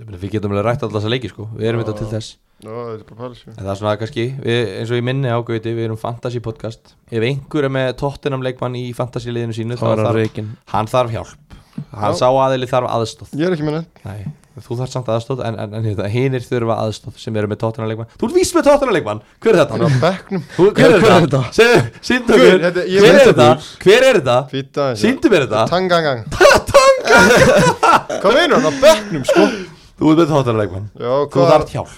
Ég meina, við getum alveg rætt alltaf þessa leiki sko Við erum Já. þetta til þess Já, þetta er bara pæli sko En það er svona kannski, við, eins og ég minni ágöti Við erum fantasy podcast Ef einhver er með tóttinam leikmann í fantasy liðinu sínu þá Það var þarf- hann reygin hann þarf hjálp hann Já. sá aðili þarf aðstóð Ég er ekki með neitt Nei, þú þarf samt aðstóð en, en, en hinnir þurfa aðstóð sem eru með tóttunarleikmann þú ert víst með tóttunarleikmann, hver er þetta? Hann er á bekknum Þú, hver Já, er hver er þetta? þetta? Segðu- Sýndu Hver- mér, þetta- ég hver veit er þetta. þetta? Hver er þetta? Fýtt aðeins Sýndu mér þetta? Tangangang Tangangang Hvað meina hann á bekknum sko Þú ert með tóttunarleikmann Já, þú hvað þarf hjálp,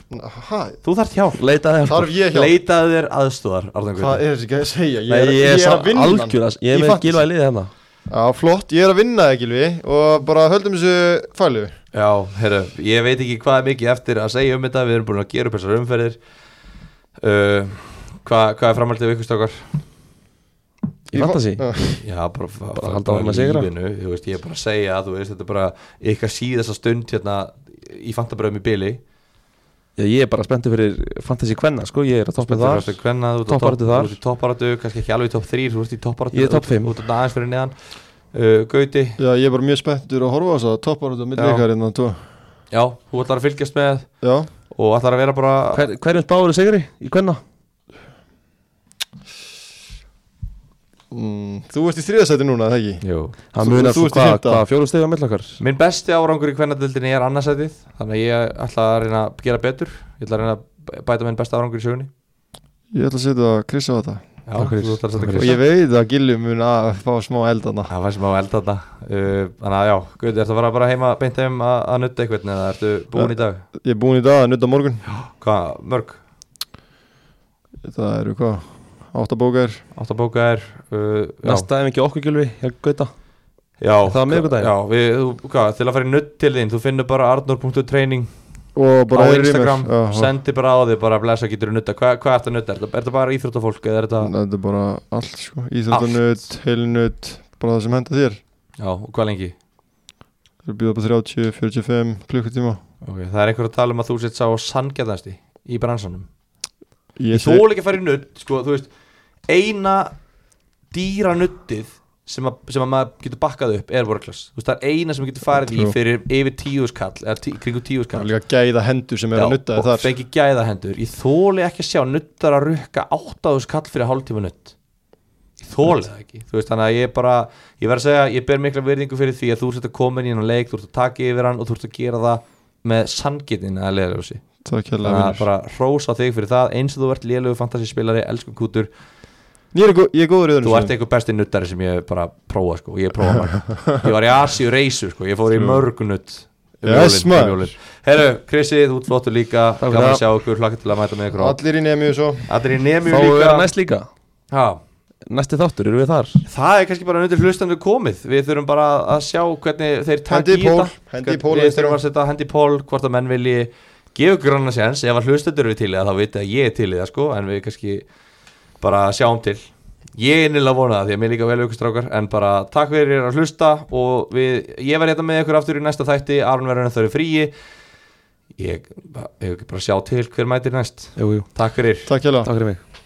Hæ, þú þarf hjálp Leitaði hjálp þarf ég hjá leitaðu þér aðstóðar, Arðan sko. Hvað Guði er þessi ekki að segja? Ég Nei, er, ég er að samt vinna hann. algjör Ég Í er með fantasy. gilvæði liðið hérna Já, flott, ég er að vinna það, Gilvi Og bara höldum þessu fælu Já, herru, ég veit ekki hvað er mikið eftir að segja um þetta við erum búin að gera upp þessar umferðir uh, hvað, hvað er framhaldið við ykkur stakar? Í fantasy Já, bara, bara halda áfram að sigra. lífinu, Þú veist, ég er bara að segja þú veist, Þetta er bara ykkar síðasta stund hérna í fantabröðum í bili Já, Ég er bara spenntið fyrir fantasy kvenna sko Ég er að toppa það Hvenna, þú ert á topp- Topparáttu þar. Þú ert í topparatu, kannski ekki alveg í topp 3 Þú ert í topparatu Ég er topp fimm. Þú ert aðeins fyrir neðan uh, Gauti, Já, ég er bara mjög spenntur að horfa á þess að toppar út á milli Já. ykkar innan tvo já, þú ætlar að fylgjast með Já, Og ætlar að vera bara Hver, Hverjum spáður er sigri í kvenna? mm, þú ert í þriðasæti núna, það ekki? Jú. Það Þú- þú munar ert sko í hvað fimmta. hva, fjóru stegu á milli okkar Minn besti árangur í kvennadildinni er annarsætið Þannig að ég ætla að reyna að gera betur Ég ætla að reyna að bæta minn besta árangur í sögunni Ég ætla að setja Chris á þetta Já, Takk fyrir. þú ætlar að Takk setja fyrir. Og Krista. ég veit að Gilvi mun að fá smá eldana Það var sem að elda þarna uh, Þannig að já, Guði, ertu að fara bara heima beint heim að, að nutta eitthvað eða ertu búin í dag? Ég er búinn í dag að nutta morgun Hvað, mörg? Það eru hvað? Áttabókar Átt að bóka er uh, já. Næsta ef ekki okkur gilvi, ég gauta já, það var miðvikudaginn? Já, við, þú, hvað, til að fara í nutt til þín þú finnur bara arnur.training Og á bara heyrir í mér. Instagram, Já, já. sendi bara á þig bara að blessa getur að nutta, Hva, hvað ertu að nutta? Er þetta- er þetta bara íþróttafólk eða er þetta, Þetta er bara allt sko Íþjóttanutt, heilnutt Bara það sem henda þér já, og hvað lengi? Þú erum býðað bara 30, 45 klukkutíma Ok, það er einhver að tala um að þú sett sá sanngjarnasti í bransanum Ég Ég sé þól ekki að fara í nudd sko, þú veist, eina dýra nuddið sem að, sem að maður getur bakkað upp er workclass þú veist, það er eina sem getur farið í Trú. fyrir yfir tíuskall eða tí, kringu Það er tíuskall líka gæða hendur sem er að nutta þér og þar fengi gæðahendur ég þóli ekki að sjá nuddar að rukka áttaðuskall fyrir hálftíma nudd ég þóli það ekki þú veist, þannig að ég bara ég verð að segja, ég ber mikla virðingu fyrir því að þú ert að koma inn í hennan leik, þú ert að taka yfir hann og þú ert að gera það með sangetin að leiðarljósi Takk hérlega þannig að vinnur bara rósa þig fyrir það eins og þú ert lélögu fantasyspilari, elsku kútur Ég er, gó ég er góður í öðrum þú ert einhver besti nuttari sem ég hef bara prófa sko, og ég prófa marga ég var í Asi reysu, sko, ég fór í mörg nutt um Yes, jólin, maður. um jólin. herru, Krissi, þú ert flottur líka Takk gaman fyrir að sjá okkur, hlakka til að mæta með ykkur á- Allir í nefnju svo allir í nemi Þá er líka vera næst líka ha, Næsti þáttur, eru við þar? það er kannski bara undir hlustandu komið við þurfum bara að sjá hvernig þeir Hendi takki í í þetta pól Hendi í pól við þurfum að setja hendi í pól hvort að menn vilji gefa ykkur annars jens ef að hlustendur eru til í það þá veit ég að ég er til í það sko en við kannski bara sjáum til ég er nýlega vona það því að mér líka vel við ykkur strákar en bara takk fyrir að hlusta og við, ég verði hérna með ykkur aftur í næsta þætti Aron verður hérna þau fríi ég, ég bara sjá til hver mætir næst Jú, jú, takk fyrir Takk hérlega takk fyrir mig